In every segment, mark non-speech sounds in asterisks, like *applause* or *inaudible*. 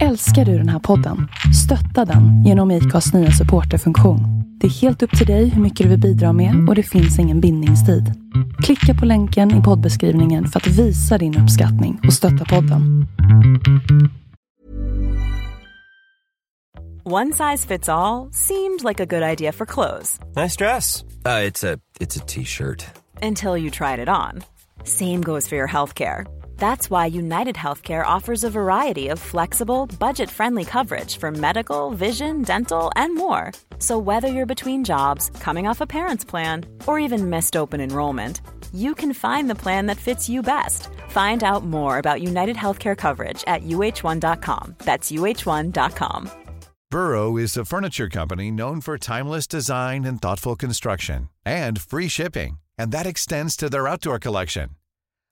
Älskar du den här podden? Stötta den genom IKAs nya supporterfunktion. Det är helt upp till dig hur mycket du vill bidra med och det finns ingen bindningstid. Klicka på länken i poddbeskrivningen för att visa din uppskattning och stötta podden. One size fits all seemed like a good idea for clothes Nice dress. Uh, it's a it's a t-shirt. until you tried it on. Same goes for your healthcare. That's why United Healthcare offers a variety of flexible, budget friendly coverage for medical, vision, dental, and more. So, whether you're between jobs, coming off a parent's plan, or even missed open enrollment, you can find the plan that fits you best. Find out more about United Healthcare coverage at uh1.com. That's uh1.com. Burrow is a furniture company known for timeless design and thoughtful construction and free shipping, and that extends to their outdoor collection.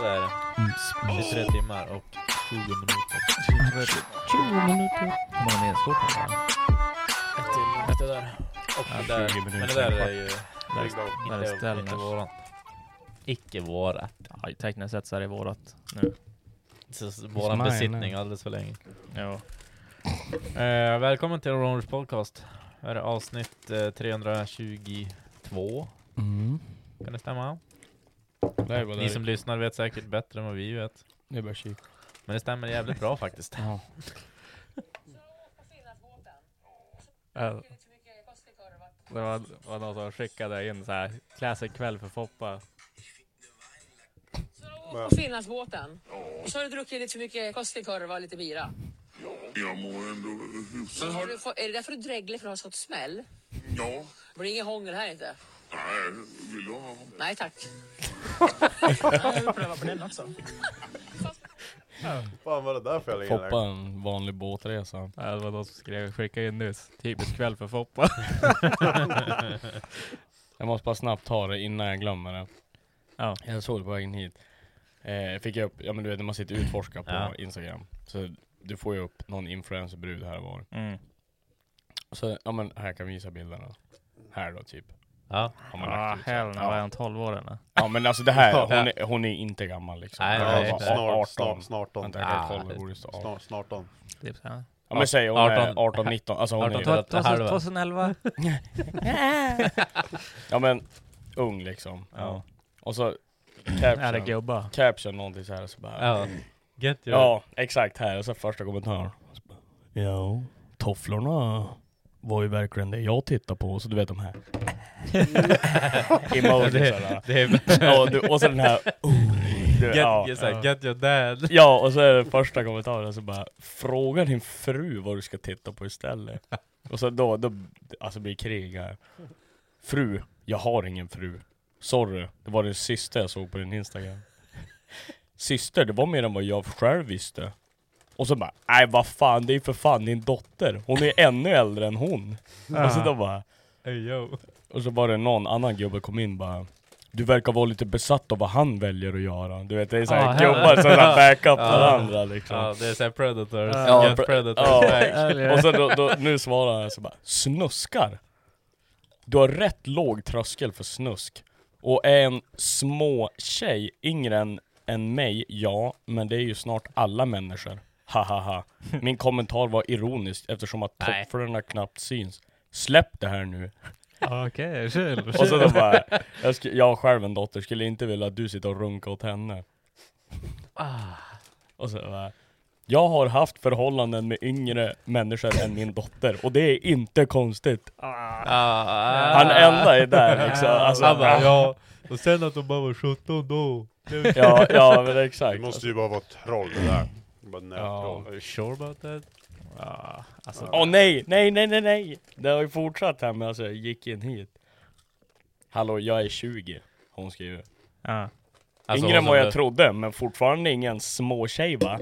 det är det. 23 timmar och 20 minuter. 20 minuter. Hur många medskåp har man? Ett till efter där. Och Ja, där. 20 Men det minuter. där är ju... Där är- Inte- där är ställningar. Inte våran. Icke vårat. Ja, tekniskt sett så är det vårat nu. Så- så Våran mine, besittning nej. alldeles för länge. Ja. Eh, välkommen till Ronalds podcast. Här är avsnitt eh, 322. Mm. Kan det stämma? Det är vad det Ni är. som lyssnar vet säkert bättre än vad vi vet. Det är bara kik. Men det stämmer jävligt bra faktiskt. Ja. Ja. Det var, var någon som skickade in så här, classic kväll för Foppa. På Finlandsbåten. Så har du druckit lite för mycket Koskenkorva och lite bira. Ja, jag mår ändå hyfsat. Är det därför du dreglar för att du har sånt smäll? Ja. Det blir ingen hångel här inte? Nej, vill du ha? Nej tack. Fan var det där för Foppa en vanlig båtresa. Ja, det var någon som skrev, skicka in nyss. Typisk kväll för Foppa. *laughs* Jag måste bara snabbt ta det innan jag glömmer det. Ja. Jag såg det på vägen hit. Eh, fick jag upp, ja men du vet när man sitter och utforskar på Ja. Instagram. Så du får ju upp någon influencerbrud här och var. Mm. Så, ja men här kan vi visa bilderna. Här då typ. Ja. Har man Ah, lagt ut så här. hell no. Var han 12 år eller? Ja men alltså det här, hon är, hon är inte gammal liksom. Nej, Hon nej, är nej. bara Snart, 18. snart, snart. om. Vänta jag kan Ah, kolla, det borde stå arton. Snart, snart om. Typ så här. Ja men säg hon är 18. 18, 19, alltså hon är 18, ju rätt, 2000- 2011? halva. ja men ung liksom. Ja. Och så Är det caption, gubbar? caption någonting så här så bara, ja. ja. Get your... ja exakt här, och så första kommentaren. Och så bara, Ja, tofflorna var ju verkligen det jag tittar på, så du vet de *laughs* här. Emojis sådär. Det är... Ja, och du, och så den *laughs* här, oh, du, Get, ja. get, *laughs* ja. get your dad. Ja, och så är det första kommentaren så bara Fråga din fru vad du ska titta på istället Och så då, då alltså blir det krig här Fru, jag har ingen fru Sorry, det var din syster jag såg på din instagram Syster, det var mer än vad jag själv visste Och så bara, nej vad fan det är ju för fan din dotter Hon är ännu äldre än hon Och så då bara Hey, yo. och så var det någon annan gubbe kom in bara Du verkar vara lite besatt av vad han väljer att göra Du vet det är såhär Ah, gubbar som såhär backar på Ah. varandra liksom Ja, det är såhär predators. Ja, Get pre- predators ja. *laughs* back. Och så då, då, nu svarar han så bara Snuskar? Du har rätt låg tröskel för snusk Och är en små tjej yngre än, än mig, ja Men det är ju snart alla människor Hahaha Min kommentar var ironisk eftersom att Nej. tofflorna knappt syns Släpp det här nu Okej, chill. och *laughs* så då bara, jag, sk- jag har själv en dotter, skulle inte vilja att du sitter och runkar åt henne. Ah. Och så bara, jag har haft förhållanden med yngre människor än min dotter och det är inte konstigt. Han enda är där liksom. Alltså, Ah. Han ja, bara, ja. Och sen att de bara var 17 då. ja, men Det exakt. måste ju bara vara troll det där. Bara nättroll. Are you sure about that? Ja, alltså, Åh nej, nej, nej, nej, nej! Det har ju fortsatt här med alltså, jag gick in hit. Hallå, jag är 20, har hon skriver. ja. Alltså, Yngre än vad jag trodde, men fortfarande *laughs* ingen småtjej va?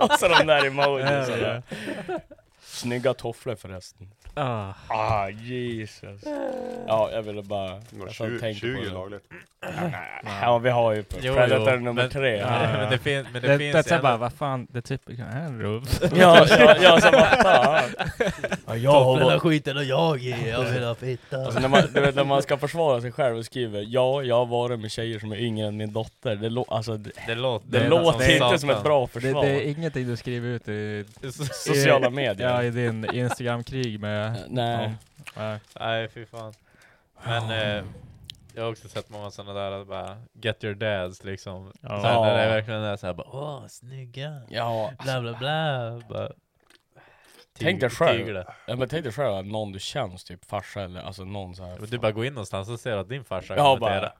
och så de där emojisarna. Snygga tofflor förresten. Ah. Ah, Jesus. Ja, jag ville bara... Var jag satt och 20 tänkte på 20 det. lagligt. Ja, vi har ju Predator nummer tre. Ja, men det, fin- men det, det finns är en- bara, vad fan, det typ kan här en rubb. Ja, ja, ja, så vad fan. Ja, jag har Tofflorna varit- skiter och jag i, jag vill ha fitta. Alltså när man, du vet när man ska försvara sig själv och skriver Ja, jag har varit med tjejer som är yngre än min dotter Det, lå- alltså, det, Det låter- det det låter låter som inte som ett bra satan. Det, försvar det är ingenting du skriver ut i Sociala medier. Ja, i din Instagram-krig med... Eh, Nej. Ja. Nej, fy fan. Men eh, jag har också sett många sådana där, att bara get your dads liksom. Ja. Ja. Sen när det är verkligen är såhär bara åh, snygga. Ja, Bla bla bla. Bara, Tänk dig tig- själv, tigla. ja, men tänk dig själv att någon du känns typ farsa eller alltså någon så här. Men Du bara går in någonstans och ser att din farsa Ja, kommenterar.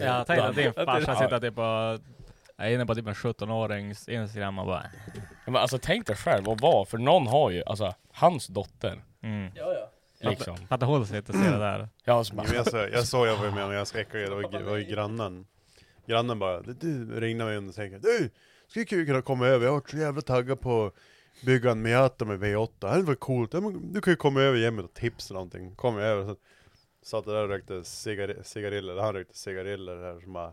Jag tänkte att din farsa Ja. sitter typ och... Jag är inne på typ en 17-årings Instagram och bara... Ja, Men alltså tänk dig själv att vara, för någon har ju, alltså hans dotter Mm. liksom Fatta hon sig inte se det där. Ja, så bara, Jo, men jag, sa, jag sa jag var med när jag skrek det var, ju- det var ju grannen. Grannen bara, du ringde mig och tänkte du, skulle ju kunna komma över, jag har varit så jävla taggad på att bygga en Miata med V8, det hade varit coolt, ja, men du kan ju komma över och ge mig något tips eller någonting. Kom över, så satt jag där och rökte cigar- cigariller, han rökte cigariller här som bara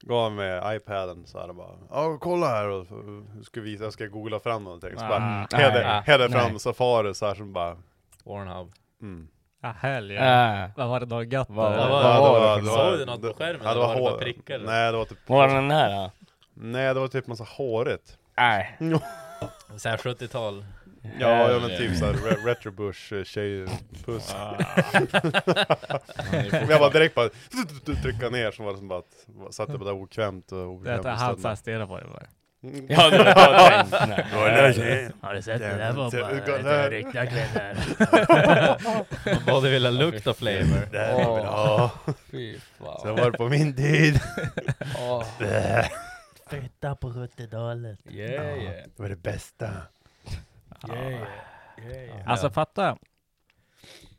Gav han med iPaden så här och bara, ja kolla här och så ska visa, jag ska googla fram någonting. Så bara, Ah, hade, nej, hade nej. fram Safari så här som bara, Pornhub. mm. Ah, helg. äh. Vad var det då gött? Vad- eller? vad var- Ja, det det Såg du något på skärmen, ja, eller var det bara hår- prickar, eller? Nej, det var typ Var den här? då? Nej, det var typ massa hårigt. Nej Såhär 70-tal. Ja, ja men typ såhär re- retrobush eh, tjejpuss. Men jag bara direkt bara trycka ner så var det som bara att satt det bara där okvämt och Det är obekvämt. att han såhär stirrar på dig bara. Ja, det var tänkt, nej. Har du sett det där var bara- det där är riktiga *laughs* kvinnor. Man både ville lukt och flavor. Det här är bra. Fy fan. Så var det på min tid. Åh, Fitta på 70-talet. yeah, yeah. Det var det bästa. Yeah, yeah. yeah, yeah. Alltså fatta.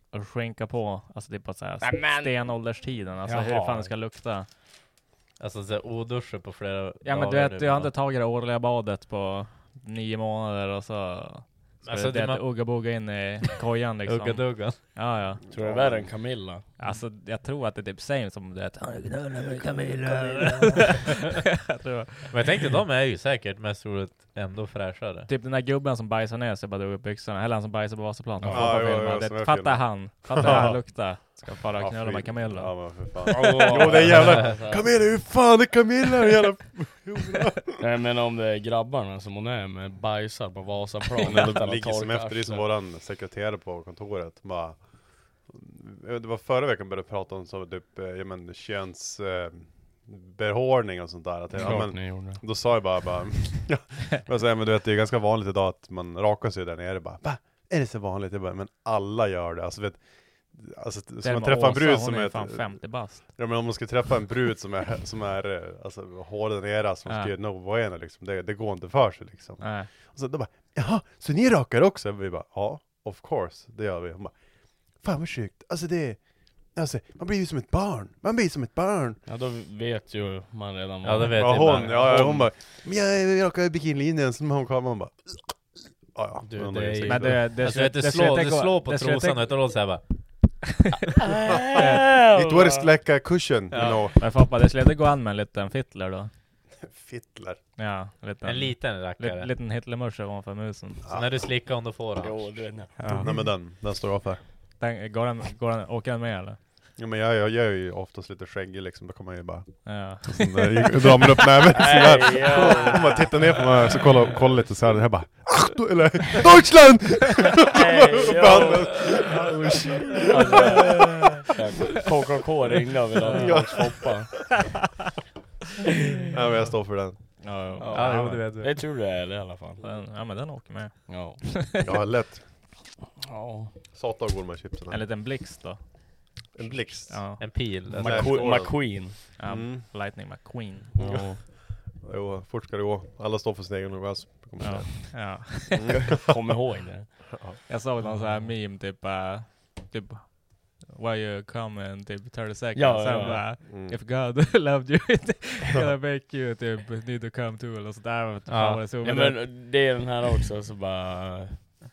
Och skänka på, alltså typ på såhär Nämen. stenålderstiden, alltså hur Jaha. fan det ska lukta. Alltså såhär oduscher på flera Ja men du dagar vet, nu, du har bara. inte tagit det årliga badet på nio månader och så... Ska Alltså, alltså, det det man- ugga boga in i kojan Ugga liksom. dugga. ja ja. Tror du det är värre än Camilla? Alltså jag tror att det är typ same som du vet. *laughs* Jag tror- Men jag tänkte de är ju säkert mest troligt ändå fräschare. Typ den där gubben som bajsar ner sig och bara drog upp byxorna, eller han som bajsar på Vasaplan. Ja, Ja, jo, ja, jo, ja, som jag fatta filmade. han, fatta hur han luktar. Ska bara Ja, knulla fy- med Camilla. Ja men för fan. Jo det är jävla... Camilla, hur fan är Camilla? Jävla... Nej men om det är grabbarna som hon är med bajsar på Vasaplan Men det ligger som efter det som våran sekreterare på kontoret bara jag vet, Det var förra veckan började prata om så typ, eh, ja men köns eh, behårning och sånt där. Att, ja, men, då sa jag bara, *laughs* bara ja, jag säger, men du vet det är ganska vanligt idag att man rakar sig där nere bara, Va? Är det så vanligt? Jag bara, men alla gör det. Alltså vet, alltså, Det så är man med träffar en Åsa, brud hon som är är, ju ett, fan 50 bast. ja, men om man ska träffa en brud som är, som är eh, alltså, hår där nere, som Ja. ska göra Novoena liksom, det, det går inte för sig liksom. Nej. Och så de bara, jaha, så ni rakar också? Vi bara, ja, of course, det gör vi. Hon bara, fan vad sjukt, alltså det, alltså man blir ju som ett barn, man blir som ett barn. Ja då vet ju man redan Ja, det vet Ja jag hon, bara. ja ja, hon bara, men jag, jag rakar i bikinilinjen, så hon kom, man bara, ja ja. Du, Men det är ju- säkert Men det, det, Alltså vet du, det slå, slutar du gå- slår på det slutar- *laughs* *laughs* trosan och då låter såhär bara It works like a cushion, you know. Men Foppa, det skulle inte gå an med en liten fittler då? Fittlar. Ja, en liten, en liten rackare. li, liten hitlermusche ovanför musen. Så när du slickar om du får han. Jo, du vet inte. Nej men den, den står jag för. Den, går den, går den, åker den med eller? Ja men jag, jag, jag är ju oftast lite skäggig liksom, då kommer jag ju bara, *laughs* Ja. sån där, drar man upp näven sådär. Nej, ja. Hon bara tittar ner på mig, så kollar, kollar lite såhär, och jag bara, ach du, eller Deutschland! ja. KKK ringde och ville ha Ja. oss hoppa. Nej men jag står för den. Ja, ja. Ja, jo, det vet du. Det tror jag är det i alla fall. Den, ja men den åker med. Ja. Jag har lätt. ja. Satan går med chipsen. En här. liten blixt då. En blixt. Ja. En pil. Alltså, Där McQu- står den. McQueen. ja Mm. Lightning McQueen. Ja. Jo, fort ska det gå. Alla står för sin egen röst. Ja. ja. Kom ihåg det. Jag såg någon sån Mm. här meme typ, uh, typ Why you coming typ 30 seconds? Ja, Sen ja. bara, Mm. If God *laughs* loved you, *laughs* it gonna make you typ need to come to eller sådär. Ja. Ja. Ja, men det är den här också, så bara...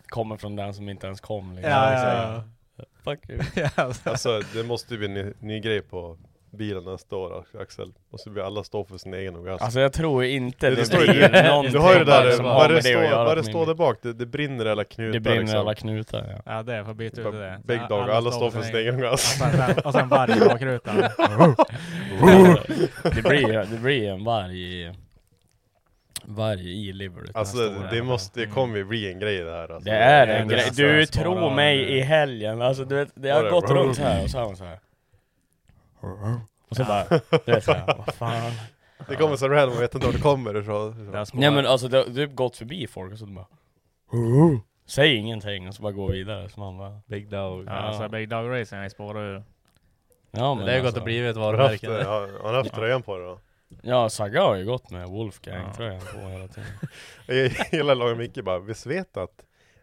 kommer från den som inte ens kom liksom. Ja, Liksom. ja, Fuck you. Alltså det måste ju bli en ny, ny grej på bilen nästa år Axel. Måste vi alla stå för sin egen orgasm. Alltså, jag tror inte det står ju- blir Du har någonting ju det där, som har med vad det det att står- göra vad det på står min där bak, det, det brinner i alla knutar Det brinner liksom. alla knutar ja. Ja det, får byta ut det. Big dog, alla, står för sin egen Alltså, orgasm. Och sen- och sen *laughs* varg i bakrutan. det, blir, det blir en varg i, varg i liver. Alltså det, det måste, det kommer ju bli en grej det här alltså. Det är är en inte grej. så här Du spara- tro mig i helgen, alltså du vet, det Var har det- gått runt så här och så har hon så här. Och så bara, du vet såhär, vad fan. Det kommer så random, jag vet inte var det kommer ifrån. Nej men alltså det har typ gått förbi folk och så de bara Säg ingenting och så bara gå vidare så man bara Big dog. Ja, Alltså Big Dog Racing, jag spårar ju. ja men Det har ju gått alltså. och blivit ett Har du haft, varumärke. det? har har du haft tröjan på dig då? Ja Saga har ju gått med Wolfgang tror jag på hela tiden Jag gillar Lång Micke bara, visst vet att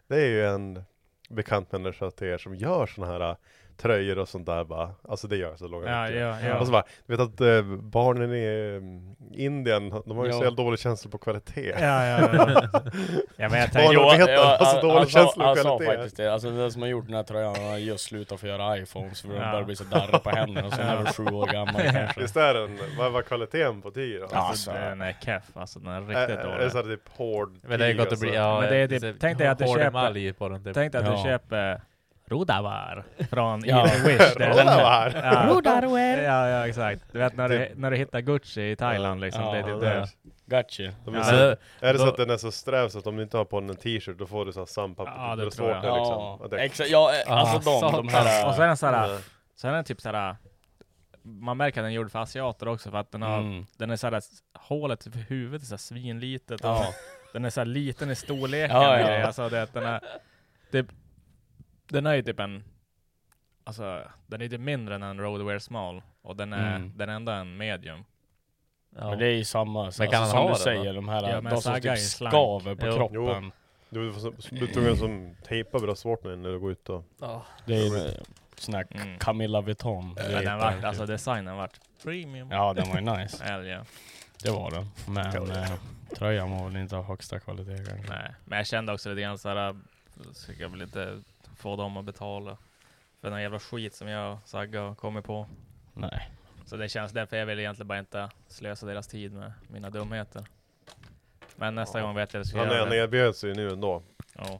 det är ju en bekant människa till er som gör såna här äh, tröjor och sånt där bara, alltså det gör så Lång Ja, Micke. ja, ja. Och så bara, du vet att äh, barnen i äh, Indien, de har ju Ja. så jävla dålig känsla på kvalitet. Ja, ja, *laughs* ja. Ja, men jag *laughs* tänkte- Barnen Jo, vet ja, att han- de har så alltså, dålig han sa- känsla på Han sa kvalitet. faktiskt det, alltså den som har gjort den här tröjan han har just slutat få göra iPhones för den Ja. börjar bli så darrig på händerna och så är han väl sju år gammal kanske Visst är den, vad var kvaliteten på tyg då? Alltså, den är keff alltså, den är riktigt Ä- dålig. Är det såhär typ hård alltså? Men det har ju gått att bli, ja, Men det är typ- det- tänk dig att du hård köper- emalj på den typ. Tänk dig att Ja. du köper Rodavar från *laughs* Ja. Evil Wish. Det är den här- Rodavar? Ja. Rodarwer. Ja, ja exakt. Du vet när du, när du hittar Gucci i Thailand liksom. Ja, det är Ja, typ det det. är- Gotcha! De är, Ja. så, Men- är det så då- att den är så sträv så att om du inte har på den en t-shirt då får du så här sandpapper Ja, det är tror jag. det Ja, Att liksom, det- exakt, ja eh, alltså Ah, de, de här... Och så är den såhär, Ja. så är den typ såhär, man märker att den är gjord för asiater också för att den har, Mm. den är såhär, hålet för huvudet är såhär svinlitet. och Ja. Den är såhär liten i storleken. Ja, ja, ja. Alltså det, att den är, typ, den är ju typ en, alltså den är typ mindre än en Roadwear Small. Och den är, Mm. den enda är en medium. Ja. Men det är ju samma, så, Men kan alltså, han som ha du det då? säger, de här, Ja, men de som Saga är typ ju slank. skaver på Jo. kroppen Du får så- du är tvungen som tejpa bröstvårtorna när du går ut och... Ja. Det är ju eh, sån här Mm. Camilla Vuitton Men den vart, alltså designen vart premium. Ja den var ju nice, Eller, ja. det var den Men eh, tröjan var väl inte av högsta kvalitet kanske Nej, men jag kände också lite grann såhär, så jag vill inte få dem att betala för den jävla skit som jag och Sagga har kommit på. Nej Så det känns därför jag vill egentligen bara inte slösa deras tid med mina dumheter. Men nästa gång vet jag att jag ska Han, är, göra han det. erbjöd sig nu ändå. Ja.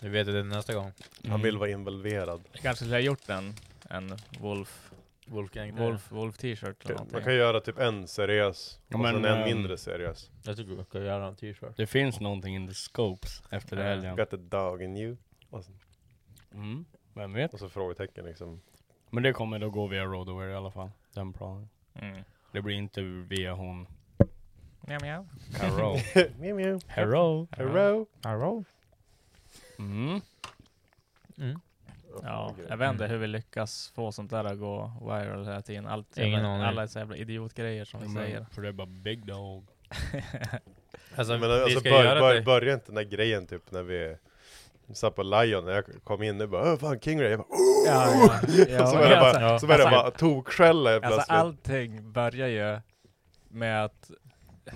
Du vet det nästa gång. Mm. Han vill vara involverad. Jag kanske skulle ha gjort en, en Wolf, Wolfgang. Wolf, Wolf t-shirt eller Man någonting. kan göra typ en seriös, Ja, och men, sen en ehm, mindre seriös. Jag tycker vi ska göra en t-shirt. Det finns någonting in the scopes efter Ja. helgen Got the dog in you. Och så, mm. Vem vet? och så frågetecken liksom. Men det kommer då gå via Roadaware i alla fall, den planen Mm. Det blir inte via hon Mjau, mjau. Caro *laughs* Mew mew. Hello! Hello. Hello! Mm. Mm. Ja, jag vet inte hur vi lyckas få sånt där att gå viral hela tiden. Allt Ingen jävla, aning. alla så jävla idiotgrejer som vi säger. Men, för det är bara big dog Alltså, Men alltså ska bör, göra bör, det. börja inte den där grejen typ när vi satt på Lion, när jag kom in nu bara "Åh, fan King Ray, jag bara, "Åh!" Ja, *laughs* ja, ja. så började jag Alltså, bara, så började jag alltså, bara tokskälla helt Alltså plötsligt. allting börjar ju med att,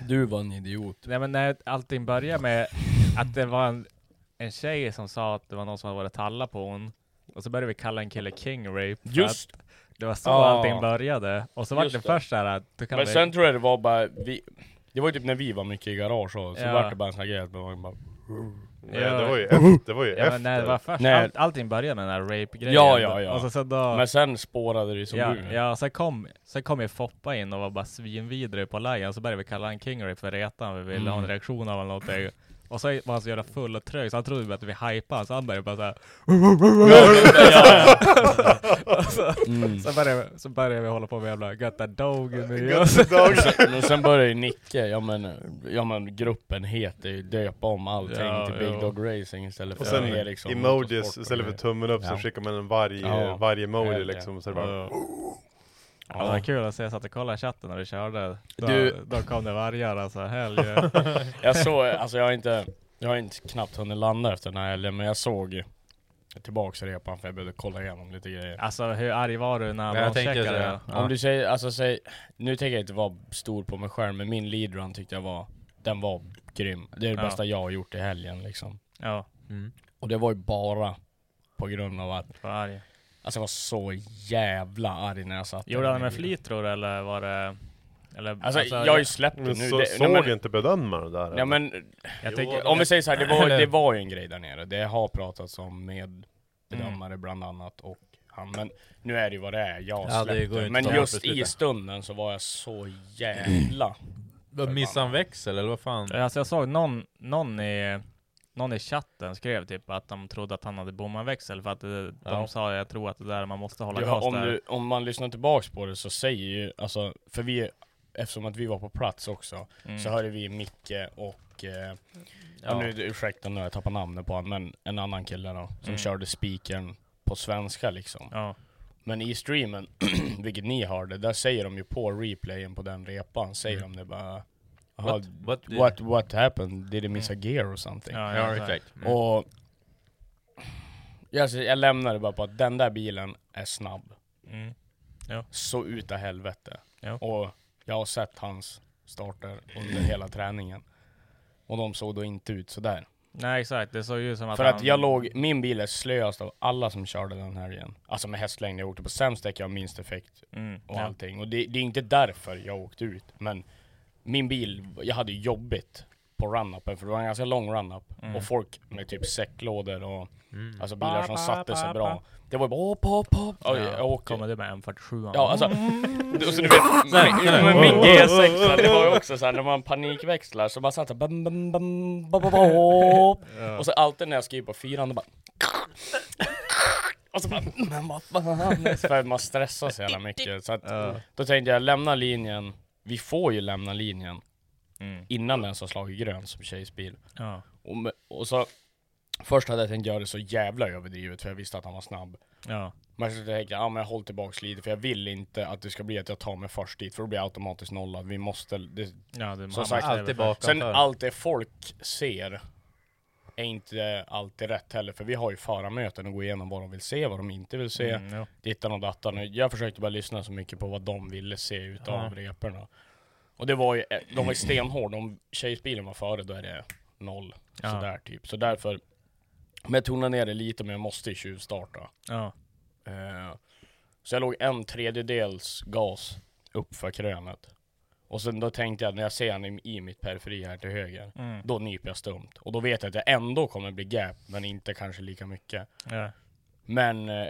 Du var en idiot nej men nej, allting börjar med att det var en, en tjej som sa att det var någon som hade varit talla på hon. Och så började vi kalla en kille King Rape. för Just Att det var så Ja. allting började. Och så var Just det det. först såhär att du kan Men sen tror jag det var bara vi Det var ju typ när vi var mycket i garage och så Ja. var det bara en sån här grej att man bara Nej, Ja. det var ju efter. Det var ju Ja men nej, efter. det var först, Nej. Allt, allting började med den här rape-grejen. Ja, ja, ja. Och så, sen då, Men sen spårade det ju som ja, du ja, sen kom, sen kom ju Foppa in och var bara svinvidrig på Lion, så började vi kalla han King Rape för retan, vi ville ha en Mm. reaktion av honom någonting. Och så var han så jävla full och trög, så han trodde att vi hypade så han började bara såhär Mm. Så började, så började vi hålla på med jävla Götta Dog nu *laughs* Got the dog. *laughs* Men sen började ju Nicke, ja men, ja men gruppen heter ju döpa om allting Ja, till Big ja. Dog Racing istället för Och sen Ericsson emojis, liksom motorsport och istället för grejer. tummen upp Ja. så skickar man en varg, Ja. varje emoji Verkligen. liksom. Så det bara, Ja, det var kul att se, jag satt och kollade chatten när du körde Då, Du- då kom det vargar alltså, helg *laughs* Jag såg, alltså jag har inte, jag har inte knappt hunnit landa efter den här helgen men jag såg ju tillbaks i repan för jag behövde kolla igenom lite grejer Alltså hur arg var du när han Men jag tänker launchcheckade? så här, Om du säger, alltså säg, nu tänker jag inte vara stor på mig själv men min leadrun tyckte jag var, den var grym. Det är det Ja. bästa jag har gjort i helgen liksom. Ja, Mm. Och det var ju bara på grund av att... Alltså jag var så jävla arg när jag satt Gjorde där han med med bilen. flit tror du eller var det... Eller, Alltså, jag har ju släppt det Men nu. så- det, såg inte bedömaren där, eller? Ja men, Jag jag tänker- tänker, om vi säger så här, det var, Eller- det var ju en grej där nere. Det har pratats om med bedömare bland annat och han. Men nu är det ju vad det är. Jag Ja, det har släppt går ju det. inte Men att just besluta. i stunden så var jag så jävla... Vad, Missade han växel eller vad fan? Alltså jag såg någon, någon, i, någon i chatten skrev typ att de trodde att han hade bommat växel för att eh, de Ja. sa jag tror att det där man måste hålla Ja, gas om, där. du, om man lyssnar tillbaks på det så säger ju, alltså, för vi, eftersom att vi var på plats också, Mm. så hörde vi Micke och, eh, Ja. ja. nu, ursäkta nu har jag tappat namnet på honom, men en annan kille då, som Mm. körde speakern på svenska liksom. Men i streamen, *clears throat* vilket ni hörde, där säger de ju på replayen på den repan, säger Mm. de det bara "Aha, What- what, what what, did- what, happened? Did they miss a gear or something? Ja, ja, Ja, exakt. exakt. Mm. Och jag, jag lämnar det bara på att den där bilen är snabb. Mm. Ja. Så utav helvete. Ja. Och jag har sett hans starter under hela träningen. Och de såg då inte ut sådär. Nej exakt, det såg ju ut som att För att han- jag låg, min bil är slöast av alla som körde den här igen. Alltså med hästlängd, jag åkte på sämst däck, jag har minst effekt Mm, och ja. allting. Och det, det är inte därför jag åkte ut, men min bil, jag hade jobbigt på run-upen, för det var en ganska lång run-up. Mm. Och folk med typ säcklådor och Mm. alltså bilar som Pa, pa, satte sig pa, bra. pa. Det var ju bara hopp, hopp, hopp. Ja, Ja, jag åker. kommer du med M47? Ja alltså, Mm. så du vet, min, men min G6 det var ju också såhär när man panikväxlar så bara satt såhär bam, bam, bam, bam, bam, Ja. bam. Och så alltid när jag skriver på fyran då bara Och så bara men vad fan För man stressar så jävla mycket så att Då tänkte jag lämna linjen Vi får ju lämna linjen Innan den ens har slagit grön som tjejs bil Ja. och, med- och så Först hade jag tänkt göra det så jävla överdrivet för jag visste att han var snabb Ja. men så tänker jag, ja men jag håller tillbaks lite för jag vill inte att det ska bli att jag tar mig först dit för då blir jag automatiskt nollad. Vi måste... Det, Ja, det- som man sagt, måste Alltid över först. sen bakanför. allt det folk ser är inte alltid rätt heller för vi har ju förarmöten och gå igenom vad de vill se, vad de inte vill se. Mm, ja. Dittan och dattan. Och Jag försökte bara lyssna så mycket på vad de ville se utav Ja. reporna. Och det var ju, de var ju stenhårda. Om tjejsbilen var före då är det noll. Ja. Sådär typ. Så därför, men jag tonade ner det lite men jag måste ju tjuvstarta. Ja. Eh, så jag låg en tredjedels gas uppför krönet. Och sen då tänkte jag när jag ser han i, i mitt periferi här till höger, Mm. då nyper jag stumt. Och då vet jag att jag ändå kommer bli gap, men inte kanske lika mycket. Ja. Men eh,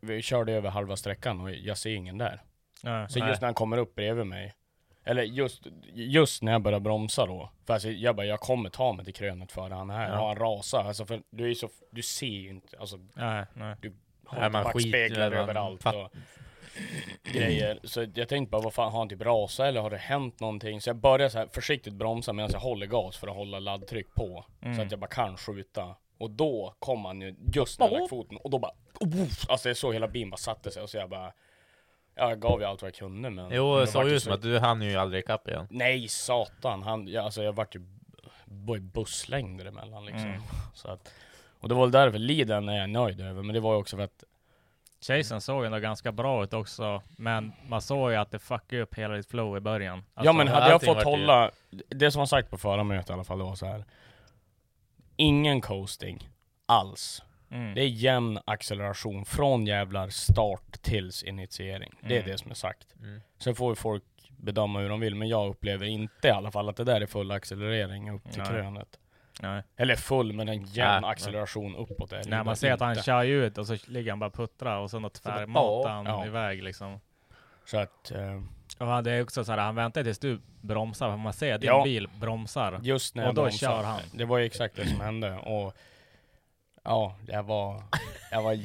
vi körde över halva sträckan och jag ser ingen där. Ja, så nej. just när han kommer upp bredvid mig, eller just, just när jag börjar bromsa då, för alltså, jag bara, jag kommer ta mig till krönet före han här. Ja. Och han rasar, alltså för du är ju så, du ser ju inte, alltså. Nej, nej. Du Nej, har man inte backspeglar skiter, man överallt fatt- och grejer. Så jag tänkte bara, vad fan, har han typ rasat eller har det hänt någonting? Så jag börjar så här försiktigt bromsa medan jag håller gas för att hålla laddtryck på. Mm. Så att jag bara kan skjuta. Och då kom han ju just när jag lagt foten och då bara, Oof! alltså jag såg hela bin bara satte sig och så jag bara, ja, jag gav ju allt vad jag kunde men. Jo, men det jag såg vart ju ut som att du hann ju aldrig ikapp igen. Nej satan, han, jag, alltså jag vart ju var ju busslängder emellan liksom. Mm. Så att, och det var väl därför Liden är jag nöjd över, men det var ju också för att Chasen såg ändå ganska bra ut också, men man såg ju att det fuckade upp hela ditt flow i början. ja Alltså, men hade jag allting fått vart ju- hålla, det som var sagt på förra mötet i alla fall, det var så här. Ingen coasting alls. Mm. Det är jämn acceleration från jävlar start tills initiering. Det är Mm. det som är sagt. Mm. Sen får ju folk bedöma hur de vill, men jag upplever inte i alla fall att det där är full accelerering upp till Nej. krönet. Nej. Eller full, men en jämn Nej. acceleration uppåt är det När där man ser att han inte. kör ju ut och så ligger han bara och puttrar och sen då tvärmatar han Ja. iväg liksom. Så att... eh, Och han- det är också så här, han väntar tills du bromsar, för man ser att din Ja. bil bromsar. Just när och jag då bromsade. kör han. Det var ju exakt det som hände och ja, jag var, jag var,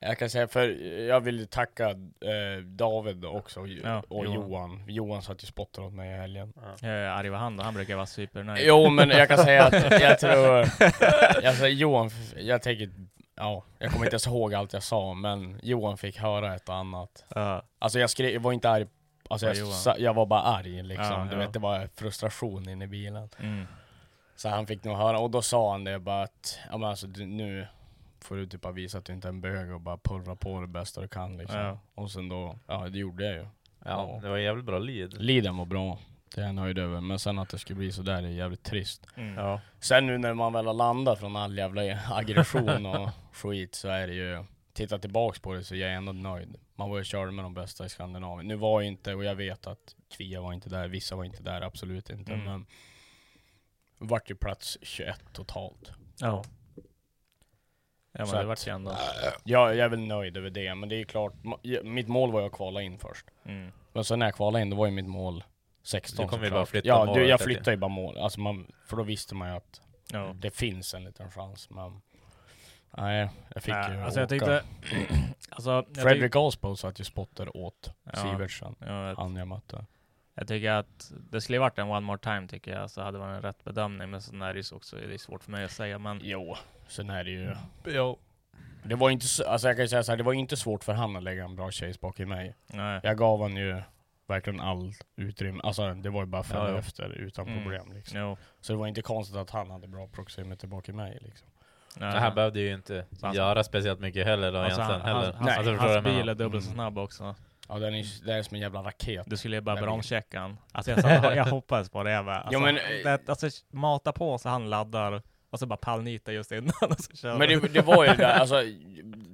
jag kan säga för jag vill tacka eh, David också och, Ja, och Johan. Johan. Johan. satt ju spottade åt mig i helgen. Eh, Arg var han då, han brukar vara typ, supernöjd. Jo men jag kan säga att *laughs* jag tror, alltså Johan, jag tänker, ja, jag kommer inte ens ihåg allt jag sa men Johan fick höra ett och annat. Alltså jag skrev, jag var inte arg, alltså På jag, Johan. sa, jag var bara arg liksom. Ja, du ja. vet det var frustration inne i bilen. Mm. Så han fick nog höra, och då sa han det bara att, ja men alltså du, nu får du typ bara visa att du inte är en bög och bara pulvra på det bästa du kan liksom. Ja. Och sen då, ja det gjorde jag ju. Ja, det var en jävligt bra lead. Liden var bra. Det är jag nöjd över, men sen att det skulle bli sådär är jävligt trist. Mm. Ja. Sen nu när man väl har landat från all jävla *laughs* aggression och skit så är det ju, titta tillbaks på det så är jag ändå nöjd. Man var ju körde med de bästa i Skandinavien. Nu var ju inte, och jag vet att Kvia var inte där, vissa var inte där, absolut inte. Mm. Men vart ju plats 21 totalt. Ja. Ja Så men det att- vart ju ändå... Ja, jag är väl nöjd över det, men det är klart, ma- ja, mitt mål var ju att kvala in först. Mm. Men sen när jag kvalade in, då var ju mitt mål 16 Du kommer ju såklart. bara flytta Ja, målet du, jag efter flyttade ju bara mål. Alltså man, för då visste man ju att Ja. Mm, det finns en liten chans, men... Nej, jag fick Nej, ju alltså jag åka. *clears throat* tyckte- alltså, jag tyck- Fredrik Asbo satt ju spotter åt Ja. Mm. Sivertsen, Ja, jag- han jag mötte. Jag tycker att det skulle varit en one more time tycker jag, så hade det varit en rätt bedömning. Men sen är det ju så också, det är svårt för mig att säga men... Jo, sen är det ju... Ja. Det var inte, så- alltså jag kan ju säga så här, det var inte svårt för han att lägga en bra chase bak i mig. Nej. Jag gav han ju verkligen allt utrymme, alltså det var ju bara att följa Ja, ja. efter utan Mm. problem liksom. Jo. Så det var inte konstigt att han hade bra proximity bak i mig liksom. Nej. Han behövde ju inte Så han- göra speciellt mycket heller då Alltså, egentligen. han, heller. hans, hans, Alltså, förstår du hans vad jag bil är menar? dubbelt så Mm. snabb också. Ja den är, den är som en jävla raket. Du skulle ju bara Jag vet. bromschecka han. Alltså jag, satt, jag hoppades på det. Jag bara, alltså, Jo, men- eh, det, alltså mata på så han laddar och så bara pallnita just innan. *laughs* Och så kör Men det, han. det var ju det, alltså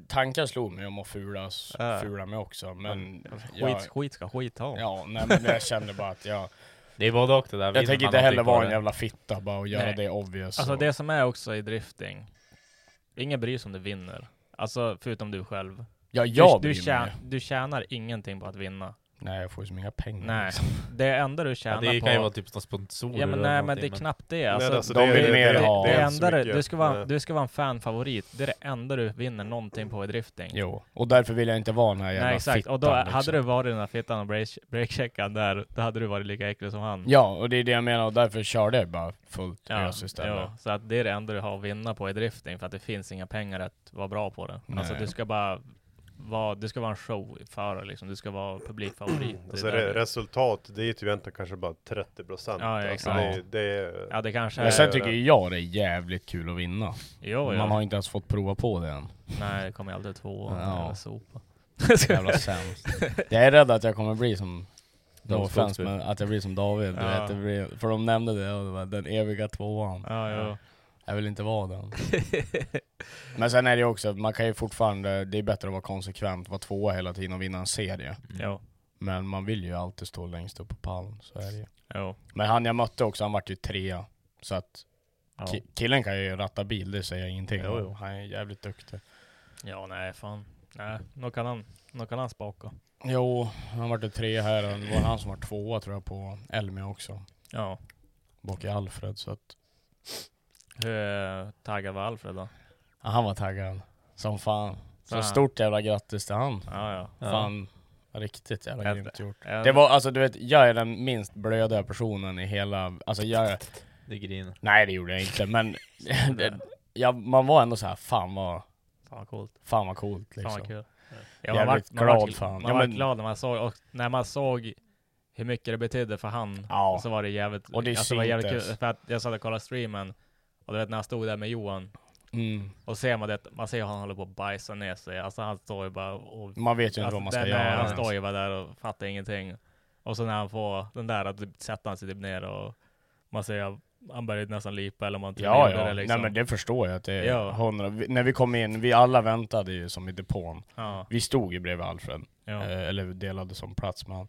tankar slog mig om att fulas, Ja. fula mig också men... jag- Skit, skit ska skit ha. Ja, nej men jag kände bara att jag... Det är både och det där. Jag vinner tänker man inte heller någonting på vara en det. jävla fitta bara och göra Nej. det obvious. Alltså och, det som är också i drifting, ingen bryr sig om du vinner. Alltså förutom du själv. Ja, jag du, bryr du, mig. tjä, du tjänar ingenting på att vinna. Nej jag får ju som inga pengar. Nej, liksom. det enda du tjänar Ja, det på... kan ju vara typ någon sponsor Ja men nej men det är någonting, knappt det. Nej, Alltså, alltså, De det- vill det- mer det, ha- det, det är enda så du, mycket. du, ska vara, Nej. du ska vara en fanfavorit, det är det enda du vinner någonting på i drifting. *laughs* Jo, och därför vill jag inte vara den här jävla Nej exakt, och då fittan, liksom. hade du varit den här fittan och break- breakcheckan där, då hade du varit lika äcklig som han. Ja, och det är det jag menar och därför körde jag bara fullt Ja, ös istället. ja, så att det är det enda du har att vinna på i drifting, för att det finns inga pengar att vara bra på det. Alltså Nej. du ska bara vara, du ska vara en showförare liksom, du ska vara publikfavorit. *clears throat* Alltså Det är re där- resultat, det är typ egentligen kanske bara 30 procent. Ja, ja, alltså, exakt. det, det är... Ja det kanske Men är... sen tycker jag det är jävligt kul att vinna. Jo, Man jo. har inte ens fått prova på det än. Nej, det kommer ju alltid två Ja. ja. *laughs* sopa. Jävla sämst. Jag är rädd att jag kommer bli som No David offense, Fogsby. men att jag blir som David, du Ja. vet, det blir, för de nämnde det, och det var den eviga tvåan. *laughs* Ja, jo. Mm. Jag vill inte vara den. Men sen är det ju också, man kan ju fortfarande, det är bättre att vara konsekvent, vara tvåa hela tiden och vinna en serie. Jo, Men man vill ju alltid stå längst upp på pallen, så är det ju. jo. Men han jag mötte också, han vart ju trea. Så att Ja. ki- killen kan ju ratta bil, det säger jag ingenting Jo, om. jo. Han är jävligt duktig. Ja, nej fan. Nej, nog kan han, nog kan han spaka. Jo, han vart ju trea här, och det var han som var tvåa tror jag på Elmia också. Ja. Bak i Alfred, så att Hur taggad var Alfred då? ja, han var taggad. Som fan. Så Fan. stort jävla grattis till han. Ja, ja. Ja. Fan, riktigt jävla Ett- grymt gjort. en- Det var alltså du vet, jag är den minst blöda personen i hela, alltså jag är, Det griner. Nej det gjorde jag *laughs* inte men *laughs* det, ja, man var ändå så här, fan vad, Fan vad coolt. fan vad coolt Fan liksom. vad kul. Jag man är vart- väldigt man glad vart- för han. Man Ja, var men- glad när man såg, och när man såg hur mycket det betydde för han, Ja. så var det jävligt, Och det alltså, var jävligt syntes. kul. För att jag satt och kollade streamen, och du vet när han stod där med Johan, Mm. och ser man det, man ser hur han håller på att bajsa ner sig. Alltså han står ju bara och... Man vet ju inte vad man ska Alltså, den- göra nej, Han ens. står ju bara där och fattar ingenting. Och så när han får den där, att typ sätter han sig typ ner och man ser att han börjar nästan lipa eller om han till och med Ja gjorde ja, det liksom. nej men det förstår jag att det är Ja. hundra. Vi, när vi kom in, vi alla väntade ju som i depån. Ja. Vi stod ju bredvid Alfred, Ja. eh, eller delade som plats med han.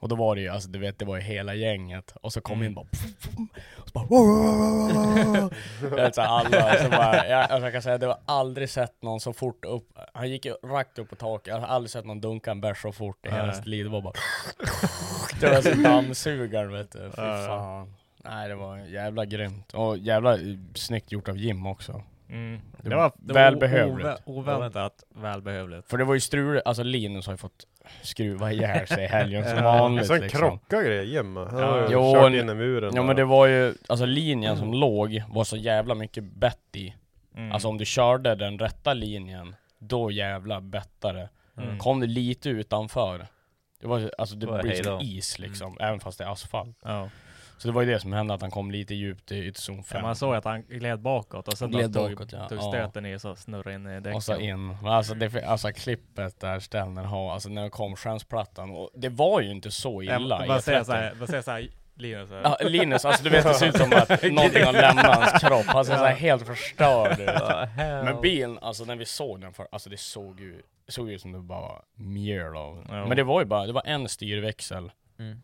Och då var det ju, alltså du vet det var ju hela gänget, och så kom in bara, och så bara *laughs* Jag vet, så här, alla, så bara, jag, alltså, jag kan säga, det var aldrig sett någon så fort upp, han gick ju rakt upp på taket, jag har aldrig sett någon dunka en bärs så fort i hela Nej. sitt liv, det var bara *laughs* Det var som dammsugaren vet du, fy fan Nej det var jävla grymt, och jävla eh, snyggt gjort av Jim också Mm. Det Det, var var, det välbehövligt. Var ovä- oväntat välbehövligt. För det var ju strul, alltså Linus har ju fått skruva ihjäl sig i helgen som vanligt Sen liksom. krockar grejer jämma. Han Ja. har ju Jo, kört n- in i muren. Ja där. men det var ju, alltså linjen som låg var så jävla mycket bett i. Mm. Alltså om du körde den rätta linjen, då jävla bettare. Mm. Kom du lite utanför, det var ju- alltså det Då är blir som hejdå. is liksom, även fast det är asfalt. ja. Så det var ju det som hände, att han kom lite djupt i ytterzon Ja, 5. alltså, man såg att han gled bakåt och sen Gled tog, bakåt, ja. tog Ja. stöten i och så snurrade in i däcken. Och så in. Men Alltså, det, alltså klippet där Stellner har, alltså när det kom skärmsplattan, och det var ju inte så illa Jag bara E30. säger såhär, bara säger såhär, Linus här. Ja, Linus, alltså du vet det ser ut som att någonting har lämnat hans kropp. Han ser så här helt förstörd ut. Men bilen, alltså när vi såg den för, alltså det såg ju, det såg ut som det bara var mjöl av den. Ja. Men det var ju bara, det var en styrväxel. Mm.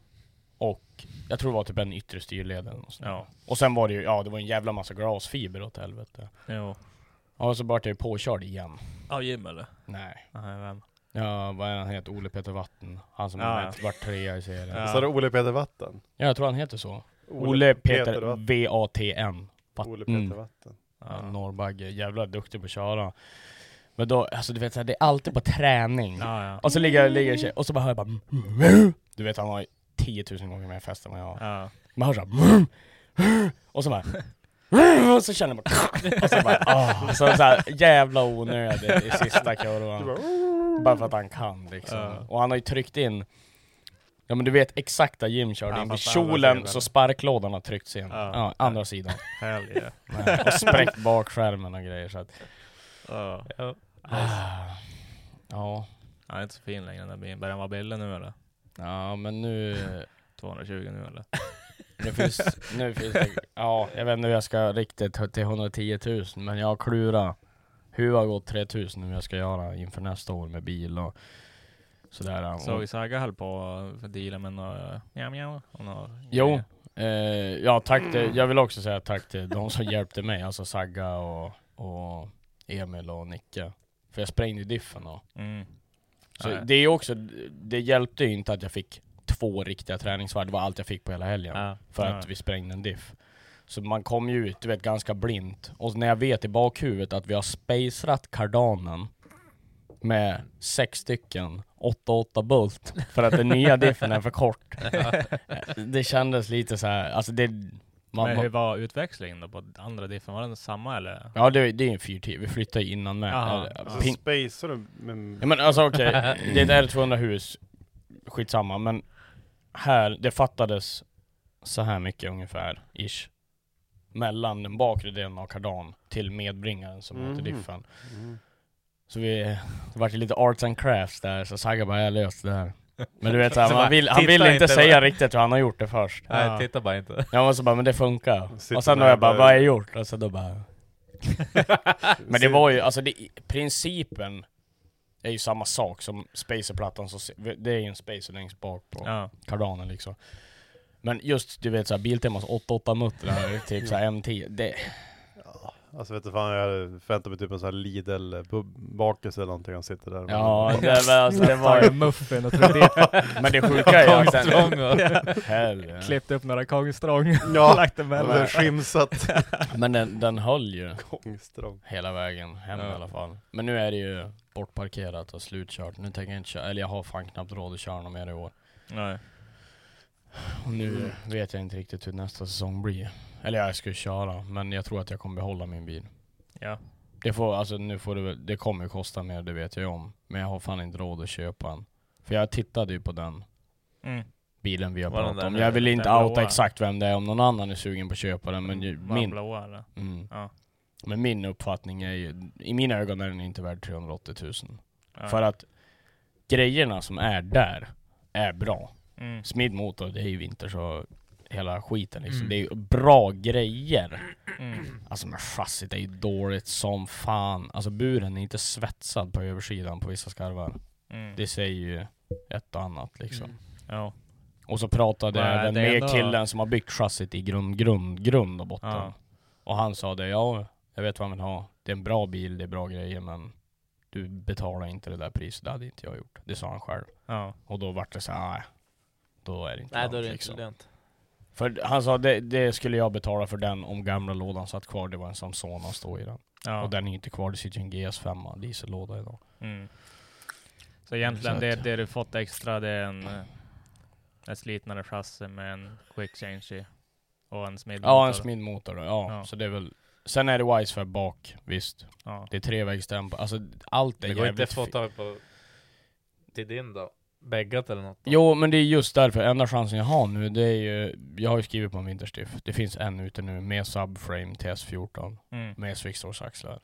Och jag tror det var typ en yttre styrled eller något sånt. Ja. Och sen var det ju, ja det var en jävla massa glasfiber åt helvete. Jo. Ja, och så vart jag ju påkörd igen. Av Jim eller? Nej. Nej, vem? Ja, vad är han heter? Ole Peter Vatten. Han som Ja, har ja. varit- varit trea i serien. Ja. Ja. Så är det Ole Peter Vatten. jag tror han heter så. Ole Ole, Peter, Peter Vatten. V-A-T-N. Vatten. Ole Peter Vatten. Ja, Norrbagge. Jävla duktig på att köra. Men då, alltså du vet såhär, det är alltid på träning. Ja, ja. Och så ligger jag ligger en tjej, och så bara hör jag bara Du vet han har ju 10 000 gånger mer fest än vad jag har. Ja. Man hör såhär Och så bara "Mm." och så känner man *laughs* Och så bara ah, så, så här, jävla onödigt i sista kurvan. Bara för att han kan liksom. "Mm." Ja. Och han har ju tryckt in Ja men du vet exakt där Jim körde Ja, in. Vid fast andra kjolen sidan. så sparklådan har tryckts in. Ja. Ja, andra sidan. Hell yeah. Nej, Och spräckt bakskärmen och grejer så att... Ja. Ah. Ja. Han är inte så fin längre den där bilen. Börjar han vara billig nu eller? Ja men nu... 220 nu eller? Nu finns, nu finns det... Ja, jag vet inte hur jag ska riktigt ta- till 110 000 men jag har klurat. Hur har gått 3 000 hur jag ska göra inför nästa år med bil och sådär. Såg Och, ju Saga höll på att deala med några mjau mjau och några jo. grejer. Eh, ja, tack till, jag vill också säga tack till de som hjälpte mig, alltså Sagga och, och Emil och Nicke. För jag sprängde ju diffen då. Mm. Så Nej. det är ju också, det hjälpte ju inte att jag fick två riktiga träningsvarv, det var allt jag fick på hela helgen. Ja. För Ja. att vi sprängde en diff. Så man kom ju ut, du vet, ganska blint. Och när jag vet i bakhuvudet att vi har spacerat kardanen med sex stycken 8-8 bult *laughs* för att den nya diffen är för *laughs* kort. det kändes lite så här, alltså det... Man, Men hur man, var utväxlingen då på andra diffen? Var den samma eller? ja det, det är en 410, vi flyttade ju innan med. Jaha. Eller, Alltså ping- spacear du med... Ja men alltså okej, det är ett R200 hus, skitsamma men här, det fattades så här mycket ungefär, ish. Mellan den bakre delen av kardan till medbringaren som heter Mhm. diffen. Mm. Så vi, det vart ju lite arts and crafts där, så Saga bara 'Jag löste det här' Men du vet *laughs* såhär, han vill, han "Titta vill inte inte säga bara." riktigt hur han har gjort det först. Nej, Ja. titta bara inte. Jag var så bara 'Men det funkar' Sitter Och sen då med jag bara där. 'Vad har jag gjort?' Och så då bara men det var ju, alltså det, principen är ju samma sak som spacerplattan, så se- det är ju en spacer längst bak på Ja. kardanen liksom. Men just du vet såhär Biltemas 88 muttrar, typ såhär M10, det... Alltså vet du fan, jag hade förväntat mig typ en sån här Lidl-bakelse eller någonting. Han sitter där. *laughs* Ja, det, var- alltså, *laughs* det var ju... muffin och trodde det Men det sjuka är ju att sen... Trång *laughs* och... Helvete. *laughs* klippte upp några kongstrång Ja. *laughs* lagt dem Men den skimsat Men den, den höll ju gångstrång. hela vägen hem Ja. i alla fall. Men nu är det ju bortparkerat och slutkört. Nu tänker jag inte köra, eller jag har fan knappt råd att köra något mer i år. Nej. Och nu Mm. vet jag inte riktigt hur nästa säsong blir. Eller jag ska ju köra, men jag tror att jag kommer behålla min bil. Ja. Det får, alltså nu får det väl, det kommer ju kosta mer, det vet jag ju om. Men jag har fan inte råd att köpa en. För jag tittade ju på den Mm. bilen vi har Var den pratat där om. med Jag vill den inte där outa blåa? exakt vem det är, om någon annan är sugen på att köpa den. Men ju, Var den min, blåa eller? mm. Ja. men min uppfattning är ju, i mina ögon är den inte värd 380 000. Ja. För att grejerna som är där är bra Mm. smidmotor, det är ju vinter så hela skiten liksom. Mm. Det är ju bra grejer. Mm. Alltså men chassit är ju dåligt som fan. Alltså buren är inte svetsad på översidan på vissa skarvar. Mm. Det säger ju ett och annat liksom. Mm. Ja. Och så pratade jag Nej, även det med är ändå- killen som har byggt chassit i grund, grund, grund och botten. Ja. Och han sa det, ja jag vet vad han vill ha. Det är en bra bil, det är bra grejer men du betalar inte det där priset, det hade inte jag gjort. Det sa han själv. Ja. Och då vart det så här, nej. Då är det inte Nej, lönt, då är det inte liksom. lönt. För han sa det, det skulle jag betala för den om gamla lådan satt kvar. Det var en Samsona att stå i den. ja. Och den är inte kvar. Det sitter ju en GS5 diesellåda idag. Mm. Så egentligen Så det, att- det du fått extra det är en, eh, ett slitnare chassi med en quick change i. Och en smidd Ja, en smidmotor. då. Ja, Ja. så det är väl. Sen är det Wisefab bak, visst. Ja. Det är trevägsdämpare. Alltså allt är Det går inte jävligt att få fi- tag på till din då? Bäggat eller något? då? Jo, men det är just därför. Enda chansen jag har nu, det är ju... Jag har ju skrivit på en vinterstift. Det finns en ute nu med subframe TS14. Mm. Med Swixtors axlar.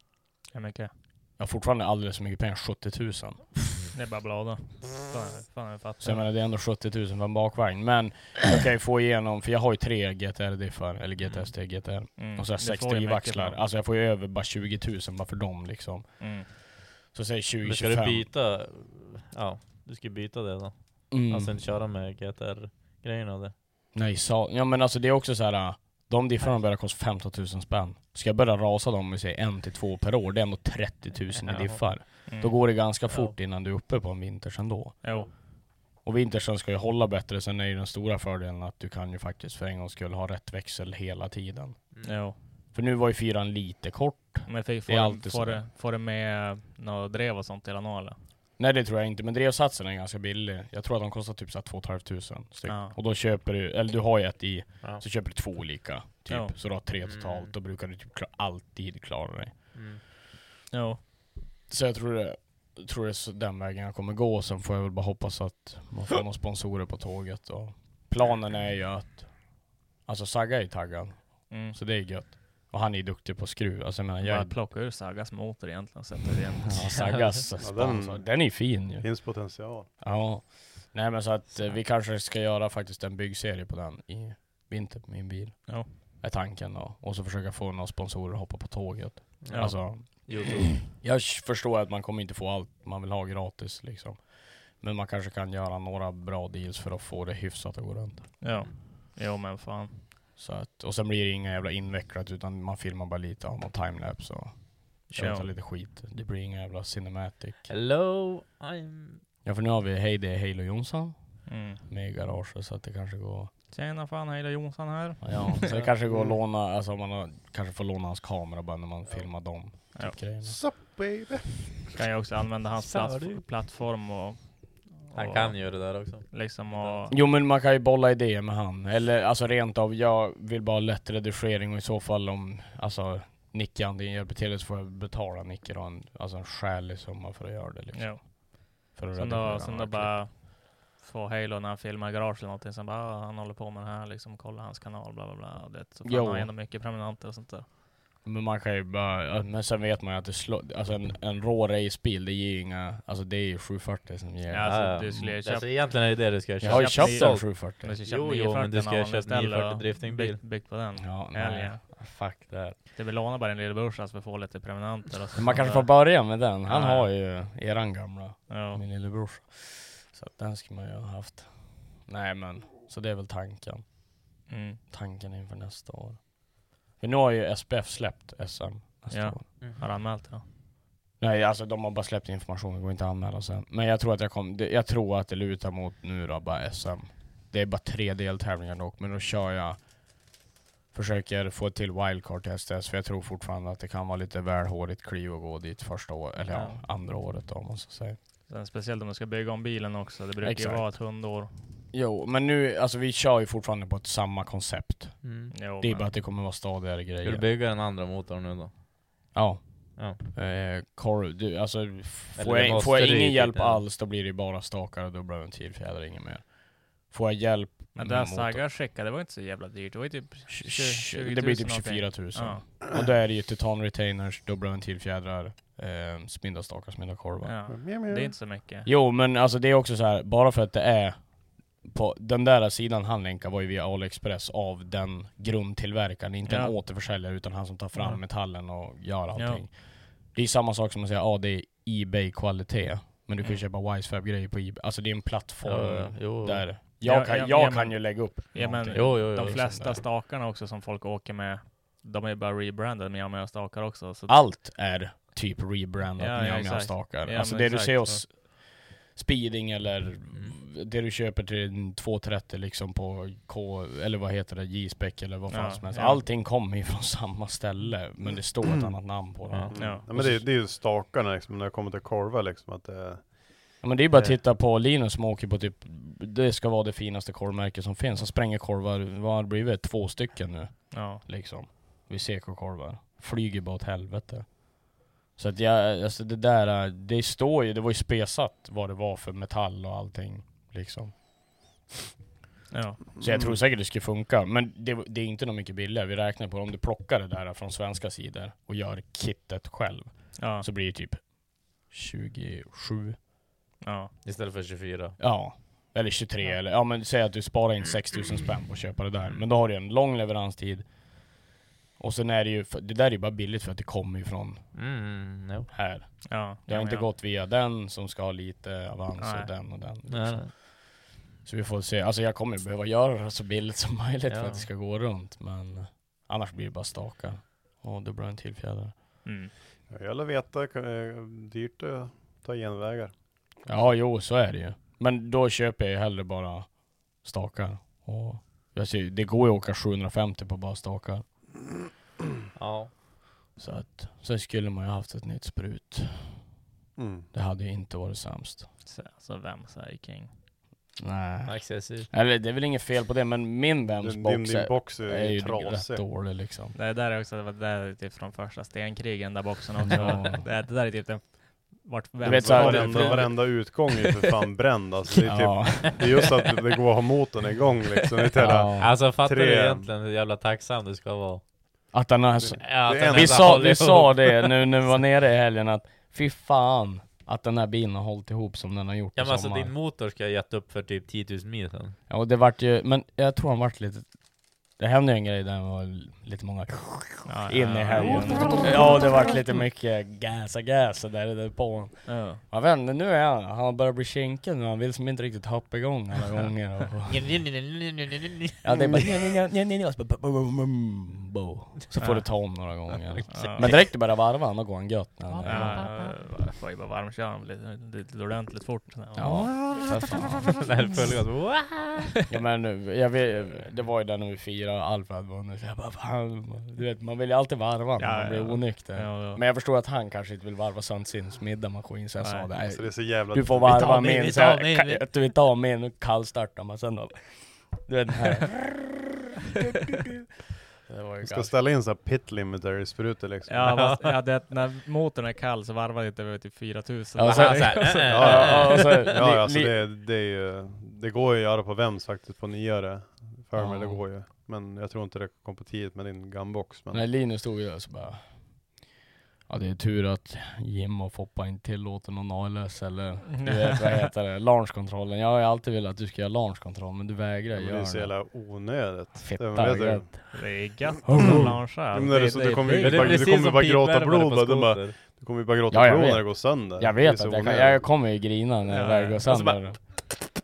Hur mycket? Jag har fortfarande alldeles för mycket pengar, 70 000. Det är bara blada. Fan, fan jag fattar. Så jag menar det är ändå 70 000 för en bakvagn. *clears throat* Men jag kan ju få igenom, för jag har ju tre GTR-diffar, eller GTS till GTR. Mm. Och så har jag Det sex får ju mycket drivaxlar. för dem. Alltså jag får ju över bara 20 000 bara för dem liksom. Mm. Så säg 20-25. Men ska du byta, ja, du ska ju byta det då. Mm. Alltså inte köra med GTR-grejerna och det. Nej, sa, ja men alltså det är också så här. äh, De diffarna börjar kosta 15 000 spänn. Ska jag börja rasa dem med säg en till två per år, det är ändå 30 000 i Ja. diffar. Mm. Då går det ganska fort innan du är uppe på en vinters ändå. Jo. Och vintersen ska ju hålla bättre, sen är ju den stora fördelen att du kan ju faktiskt för en gångs skull ha rätt växel hela tiden. Mm. Jo. För nu var ju fyran lite kort. Men jag fick det är få, alltid få, så. det, få det med något drev och sånt till han eller? Nej det tror jag inte, men drevsatsen är ganska billig. Jag tror att de kostar typ så här 2 500 styck. Ja. Och då köper du, eller du har ju ett i, Ja. så köper du två olika. Typ. Ja. Mm. Så du har tre totalt, då brukar du typ kla- alltid klara dig. Jo. Så jag tror det, tror det är så den vägen jag kommer gå. Sen får jag väl bara hoppas att man får några sponsorer på tåget. Och planen är ju att... Alltså Sagga är ju taggad. Mm. Så det är gött. Och han är ju duktig på skruv. Alltså jag menar, jag Bara är... plocka ur Sagas motor egentligen och sätta igen. Ja, Saggas sponsor. Den är ju fin ju. Finns potential. Ja. Nej men så att eh, vi kanske ska göra faktiskt en byggserie på den i vinter på min bil. Ja. Är tanken då. Och så försöka få några sponsorer att hoppa på tåget. Ja. Alltså, Youtube. jag förstår att man kommer inte få allt man vill ha gratis liksom. Men man kanske kan göra några bra deals för att få det hyfsat att gå runt. Ja. Jo men fan. Så att, och sen blir det inga jävla invecklat utan man filmar bara lite av någon timelapse och tjötar Ja. lite skit. Det blir inga jävla cinematic. Hello, I'm... Ja för nu har vi Hej det är Halo Jonsson Mm. med i garaget så att det kanske går Tjena fan, Hejla Jonsson här. Ja, så det kanske Mm. går att låna, alltså man har, kanske får låna hans kamera bara när man filmar dem. Typ Ja. grejerna. Sup baby! Kan jag också använda hans Sa platt, du? plattform och... Han och kan ju det där också. Liksom och... Jo men man kan ju bolla idéer med han, eller alltså rent av, jag vill bara ha lätt redigering och i så fall om, alltså Nicke antingen hjälper till eller så får jag betala Nicke då, en, alltså en skälig summa för att göra det liksom. Jo. För att Sen redigera då, sen då några bara... Få Halo när han filmar i garage eller någonting, sen bara ah, han håller på med det här liksom, kolla hans kanal bla bla bla. och Det, så får Jo. han har ändå mycket prenumeranter och sånt där. klipp. Men man kan ju bara, ja, men sen vet man ju att det slår, alltså en, en rå racebil det ger ju inga, alltså det är ju 740 som ger. Ja, alltså, Ja, ja. du skulle ju Alltså köpa- egentligen är det det du ska jag har ju köpa. köpt en Sålt. 740. Men så köp Jo, jo, men 940 du ska av honom köpa istället 940 och driftingbil. Byggt, byggt på den. Ja, Hell nej. yeah. Fuck that. Det vill låna bara en lille alltså, brorsa så vi får lite prenumeranter och så. Men man kanske får börja med den. Han Ja. har ju eran gamla, Ja. mm. min lillebrors. Så att den ska man ju ha haft. Nej men, så det är väl tanken. Mm. Tanken inför nästa år. För nu har ju SPF släppt SM nästa Ja. år. Har du anmält det då? Nej alltså de har bara släppt information, det går inte att anmäla sen. Men jag tror att jag kom, det- jag tror att det lutar mot nu då, bara SM. Det är bara tre deltävlingar dock, men då kör jag Försöker få ett till wildcard till STS, för jag tror fortfarande att det kan vara lite väl hårigt kliv att gå dit första året, eller ja. andra året då om man ska säga. Sen speciellt om du ska bygga om bilen också. Det brukar Exakt. ju vara ett hundår. Jo, men nu, alltså vi kör ju fortfarande på ett samma koncept. Mm. Jo, det är men- bara att det kommer vara stadigare Ska du grejer. bygga den andra motorn nu då? Ja. Ja. Eh, Corv, du, alltså f- Eller får det jag, måste får jag du ju ingen hjälp titta. alls då blir det bara stakar och dubbla ventilfjädrar, inget mer. Får jag hjälp Men med det här motorn- Saga skickade, det var inte så jävla dyrt. Det var ju typ Tj- 20, tj- 20 Det blir typ 000 24 000. någonting. Ja. Och då är det ju titan retainers, dubbla ventilfjädrar, eh, spindelstakar, spindelkorvar. Ja. Mjau, mjau. Det är inte så mycket. Jo men alltså det är också så här, bara för att det är på den där sidan han länkar var ju via AliExpress av den grundtillverkaren, inte Ja. en återförsäljare utan han som tar fram Ja. metallen och gör allting. Det är samma sak som att säga, ja ah, det är Ebay-kvalitet, men du kan ju köpa Wisefab-grejer på Ebay. Alltså det är en plattform Ja, ja, jo. där. Jag Mm. Ja, kan, ja, jag ja, kan men- ju lägga upp Ja, men- någonting. Jo, jo, jo. De liksom flesta där. stakarna också som folk åker med, de är ju bara rebrandade med Yamaya stakar också. Så Allt är typ rebrandat Ja, ja, med exakt. stakar. Ja, alltså men det exakt, du ser ja. Mm. hos Speeding eller det du köper till en 230 liksom på K, eller vad heter det, J-spec eller vad fan Ja, som helst. ja. Allting kommer ju från *laughs* samma ställe men det står ett annat namn på det. Ja. Mm. Ja. Ja, men det, är- det är ju stakarna liksom, när det kommer till korvar liksom att det Ja, men det är ju bara att Eh. titta på Linus som åker på typ, det ska vara det finaste korvmärket som finns. Han spränger korvar, vad har det blivit? Två stycken nu. Ja. liksom. Vi CK-korvar. Flyger bara åt helvete. Så att jag, alltså det där, eh, det står ju, det var ju spesat vad det var för metall och allting liksom. Ja. Så jag tror säkert det skulle funka, men det, det är inte något mycket billigare. Vi räknar på om du plockar det där från svenska sidor och gör kittet själv, Ja. så blir det typ 27 Ja. Istället för 24. Ja. Eller 23 eller ja men säg att du sparar in 6000 spänn på att köpa det där. Men då har du en lång leveranstid. Och sen är det ju, för- det där är ju bara billigt för att det kommer ju från Mm, no. här. Ja, Det ja, har inte ja. gått via den som ska ha lite avans Nej. och den och den. Liksom. Nej, nej. Så vi får se. Alltså jag kommer ju behöva göra det så billigt som *laughs* möjligt Ja. för att det ska gå runt. Men annars blir det bara stakar. Och då blir det en till fjäder. Mm. Jag vill veta, eh, dyrt att ta genvägar. Ja, jo så är det ju. Men då köper jag ju hellre bara stakar. Och jag ser, ju- det går ju att åka 750 på bara stakar. Ja. Så att, sen skulle man ju haft ett nytt sprut. Mm. Det hade ju inte varit sämst. Så, så Vemsa är king. Nej. Accessivt. Eller det är väl inget fel på det, men min Vems Din- box, din- din box är ju trasig. rätt dålig liksom. Det där är också, det var där typ från första stenkrigen där *laughs* boxen också. Ja. det, det där är typ den, vart vet Vemsa- så här- varenda, Alltså, varenda utgång är för fan bränd alltså. Det är, typ, Ja. det är just att det går att ha motorn igång liksom. Det är så här, Ja. Alltså fattar Tre. du egentligen hur jävla tacksam du ska vara? Att den har så, Ja, Det är vi, enda sa, håller vi ihop. sa det nu när vi var nere i helgen att fy fan att den här bilen har hållit ihop som den har gjort Ja i men alltså sommar. din motor ska jag gett upp för typ 10 000 mil sen. Ja, och det vart ju, men jag tror han vart lite det hände ju en grej där det var lite många Ja, in i ja, helgen. ja. Ja, det vart lite mycket gasa gasa där, där på honom. Ja. Jag vet inte, nu är han, han börjar bli kinkig nu. Han vill som inte riktigt hoppa igång alla gånger. Och, ja, det är bara... och så bara bum, bum, bum, bo. Så får du ta om några gånger. Ja. Men direkt du börjar varva han, då går han gött. När han är igång. Ja, jag får ju bara varmköra dem lite, lite ordentligt fort. *laughs* Ja, *laughs* för fan. När följande Ja, men nu, jag vet, det var ju där när vi firade Alfred vann. Så jag bara, fan, du vet, man vill ju alltid varva när Ja, man blir ja. onykter. Ja, ja. Men jag förstår att han kanske inte vill varva sönder sin middagsmaskin, så jag Nej. sa det. typ, så det är så jävla... Du får Vi varva tar min, min, vi så tar jag min, kan- vi- att du vill ta min och kallstarta man sen då. Du vet den *laughs* *laughs* här. det var ju Du ska ganska- ställa in så här pit limiter i sprutor liksom. Ja, fast, ja det, när motorn är kall så varvar det inte över typ 4000. Ja, Och så- han såhär, äh, Ja, Ja, ja, alltså, alltså, ja, li- alltså li- det, det, är ju, det går ju att göra på Vems faktiskt, på nyare. För mig, Ja. det går ju. Men jag tror inte det kom på tidigt med din gunbox. Men När Linus stod ju där så bara... Ja det är tur att Jim och Foppa inte tillåter någon ALS *laughs* eller du vet vad heter det, launchkontrollen. Jag har ju alltid velat att du ska göra launchkontroll men du vägrar men det är så göra det. jävla onödigt. Fitta men vet du- gött. Det är gött att launcha. Ja, men det är så- du kommer ju- Men det är Du precis kommer som bara gråta pipvärmare blod, på bara, de bara- skoter. Du kommer ju bara gråta Ja, jag blod vet. när det går sönder. Jag Det är vet så att jag, kan, onödigt. Alltså, jag kommer ju grina när Ja, jag väl går och så bara- sönder.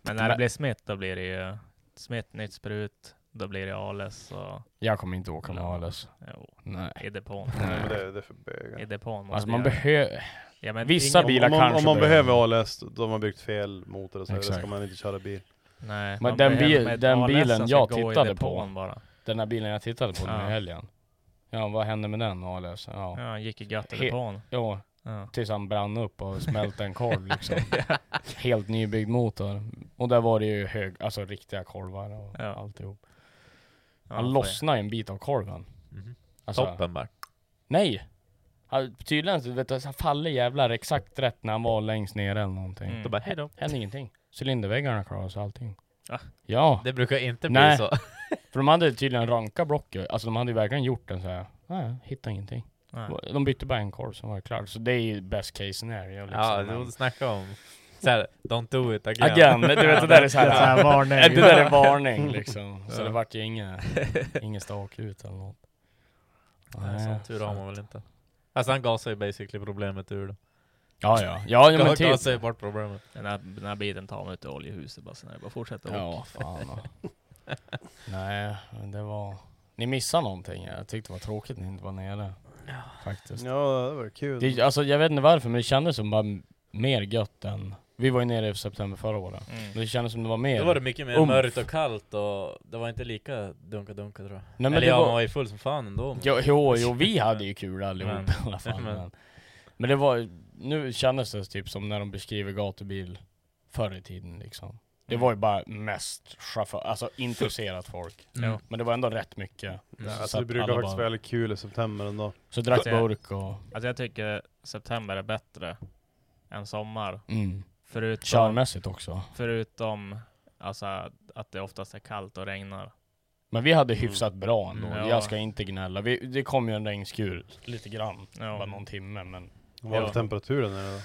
Men när det Men- blir smitt då blir det ju smitt, nytt sprut, då blir det ALS och Jag kommer inte åka med ALS. jo, Nej. i depån. Ja, men Nej. det, det är för I bögar. depån måste Alltså man jag- behöver... ja, men vissa ingen- bil- bilar om, man- om kanske man behöver. behöver ALS, då har man byggt fel motor och så, här, då ska Exakt. man inte köra bil. Nej, Men man den behöver bil- med ett den ALS bilen som jag ska gå i tittade depån på. Bara. Den här bilen jag tittade på nu Ja. i helgen. Ja vad hände med den ALS? Ja, Ja. han gick i gött i He- depån. ja. *laughs* Ja. Tills han brann upp och smälte en korv *laughs* liksom. Helt nybyggd motor. Och där var det ju hög, alltså riktiga korvar och Ja. alltihop. Ja, Han får- lossnade en bit av korven. Mhm. Alltså, Toppen bara. Nej! Han, tydligen så vet du, så han faller jävlar exakt rätt när han var längst ner eller någonting. Mm. Då bara, hejdå. Hände ingenting. Cylinderväggarna klarade sig allting. Va? Ja, Det brukar inte bli Nej. så. för de hade tydligen rankat blocket. Alltså de hade ju verkligen gjort en så här. Nej, hittade ingenting. Nej. De bytte bara en korv som var det klart. Så det är ju best case scenario liksom. Ja, Men- du snackar om såhär, don't do it again. Again, du vet det där är Det är så här såhär varning. *laughs* Det där är varning liksom. Så det vart ju inget, *laughs* inget stak ut eller något. Nej, sån tur har man väl inte. Alltså han gasar ju basically problemet ur det. Ja ja, ja, ja Han men typ. gasar ju bort problemet. Den här, den här bilen tar man ut i oljehuset bara, sen är det bara att fortsätta Ja, fan. *laughs* ja. Nej, men det var... Ni missade någonting. Jag tyckte det var tråkigt att ni inte var nere. Faktiskt. Ja, det var kul. Det, alltså jag vet inte varför, men det kändes som bara m- mer gött än... Vi var ju nere i september förra året. Men Mm. det kändes som det var mer... Då var det mycket mer Umf. mörkt och kallt och det var inte lika dunka-dunka tror jag. Nej, men Eller det ja, var- man var ju full som fan ändå. men- Jo, jo, jo *laughs* vi hade ju kul allihop Men- *laughs* i alla fall. men- Men, men det var, nu kändes det typ som när de beskriver gatubil förr i tiden liksom. Mm. Det var ju bara mest chaufför, alltså intresserat *laughs* folk. Mm. Jo. Men det var ändå rätt mycket. Ja, Så alltså, det att brukar alla faktiskt vara bara- väldigt kul i september ändå. Så drack Alltså, jag- burk och... Alltså jag tycker september är bättre än sommar. Mm. Förutom, Körmässigt också. förutom alltså, att det oftast är kallt och regnar. Men vi hade hyfsat bra ändå. Mm, ja. Jag ska inte gnälla. Vi, det kom ju en regnskur lite grann. Ja. Bara någon timme men... Vad var Ja. temperaturen nu då?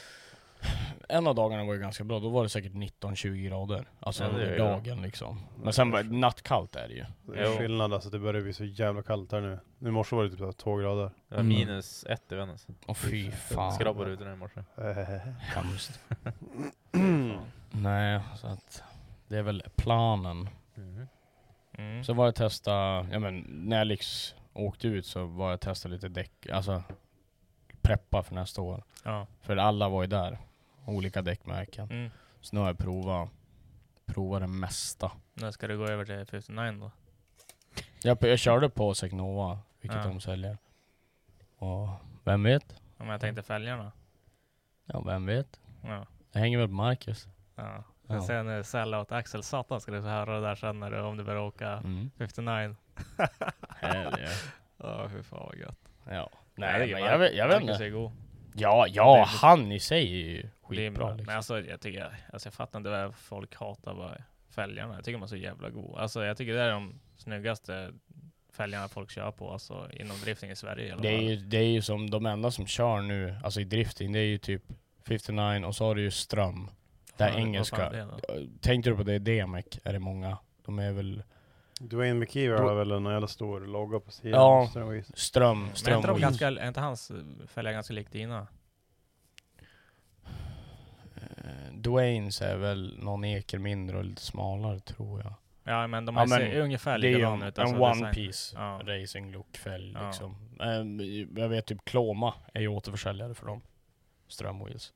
en av dagarna var ju ganska bra, då var det säkert 19-20 grader. Alltså Ja, det är under ju- dagen liksom. Men sen var det nattkallt är det ju. Det är skillnad alltså, det börjar bli så jävla kallt här nu. Nu i morse var det typ så här två *clears throat* grader. Det Mm. var minus ett i Vännäs. Åh, fy fan. Skrapade rutorna i morse. Hemskt. Nej, så att det är väl planen. Mm. Så var jag testa, ja men när jag liksom åkte ut så var jag testa lite däck, alltså preppa för nästa år. Ja. För alla var ju där, olika däckmärken. Mm. Så nu har jag provat, provat det mesta. När ska du gå över till 59 då? Jag, jag körde på Secnova, vilket Ja. de säljer. Och vem vet? Om jag tänkte fälgarna? Ja, vem vet? Ja. Det hänger väl på Marcus. Ja. Ja. Men sen är sälja åt eh, Axel Satan ska du få höra det där sen när du, om du börjar åka Mm. 59. Hell yeah. *laughs* Ja, hur fan vad gött. Ja. Nej, Nej, det är men jag, vet- jag vet Marcus är inte. god. Ja, Det ja, är- han i sig är ju Det är skitbra. bra. Liksom. Men alltså jag tycker, alltså jag fattar inte vad folk hatar bara fälgarna. Jag tycker de är så jävla goda. Alltså jag tycker det är de snyggaste fälgarna folk kör på, alltså inom drifting i Sverige i alla Det är, fall. ju, det är ju som de enda som kör nu, alltså i drifting, det är ju typ 59 och så har du ju Ström. Det här Vad fan- engelska. vad fan är Tänkte du på det? Demek är det många. De är väl... Dwayne McKeever har väl en jävla stor logga på sidan. Ja, Ström och is. Ström, Men är Ström inte, de och is. ganska, är inte hans eh, fälgar ganska likt dina? Eh, Dwaynes är väl någon eker mindre och lite smalare tror jag. Ja men de här ser ungefär det är ju likadana en- ut, En alltså one design. piece Ja. racing look fälg Ja. liksom. Ehm, Jag vet typ Kloma är ju återförsäljare för dem. Ström Wheels.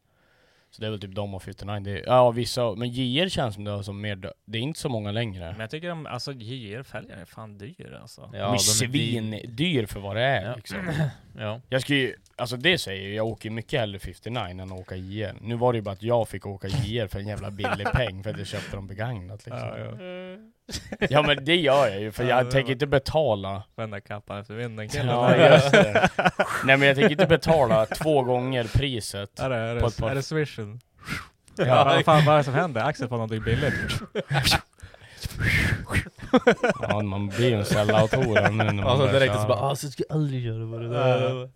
Så det är väl typ de och 59. Det är, ja vissa, men JR känns som det har som mer, dö- det är inte så många längre. Men jag tycker de, alltså JR-fälgarna är fan dyra alltså. de är svindyr för vad det är liksom. Ja. Jag skulle ju, alltså det säger jag, jag åker mycket hellre 59 än att åka JR. Nu var det ju bara att jag fick åka JR för en jävla billig peng för att jag köpte dem begagnat liksom. Ja, ja. Ja, men det gör jag ju för Ja, jag det tänker var- inte betala Vända kappan efter vinden *laughs* killen. Ja just det. *laughs* Nej men jag tänker inte betala två gånger priset Är det, är på ett det, par... är det swishen? Ja. Ja. Vad fan vad är det som händer? Axel får någonting billigt. Ja man blir ju en sellout hora nu när man Alltså börjar direkt så köra. bara alltså jag ska aldrig göra vad det där är."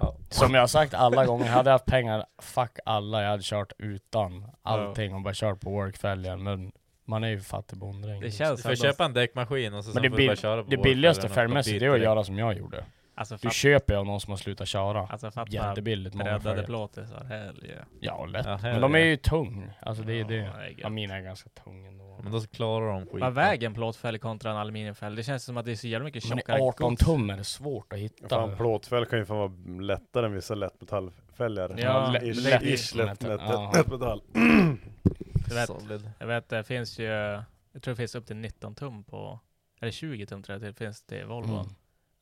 Ja. Som jag har sagt alla gånger, hade jag haft pengar, fuck alla, jag hade kört utan allting och bara kört på workfälgen men man är ju fattig *laughs* bonddräng. Det känns Du får köpa en däckmaskin och så Men sen det, får du bil, bara köra på det vår billigaste färja när de färgmässigt dit det är att direkt. göra som jag gjorde. Alltså, Du fatt- köper ju av någon som har slutat köra. Alltså fatta Jättebilligt många breddade färger. plåtisar, hell yeah. Ja lätt. Ja, men de är herregud. ju tung. Alltså det är det. det är gött. Ja, mina är ganska tung ändå. Men då så klarar de skiten. Vad väger en plåtfälg kontra en aluminiumfälg? Det känns som att det är så jävla mycket Men tjockare 18 gods. tum är det svårt att hitta. Fan plåtfälg kan ju fan vara lättare än vissa lättmetallfälgar. Ja, Ish- lätt- ish, lätt- ish, lätt- lätt- lätt- ja. lättmetall. *clears throat* Jag vet, Solid. jag vet, det finns ju, jag tror det finns upp till 19 tum på, eller 20 tum tror jag det finns till Volvo. Mm.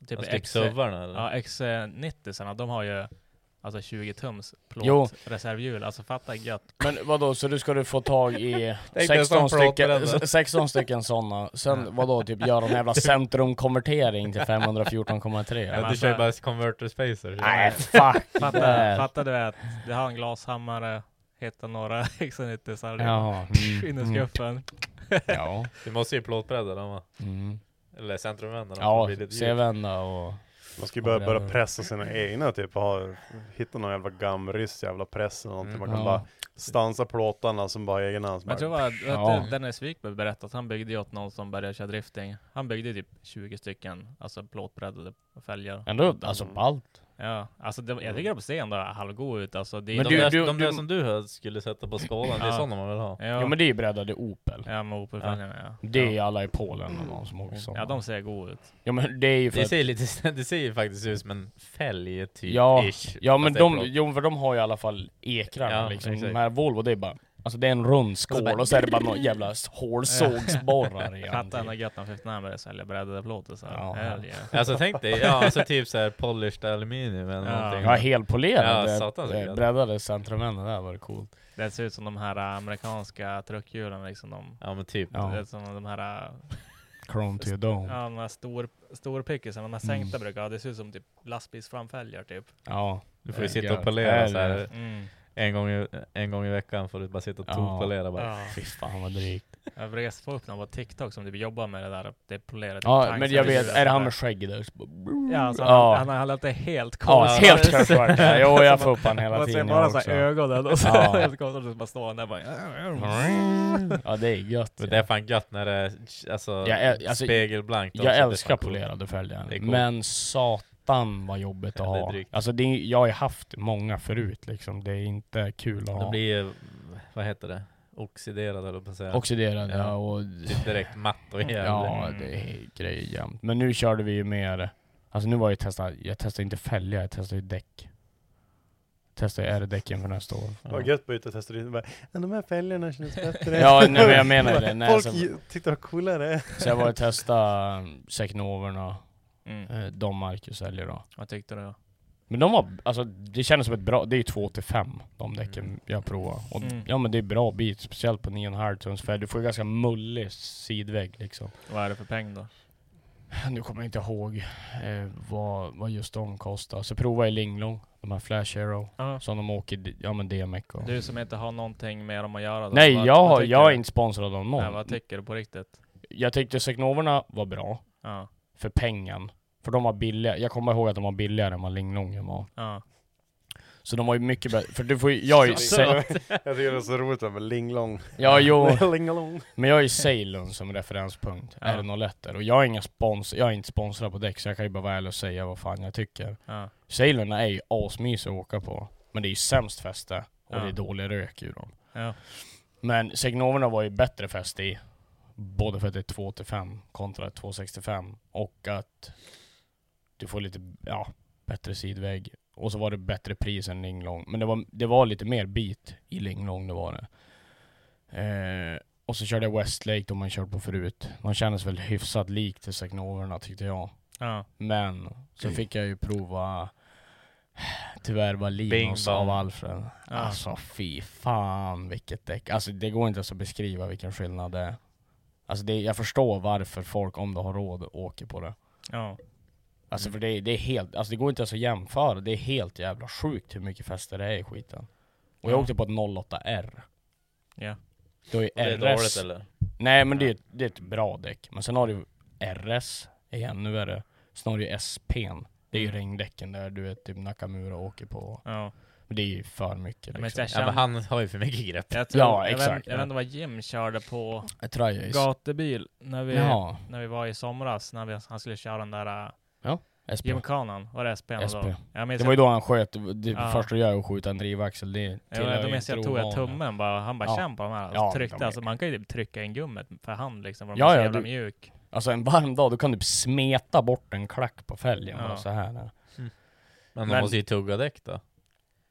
Typ Alltså, typ suvarna eller? Ja, X90 de har ju alltså 20 tums Jo. plåtreservhjul. Alltså fatta gött. Men vadå, så du ska du få tag i Det är inte ens 16 någon plåt på den stycken, då. 16 stycken sådana, sen vadå, typ göra en jävla centrumkonvertering till 514,3? men Du alltså- kör bara converter spacer. Nej fuck *laughs* Fatta, that. fatta du att du har en glashammare, hittar några *laughs* X90-sar Jaha, mm, *laughs* in i mm. skuffen. Ja, Du måste ju plåtbredda dem va? mm. Eller centrumvända dem. ja för det blir lite djupt. C-vända och... Man ska ju börja, börja pressa sina egna typ. och Ha, hitta någon jävla gamryss jävla press eller någonting. Man kan Mm, Ja. bara stansa plåtarna som bara egna. som Men jag tror bara- att Ja. ja. Dennis Wikberg berättade att han byggde ju åt någon som började köra drifting. Han byggde typ 20 stycken, alltså plåtbreddade fälgar. Ändå, alltså ballt. Ja, alltså det, jag tycker det på scen då, halvgod ut alltså. Det, Men de De, du- där, du- de du- där som du hade skulle sätta på skålen, det är Ja. sådana man vill ha. ja, Jo men det är ju breddade Opel. ja, med Opel-fälgarna ja. Det är ju ja. alla i Polen och de som åker sådana. ja, de ser goda ut. Ja men det är ju för Det att... ser, lite, *laughs* det ser ju faktiskt ut som en fälg typ Ja, ish. ja Fast men det är de, plåt. jo, för de har ju i alla fall ekrar Ja, liksom. exakt. De här Volvo, det är bara... Alltså det är en rund skål bara- och så är det bara någon jävla hålsågsborrar i Fatta när ansiktet. gött när fick när han började sälja breddade plåtisar. Ja. Hell yeah. *laughs* Alltså tänk dig, ja alltså typ såhär polished aluminium eller Ja. någonting. Ja, helpolerade Ja, satan, så eh, gött. breddade centrumännen, det där var det coolt. Det ser ut som de här äh, amerikanska truckhjulen liksom. De, Ja men typ. Ja. Det är som de här, äh, Chrome to your dome. ja, de här stor, storpickisarna, Mm. de här sänkta brukar ha. Det ser ut som typ lastbilsframfälgar typ. Ja. Du får ju Det är sitta gött. och polera Det är såhär. det. Mm. En gång, i, en gång i veckan får du bara sitta och tokpolera bara. Fy fan vad drygt. Jag vres på upp någon på TikTok som typ jobbar med det där, det är polerat Ja, tanks- men jag vet, är det han med skägg där? Så bara- Ja, alltså, han, Ja. han har lagt det helt Ja, konstigt. *laughs* helt *laughs* konstigt. Jo, jag får upp han hela Man tiden. ser bara jag så här också. ögonen *laughs* och så Ja. helt konstigt, så bara står han där bara... *laughs* Ja det är gött. Men det är fan gött när det är alltså, Jag äl- alltså, spegelblankt också, Jag det är fan älskar coolt. polerade fälgar. Det är coolt. Men satan vad jobbigt att Ja, det är ha. drygt. Alltså det är, jag har ju haft många förut liksom. Det är inte kul att De ha. blir ju, vad heter det? Oxiderade höll jag på att säga. Oxiderade, ja, och- Typ direkt matt och jävligt. Ja, det är grejer jämt. Men nu körde vi ju mer, alltså nu var jag testa, jag testade inte fälgar, jag testade ju däck. Testade ju R-däcken för nästa år. Vad gött bara ut och testa det. Bara, "Ja, De här *laughs* fälgarna känns bättre. Ja, nej, men jag menar ju det. Nej, Folk så- ju- tyckte det var coolare. Så jag var och testade um, Secnoverna, mm. de Marcus säljer då. Vad tyckte du då? Men de var, alltså det kändes som ett bra, det är ju 2 till 5 de däcken jag provade. Och Mm. ja men det är bra bit, speciellt på 9,5 tums färg. Du får ju ganska mullig sidvägg liksom. Vad är det för peng då? Nu kommer jag inte ihåg eh, vad, vad just de kostar. Så provade jag Linglong, de här Flash Hero, som de åker, di- ja men DMX och... Du som inte har någonting med dem att göra då? Nej vad, jag, vad har- tycker jag är du? inte sponsrad av någon. Nej, vad tycker du på riktigt? Jag tyckte Seknoverna var bra. Ja. För pengen. För de var billiga. Jag kommer ihåg att de var billigare än vad Linglongen var. Ja. Så de var ju mycket bättre. För du får ju, *laughs* jag är ju... jag se- tycker det är så roligt med linglong. Ja jo. *laughs* linglong. Men jag är ju Ceylon som referenspunkt. Ja. Är det något lättare? Och jag är, inga spons jag är inte sponsrad på däck så jag kan ju bara vara ärlig och säga vad fan jag tycker. Ja. Ceylon är ju asmysig att åka på. Men det är ju sämst fäste. Och Ja. det är dålig rök ur dem. Ja. Men Signoverna var ju bättre fäste i. Både för att det är 285 kontra 265 och att du får lite ja, bättre sidvägg. Och så var det bättre pris än Linglong. Men det var, det var lite mer bit i Linglong, det var det. Eh, och så körde jag Westlake, de har jag kört på förut. De kändes väl hyfsat lik till Sagnoverna tyckte jag. Ja. Men så fick jag ju prova tyvärr var Linus Bing bong. av Alfred. Alltså fy fan vilket däck. Alltså det går inte ens att beskriva vilken skillnad det är. Alltså det, jag förstår varför folk, om de har råd, åker på det. Ja. Alltså för det, det är helt, alltså det går inte ens att jämföra. Det är helt jävla sjukt hur mycket fäste det är i skiten. Och jag Ja. åkte på ett 08R. Ja. Du har ju Och det är RS. dåligt, eller? Nej men det, är, ett- det är ett bra däck. Men sen har du RS, är ännu värre. Sen har du ju SP'n. Det Mm. är ju regndäcken där du vet typ Nakamura åker på. Ja. Men det är ju för mycket Men liksom. jag känner- Ja, men han har ju för mycket grepp. Jag tror, ja jag vet- exakt. Jag vet inte vad Jim körde på Ett tri-ace. gatubil när vi, Ja. när vi var i somras, när vi, han skulle köra den där äh, Ja, SP. gymkanan. Var det SP? SP. Då? Jag minns det jag- var ju då han sköt, det Ja. första du gör är att skjuta en drivaxel. Det Jo, tillhör då ju minns jag inte tog jag ovanan. tummen bara, han bara Ja. känn på de här. Och Ja, tryckte, de är- alltså, man kan ju typ trycka in gummet för hand liksom, för de är Ja, så ja, jävla du- mjuk. Alltså en varm dag, då kan du typ smeta bort en klack på fälgen Ja. bara så här. Men, Men de måste ju tugga däck då.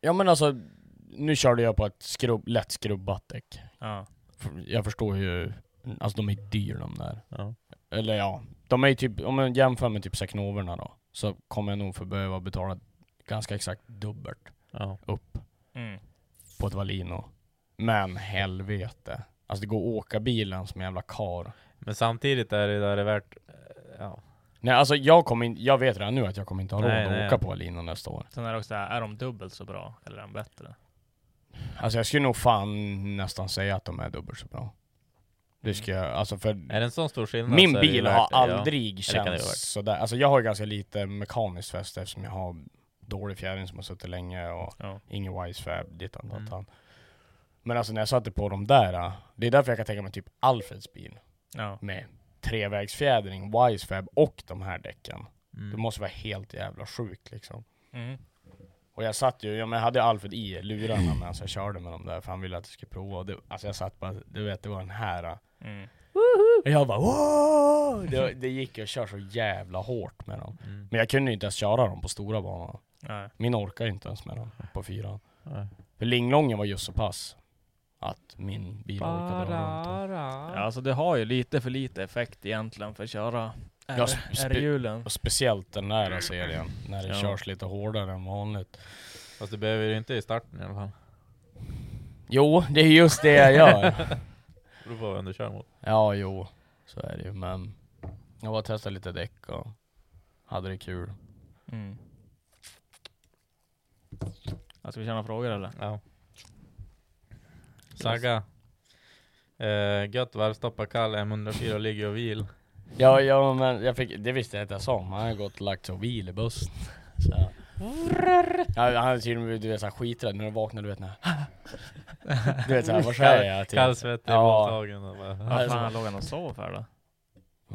Ja men alltså, nu körde jag på ett skrubb, lätt skrubbat däck. Ja. För- Jag förstår ju, alltså de är dyra de där. Ja. Eller ja, de är ju typ, om man jämför med typ Saknoverna då, så kommer jag nog få behöva betala ganska exakt dubbelt upp Mm. på ett Valino. Men helvete. Alltså det går att åka bilen som en jävla kar. Men samtidigt är det där det värt, eh, ja. Nej alltså jag kommer in, jag vet redan nu att jag kommer inte ha råd Nej, att nej. åka på Valino nästa år. Sen är det också, det här, är de dubbelt så bra? Eller är de bättre? Alltså jag skulle nog fan nästan säga att de är dubbelt så bra. Det ska jag, alltså för... Är det en sån stor skillnad Min så alltså, är det ju bil värt har det, ja. aldrig Ja, det kan det ju känts ha varit. sådär. Alltså jag har ju ganska lite mekaniskt fäste eftersom jag har dålig fjädring som har suttit länge och ingen wisefab, dittan Mm. dattan. Men alltså när jag satte på de där, äh, det är därför jag kan tänka mig typ Alfreds bil. Ja. Med trevägsfjädring, wisefab och de här däcken. Mm. Det måste vara helt jävla sjukt liksom. Mm. Och jag satt ju, ja, men jag hade Alfred i lurarna medan jag körde med dem där för han ville att jag skulle prova. Och det, alltså jag satt bara, du vet det var den här. äh, Mm. Och jag bara wow! Det, det gick ju att köra så jävla hårt med dem. Men jag kunde ju inte ens köra dem på stora banan. Nej. Min orkar ju inte ens med dem på fyran. Nej. För linglången var just så pass att min bil orkade dra runt. Ja, alltså det har ju lite för lite effekt egentligen för att köra Ja, spe- spe- R-hjulen. Och speciellt den där serien, när det Ja. körs lite hårdare än vanligt. Fast du behöver ju inte i starten i alla fall. Jo, det är just det jag *laughs* gör. Beror på vem du kör mot. Ja, jo. Så är det ju, men... Jag bara testade lite däck och hade det kul. Mm. Ja, Ska vi köra några frågor eller? Ja. Saga. Eh, gött varvstoppa kall M104 ligger och *laughs* vil. Ja, ja men jag fick, det visste jag inte jag sa, men han har gått och lagt sig och vil i bussen. Så. Ja, han är tydligen du vet, så här skiträdd när du vaknar, du vet när Du vet såhär, vad säger jag? till- Kallsvettig i våldtagen och bara... Ja, Vad så- fan låg han och sov för då?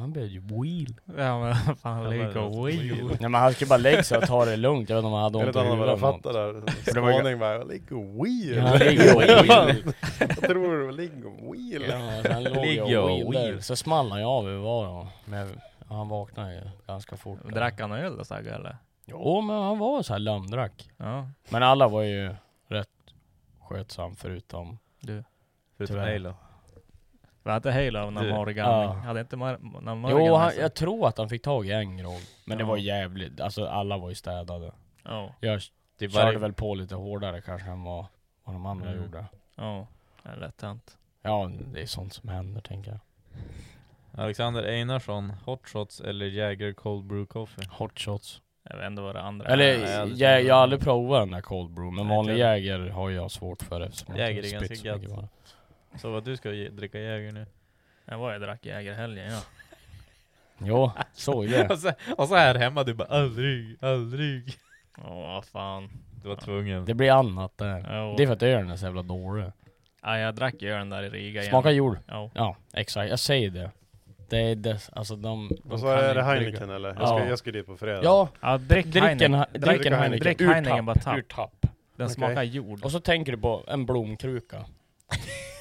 Han blev ju wheel. Ja men vad fan han Ja, ligger men- och wheel. Nej men han skulle bara lägga sig och ta det lugnt, jag vet inte om han hade Jag ont vet i inte om huvudet han hade eller något. fattat det här. För det var ju- Skåning bara, ligger Ja, han *laughs* ligger och wheel. wheel. Jag tror det var ligger wheel. Ja, så han låg ju Ligger och och wheel där. wheel. Så small han ju av över var då. Men han vaknade ju ganska fort. Drack han öl då Sagge eller? Jo men han var så här lömdrack. Ja. Men alla var ju rätt skötsam förutom Du. Förutom Tyvärr. Halo. Var inte Halo av Du. någon Morgan? Ja. Hade inte Mar- någon Morgan? Jo, han, alltså? jag tror att han fick tag i en grogg. Men det Ja. var jävligt, alltså alla var ju städade. Ja. Jag Typ körde varje, väl på lite hårdare kanske än vad, vad de andra Mm. gjorde. Ja. Det är Lätt hänt. Ja, det är sånt som händer tänker jag. Alexander Einarsson, hot shots eller Jäger cold brew coffee? Hot shots. Jag vet inte vad det andra Eller, är. jag har jag, jag, aldrig provat. har aldrig provat den där cold brew, men Nej, vanlig inte jag. jäger har jag svårt för eftersom jag Jäger inte är ganska spytt så mycket gött. på det. Så vad du ska ge, dricka Jäger nu? Jag var jag drack Jägerhelgen ja. *laughs* Jo, såg det. och, så, och så här hemma, du bara aldrig, aldrig. Åh vad fan. Du var tvungen. Det blir annat där. Jo. Det är för att ölen är så jävla dålig. Ja, jag drack ju den där i Riga igen. Smakar jord. Ja. Ja, exakt. Jag säger det. Det är dess, alltså de... de Och så kan är det inte brygga. Heineken eller? Jag ska, Ja. jag ska dit på fredag. Ja, ja drick, Drick en Heineken. Ha- drick en Heineken. Drick Ur Heineken bara tapp. Ur tapp. Den Okej. smakar jord. Och så tänker du på *laughs* en blomkruka.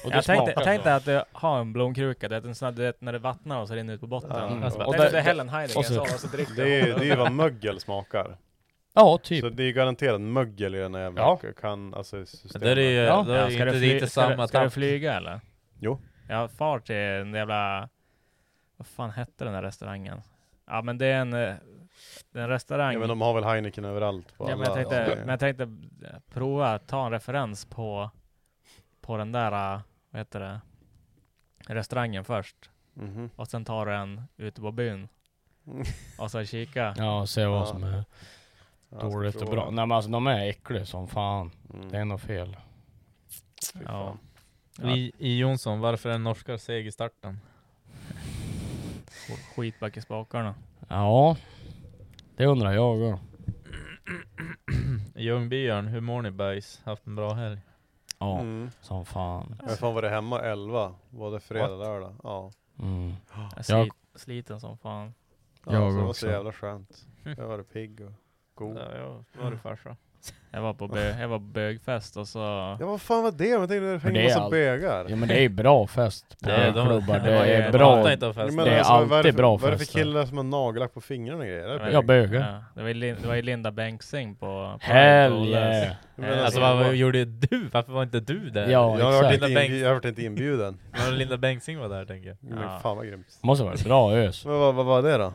Och det jag tänkte, smakar jag tänkte att du har en blomkruka, det är en sån här, du vet, när det vattnar och så rinner det ut på botten. Ja. Mm. Alltså, Jag och tänkte där- att det är Helen Heidegger, och så, så- och så dricker Det är ju jag. det är vad mögel smakar. Ja, typ. Så det är garanterat mögel i den här jävla Ja. kan, alltså Men systemet. det är ju Ja. det är ju ska inte, du det är inte fly- ska, samma du, ska du tapp. flyga eller? Jo. Jag far till den jävla... Vad fan hette den där restaurangen? Ja men det är en... eh, Det är en restaurang... Ja, men de har väl Heineken överallt på Ja, men, alla alltså, jag tänkte, ställen. men jag tänkte eh, prova att ta en referens på, på den där, äh, vad heter det, restaurangen först. Mhm. Och sen ta den ute på byn. Mm. Och så kika. Ja, se vad Ja. som är *laughs* Ja, jag ska dåligt och prova. bra. Nej men alltså de är äckliga som fan. Mm. Det är nog fel. Fy fan. Ja. I, I Jonsson, varför är norskar seg i starten? Sk- Skitback i spakarna. Ja. Det undrar jag också. I Ljungbyarn, hur mår ni bajs? Haft en bra helg? Ja, Mm. som fan. Men fan var det hemma 11? Både fredag och lördag? Ja. Mm. Jag är Jag- slit, sliten som fan. ja Jag så det var också. så *laughs* jävla skönt. Jag var pigg och god. Ja, jag var det farsa. Jag var på, bö, jag var på bögfest och så... Ja vad fan var det? Jag tänkte det Men hängde det är massa allt. bögar. Ja men det är bra fest *laughs* på Nej, de- klubbar. de Det är- är de bra. Fattar inte av Jag festen. menar, alltså, Det är vad det alltid för- bra Vad är det för fester. killar som har nagellack på fingrarna och grejer? Är det men- Ja, bögar. Ja, det, var ju, Lin- det var ju Linda Bengtzing på... på Hell Idol. yeah. Men alltså, Alltså vad, vad gjorde du? Varför var inte du där? Ja, Jag har varit exakt. inte Linda inbjuden. Jag har varit inte inbjuden. *laughs* Men Linda Bengtzing var där tänker jag. Men Ja. fan vad grymt. Måste vara bra ös. Men vad, vad var det då?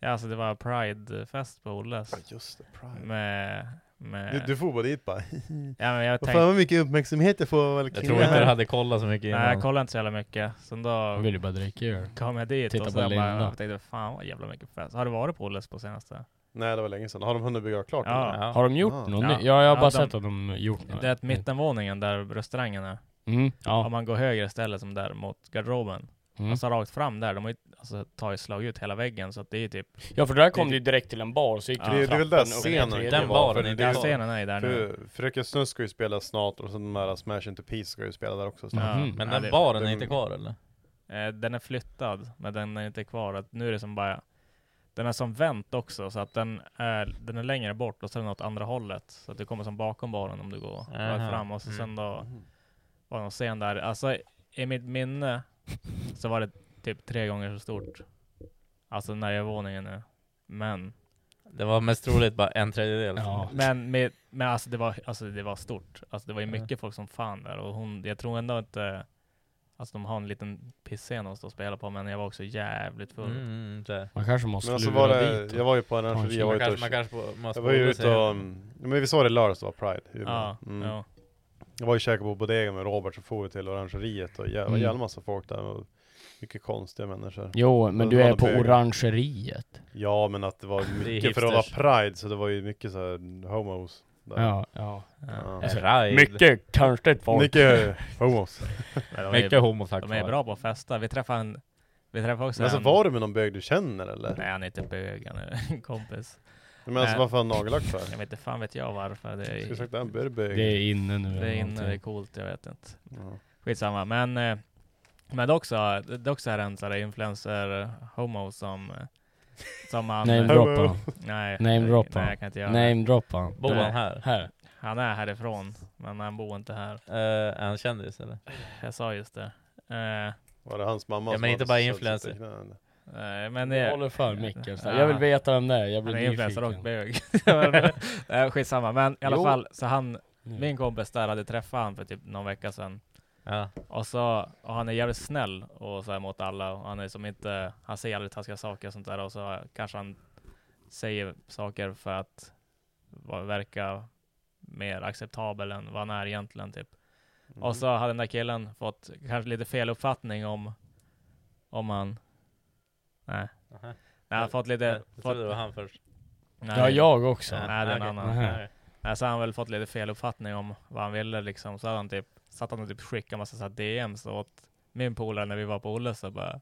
Ja, alltså det var Pride-fest på Olles. Ja, Just det, Pride. Med... med Du, du får bara dit bara. ja, men jag Vad eh, tänkte, fan vad mycket uppmärksamhet jag får av alla Jag killar. tror inte du hade kollat så mycket innan. Nej jag kollade inte så jävla mycket. Sen Jag då vill ju bara dricka öl. kom jag dit Titta och så på jag bara, Linda. jag tänkte fan vad jävla mycket fest. Har du varit på Olles på senaste? Nej det var länge sedan. Har de hunnit bygga klart? Ja. eller? Har de gjort Ja. något Ja. nytt? Ja, jag har Ja, bara de- sett att de gjort något. Det är att mittenvåningen där restaurangen är. Mm. Om Ja. man går högre istället som där mot garderoben. Mm. Alltså rakt fram där. De har ju alltså, tagit slag ut hela väggen så att det är typ... Ja för där kom du ju direkt till en bar, så gick Ja. du Det, är- det är väl där trappen upp i scenen tredje Den kan våningen. vara, baren för är det Ja, är där. ju- scenen är ju där nu. för Fröken Snusk ska ju spela snart och så den där Smash Into Peace ska ju spela där också snart. Ja. Mhm. Men Ja, den det- baren är den- inte kvar eller? Eh, den är flyttad men den är inte kvar. Att nu är det som bara... Den är som vänt också så att den är, den är längre bort och sen åt andra hållet. Så att du kommer som bakom baren om du går Aha. rakt fram och så Mm. sen då... Mm. var någon scen där. Alltså i mitt minne så var det typ tre gånger så stort. Alltså den där övervåningen nu. Men, Det var mest troligt bara en tredjedel. Ja. men, med, men alltså, det var, alltså det var stort. Alltså det var ju Ja. mycket folk som fan där och hon, jag tror ändå inte Alltså de har en liten pissscen att stå och spela på men jag var också jävligt full. Mm, mm, så här. Man kanske måste Men alltså lura var det, dit jag var ju på en en arrangeri, kille. jag var Man ute och kanske, man kanske på- måste Jag var ju hålla sig- ute och, mm, men vi sa det lördags det var Pride i Umeå. Ja, mm. ja. Jag var ju och käkade på Bodega med Robert så for vi till Orangeriet och jä- det var en Mm. jävla massa folk där och mycket konstiga människor. Jo, men Men du det var är något på bögar. orangeriet. Ja men att det var mycket för att vara hipsters. Pride så det var ju mycket så här homos. där. Ja, ja. Alltså, En ride. Mycket konstigt folk. Mycket homos. Men de är- Mycket homofack De är bra på att festa. Vi träffade en... Vi träffade också Men alltså en... var du med någon bög du känner eller? Nej han är inte bög, han är *laughs* en kompis. Men alltså Nej. varför har han nagellack för? Jag vet inte, fan vet jag varför. Det Jag skulle är, sagt att han bör bög. Det är inne nu. det är eller inne, det är någonting. coolt, jag vet inte. Ja. Skitsamma, men... eh, Men det är också, det är också här en sån här influencer-homo som... eh, Som han... Name droppa. Nej, Name droppa. nej jag kan inte göra Name droppa. Bor Nej. han här? Här. det. Han är härifrån, men han bor inte här. Eh, är han kändis eller? Jag sa just det. Eh, Var det hans mamma Ja, som men inte hade bara suttit i influencer. knäna? eh, men Jag det, håller för micken. Ja. Jag vill veta vem det är. Jag han blir är influencer och nyfiken. bög. *laughs* Nej, Skitsamma, men i alla Jo. Mm. fall, så han... Nu. Min kompis där hade träffat han för typ någon vecka sedan. Ja. Och, så, och han är jävligt snäll och så här mot alla. Och han, är som inte, han säger aldrig taskiga saker och sånt där. Och så kanske han säger saker för att va- verka mer acceptabel än vad han är egentligen. Typ. Mm. Och så hade den där killen fått kanske lite fel uppfattning om, om han... Nej. Aha. Nej, han fått lite... Jag Fått, trodde det var han först. nej, Ja, jag också. *laughs* Mm. Nej, det är en okej. annan. Nej. Nej, så har han väl fått lite fel uppfattning om vad han ville liksom. Så hade han typ, satt han och typ skickade massa så här DMs åt min polare när vi var på Olle så bara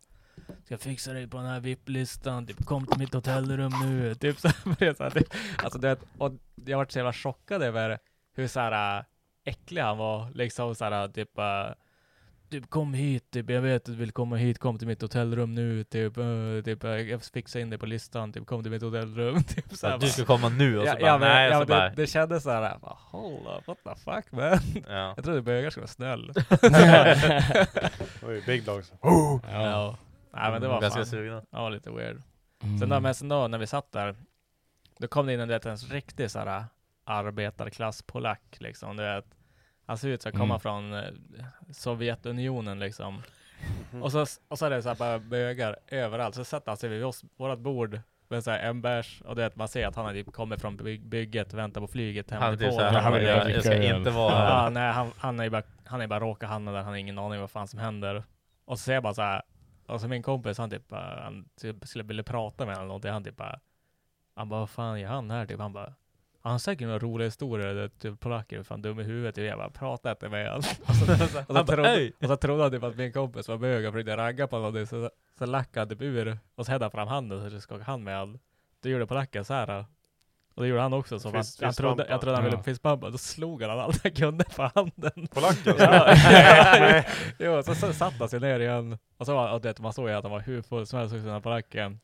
Ska jag fixa dig på den här VIP-listan, typ kom till mitt hotellrum nu. *laughs* Typ så här, började så här, typ. Alltså du vet, och jag vart så jävla chockad över hur så här äh, äcklig han var. Liksom så här typ äh, Typ kom hit, typ, jag vet att du vill komma hit, kom till mitt hotellrum nu, typ, äh, typ äh, jag fixar in dig på listan, typ kom till mitt hotellrum. *laughs* Typ, så här, Att Du bara- ska komma nu och så Ja, bara ja, men, nej, ja, och men så bara... det, det kändes såhär, bara, hold up, what the fuck man? *laughs* Ja. Jag trodde bögar skulle vara *laughs* snäll. *laughs* Oj, big dogs. ja. Nej men det var Ganska fan, sugna. ja lite weird. Mm. Sen då, men sen då när vi satt där, då kom det in en, du vet, en riktig såhär arbetarklasspolack liksom, du vet. Han ser ut som att komma Mm. från eh, Sovjetunionen liksom. Och så, och så är det så här bara bögar överallt. Så sätter han sig vid oss, vårat bord med så här en bärs och du vet man ser att han har typ kommit från byg- bygget, väntar på flyget hem Han till typ såhär, Polen. han Han bara, vill jag, jag dricka ska öl. inte vara Ja, här. nej, han, han är ju bara, han är ju bara råkar hamna där, han har ingen aning vad fan som händer. Och så ser jag bara så här, alltså min kompis han typ, bara- han typ skulle vilja prata med honom eller någonting, han typ bara, han bara, vad fan gör han här typ? Han bara, han har säkert några roliga historier, det är typ polacker, fan dum i huvudet, typ. jag bara, prata inte med honom. *laughs* Och så, och så, bara, trodde, "Hej!" och så trodde han typ att min kompis var bög och försökte ragga på honom, så, så lackade han typ ur, och så hällde han fram handen, så skakade han med honom. Då gjorde polacken så här. Och det gjorde han också, så Fist- han, han trodde, jag fistbumpa. trodde han ville Ja. fistbumpa, då slog han allt han kunde på handen. Polacken? *laughs* Ja, *laughs* alltså. Nej. jo, så, så satt han sig ner igen, och så var och det, man såg ju att han var hur full som helst också, den här polacken.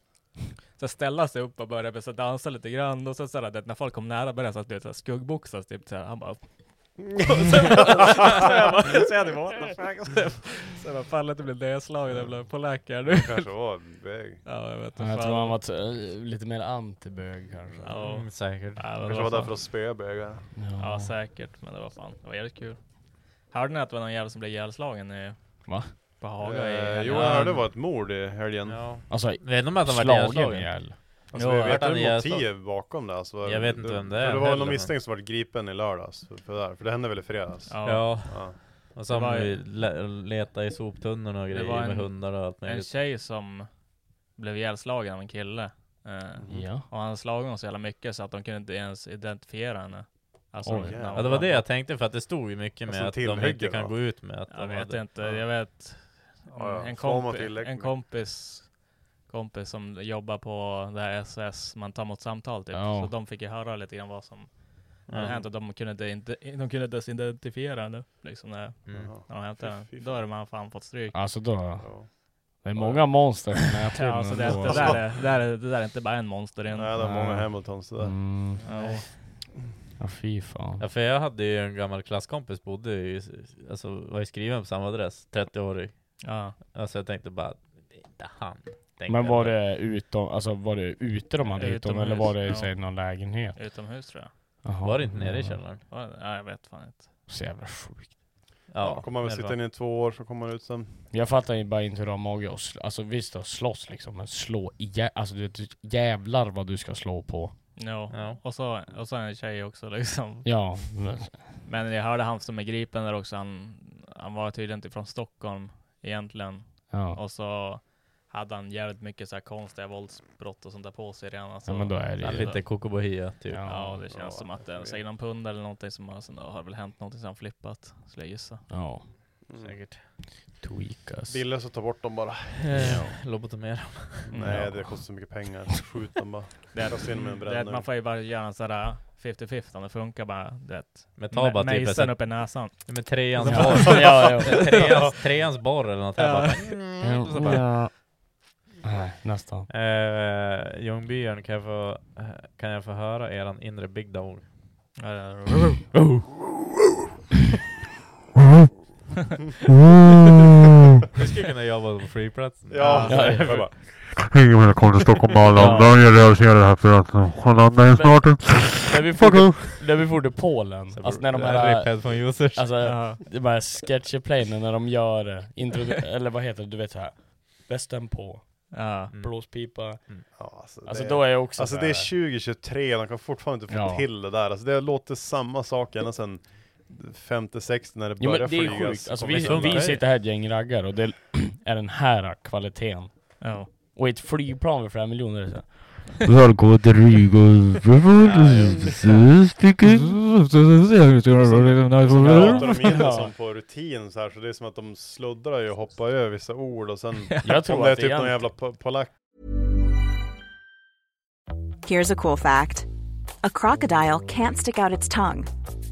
Så ställde han sig upp och började så dansa lite grann, och så, så där, det, när folk kom nära började han så här, du vet, så här skuggboxas typ, så här, han *laughs* bara så jag bara, så jag typ, what the fuck? Så jag- Så jag bara, fan lite blev nedslagen, jag blev polack här nu. Kanske var en bög. Ja, jag vet Ja, inte Jag fan. tror han var t- lite mer antibög kanske. Ja. Mm, säkert. Ja, men det Kanske var där fan- för att spöa bögar. Ja säkert, men det var fan, det var jävligt kul. Hörde ni att det var någon jävel som blev ihjälslagen i... Va? På Haga i Eh, helgen? Jo, jag hörde det var ett mord i helgen. Ja. Alltså, Vet ni om att han var slagen ihjälslagen? ihjäl. Alltså, Jo, vi jag vet hörde inte han i motiv bakom det alltså. Jag vet inte vem det är För det var heller, någon men- misstänkt som var gripen i lördags. För, för, det här. för det hände väl i fredags? Ja, Ja. Ja. Och så Det har man var- ju le- letat i soptunnorna och grejer var en- med hundar och allt En möjligt. tjej som blev ihjälslagen av en kille. Eh, Ja. och han slog honom så jävla mycket så att de kunde inte ens identifiera henne. Alltså, Oj, när hon jävlar. Ja det var det jag tänkte för att det stod ju mycket Alltså, med att de tillhygge, inte kan va? gå ut med att Jag de vet hade... inte, ja. jag vet. Ja, ja. En, Får man kompi- tillägg en med- kompis kompis som jobbar på det här SS, man tar emot samtal typ. Ja. Så de fick ju höra lite grann vad som hade Mm. hänt och de kunde inte, inte, de kunde inte ens identifiera henne liksom när, Mm. Jaha. när de hämtade henne. Fy fan. Då hade man fan fått stryk. Alltså då, Ja. det är många monster som är Ja, alltså det, det, där är, det, där är, det där är inte bara en monster Nej, än. det var många Hamiltons det där. Mm. Ja. Ja fy fan. Ja för jag hade ju en gammal klasskompis bodde ju, alltså var ju skriven på samma adress, 30-årig. Ja. Alltså jag tänkte bara, det är inte han. Tänkte Men jag var bara. det utom, alltså var det ute de hade hyrt dem eller var det i sig någon lägenhet? Utomhus tror jag. Jaha. Var det inte nere i källaren? Var det? Ja, jag vet fan inte. Så jävla sjukt. Ja, kommer man väl nere sitta var- inne i två år så kommer man ut sen. Jag fattar ju bara inte hur de har mage att slå, alltså visst att slåss liksom, men slå ihjäl, alltså du vet, du- jävlar vad du ska slå på. No. Ja. Och, så, och så en tjej också liksom. Ja, men, Men jag hörde han som är gripen där också, han, han var tydligen inte från Stockholm egentligen. ja. Och så, hade han jävligt mycket så här konstiga våldsbrott och sånt där på sig redan. Alltså, Ja, men då är det Så här ju- Lite kokobohia typ. Ja, det känns Ja, som att det är säkert någon pund eller någonting som har, sen då har det väl hänt någonting som han flippat, skulle jag gissa. Ja. Mm. Säkert. Tweakas. Billigast att ta bort dem bara. Eh, Lobotomera. Nej, Mm. Ja. det kostar så mycket pengar. Skjut dem bara. Det är, Kasta in dem i en det är att man brännare. får ju bara göra en sån där 50-50 om det funkar bara. Det är att Men ta bara typ mejseln ett- upp i näsan. Ja, Men treans *laughs* Ja. borr. Ja, ja. Treans, treans borr eller något. Ja. Ja. Ja. Så bara, Nej, nästan. Eh, Ljungbyarn, kan jag, få, eh, kan jag få höra eran inre Big Dog? Ja, det- *laughs* Vi skulle kunna jobba på flygplatsen. Ja, ja, *laughs* jag bara, Hej och välkommen till Stockholm Arlanda. Jag realiserar det här för att han landar ju snart. När vi Fuck for off. när vi for till Polen, alltså när de här... headphone users. Alltså, Ja. det är bara sketcherplanen när de gör eh, intro, eller vad heter det, du vet såhär. Västen på, Ja. Mm. blåspipa. Ja, alltså, Alltså det, då är jag också alltså så det är här- 2023, de kan fortfarande inte få Ja. till det där. Alltså det låter samma sak ända sedan 50-60 när det Jo började men det är flygas. sjukt, alltså Kommer vi, inte undan. vi sitter här ett gäng raggar och det *clears throat* är den här kvaliteten. Ja. Och i ett flygplan för flera miljoner är det så här. Välkommen till Riga. Så *laughs* pratar de in det Ja. som på rutin så här, så det är som att de sluddrar ju och hoppar över vissa ord och sen *laughs* Jag om tror det är att typ någon det jävla po- polack Here's a cool fact a crocodile can't stick out its tongue.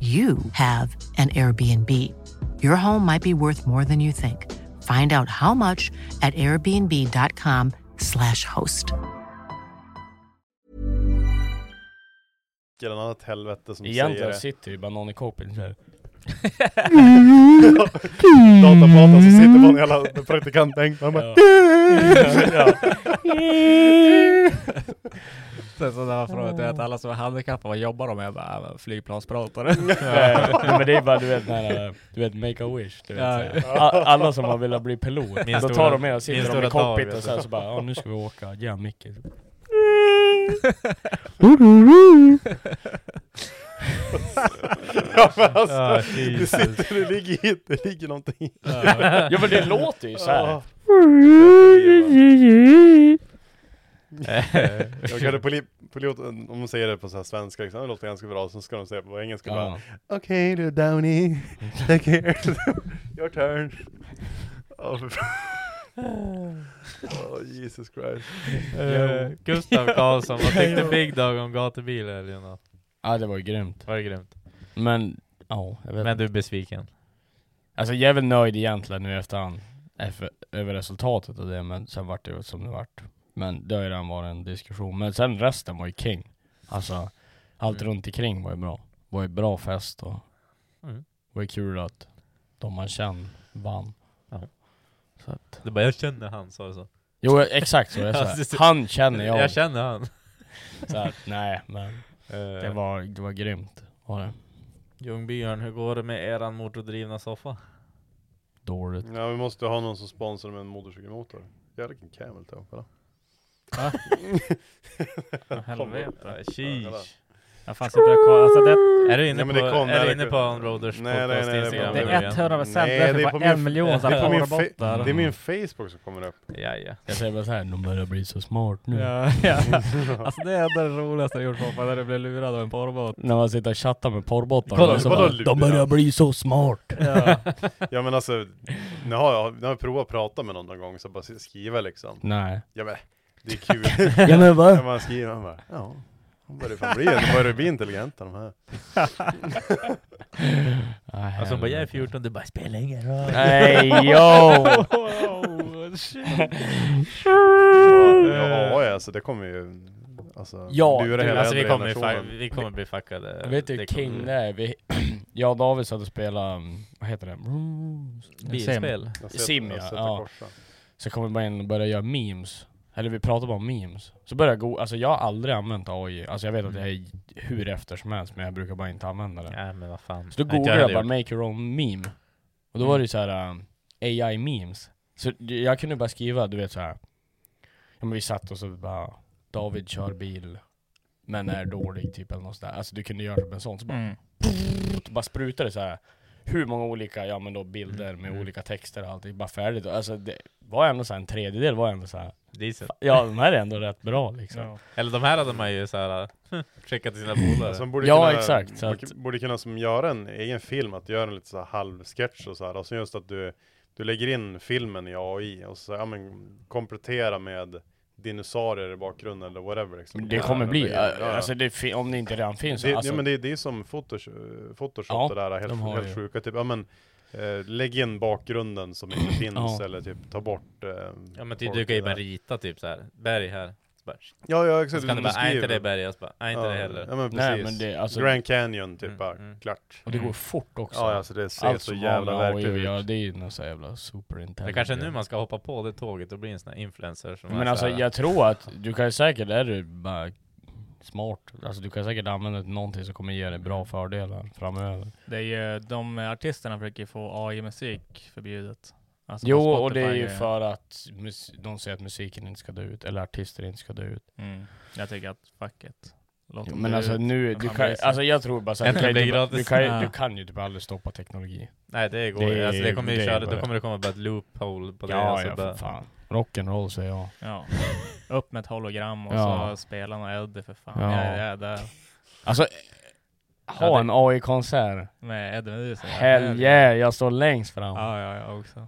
you have an Airbnb. Your home might be worth more than you think. Find out how much at airbnb.com/slash host. eller något annat helvete som Egentligen säger sitter ju bara någon i copen så här. det. Datapraten som sitter på en jävla praktikant *laughs* *laughs* Han bara... Sen så när man frågade jag att alla som är handikappade, vad jobbar de med? Jag bara, "Äh, flygplanspratare. Mm. Ja, *laughs* men det är bara du vet när, eh, du vet make a wish, du vet, Ja. så här. A- Alla som har velat bli pilot, Min då stora- tar de med och min sitter de i stora alltså. dag, cockpit vet och så, här, du. så bara ja nu ska vi åka, ge han micken. *laughs* *laughs* ja men alltså, Ja, det, Jesus. sitter, det ligger hit, det ligger någonting i. Ja men det låter ju så här. Ja. Jag hörde poli- piloten, om de säger det på så här svenska, liksom, det låter ganska bra, så ska de säga det på engelska bara Ja. Okej du Downey, take care, your turn. Åh för fan. Åh, Jesus Christ. Eh, Gustav Karlsson, vad tyckte Big Dog om gatubil i helgen då? Ja det var ju grymt. Var det grymt? Men ja, jag vet Men du är besviken? Alltså jag är väl nöjd egentligen nu i efterhand eff- över resultatet och det, men sen vart det ju som det vart. Men det har ju redan varit en diskussion. Men sen resten var ju king. Alltså, allt runt omkring var ju bra. var ju bra fest och Mm. var ju kul att de man känner vann. Ja. Så att, Du bara, jag känner han, sa du så? jo exakt så, jag Ja, sa, precis. han känner jag. Jag känner han. Så att, nej men, det Uh, var, det var grymt. Var det. Ljungbyarn, hur går det med eran motordrivna soffa? Dåligt. Ja vi måste ha någon som sponsrar med en motorcykelmotor. Jävlar vilken camel toe, kolla. Va? Helvete. Eh, Sheesh. Jag fan sitter och kollar. Alltså det, Är du inne på, är du inne på Unroaders podcast Instagram? Det är 100 procent. Nej, Därför det är på bara min- en miljon det är på min fa- porrbottar. det är min Facebook som kommer upp. Ja, ja. Jag säger bara såhär, de börjar bli så smart *laughs* nu. Ja, ja. Alltså det är det roligaste jag gjort pappa, när du blev lurad av en porrbot. När man sitter och chattar med porrbottar. Kolla, och så kolla bara, luren. de börjar bli så smart. Ja. ja men alltså, nu har jag, nu har jag provat att prata med någon någon gång, så bara skriva liksom. *laughs* *laughs* Nej. Ja men, det är kul. Ja, men *laughs* va? Ja, man skriver, man bara, ja. De *laughs* börjar fan bli, de börjar bli intelligenta de här. Alltså bara jag är 14, du bara spelar ingen roll. *laughs* Nej, yo! Oh, shit. Ja, AI alltså, det kommer ju, alltså, Ja, lura du, hela alltså, vi äldre kommer bli generationen. fa- vi kommer bli fuckade. Vet du hur Det king kommer- det är? Vi, *clears throat* jag och David satt och spelade, um, vad heter det? Bilspel. Sim, Sim Jag ja. sätter ja. korsen. Så kommer man in och börjar göra memes. Eller vi pratar bara om memes. Så börjar jag go- alltså jag har aldrig använt AI. Alltså jag vet Mm. att jag är hur efter som helst men jag brukar bara inte använda det. Ja, men vad fan. Så då Inte jag googlade jag heller Mm. bara gjort. 'make your own meme' Och då var det ju såhär um, AI memes. Så jag kunde bara skriva, du vet såhär Ja men vi satt och så bara David kör bil men är dålig typ eller något sådär. Alltså du kunde göra det med en sån. Så bara, Mm. bara sprutade det så här. Hur många olika, ja men då bilder Mm, med olika texter och allt. Det är bara färdigt. Alltså det var ändå så här, en tredjedel var ändå så här. Decent. Ja de här är ändå rätt bra liksom. Ja. Eller de här *laughs* hade man ju såhär *clears throat* skickat till sina polare. Alltså, de borde Ja, kunna, exakt, så borde- Borde kunna som göra en egen film, att göra en lite så här halvsketch och så här. Alltså just att du, du lägger in filmen i AI och så ja, men, komplettera med dinosaurier i bakgrunden eller whatever. Liksom. Det kommer bli, alltså det, fin- om det inte redan finns. Det, alltså, ja, men det, det är som Photoshop, Photoshop Ja, det där de helt, har helt ju. sjuka. Typ, ja, men, eh, lägg in bakgrunden som *clears throat* inte finns Ja. eller typ ta bort. Eh, Ja men typ, folk du kan ju där. bara rita typ såhär, berg här. Så bara, Ja, ja exakt. Så kan du bara, är beskriver. inte det berg? Jag så bara, är inte det heller. Mm, Ja men precis. Nej, men det- alltså- Grand Canyon typ bara, klart. Och det går fort också. Mm. Ja alltså det ser Allt så som jävla har med AI verkligt att ut. göra, Det är ju någon så jävla superintelligent. Det kanske är nu man ska hoppa på det tåget och bli en sån här influencer som Men är alltså så här- jag tror att du kan ju säkert, är du bara smart, alltså du kan säkert använda någonting som kommer ge dig bra fördelar framöver. Det är ju, de artisterna försöker ju få AI-musik förbjudet. Alltså på jo, och det är Spotify ju för att mus- de säger att musiken inte ska dö ut, eller artister inte ska dö ut. Mm. Jag tycker att fuck it. Låt Jo, dem men dö alltså ut. nu, Vad du fan kan, bryr sig? alltså jag tror bara såhär, du, Äntligen kan ju blir typ- det du, gratis. kan, ju- Ja. du kan ju typ aldrig stoppa teknologi. Nej det går det, alltså, det kommer ju är köra, då bara- kommer det komma bara ett loophole på det. Ja, alltså, ja, för bara, fan. Rock'n'roll säger jag. Ja. Upp med ett hologram och Ja. så spela någon Eddie för fan. Ja. Ja. Jag är där. Alltså, Ja, ha det- en AI-konsert. Med Eddie Meduza. Hell yeah, jag står längst fram. Ja, ja, jag också.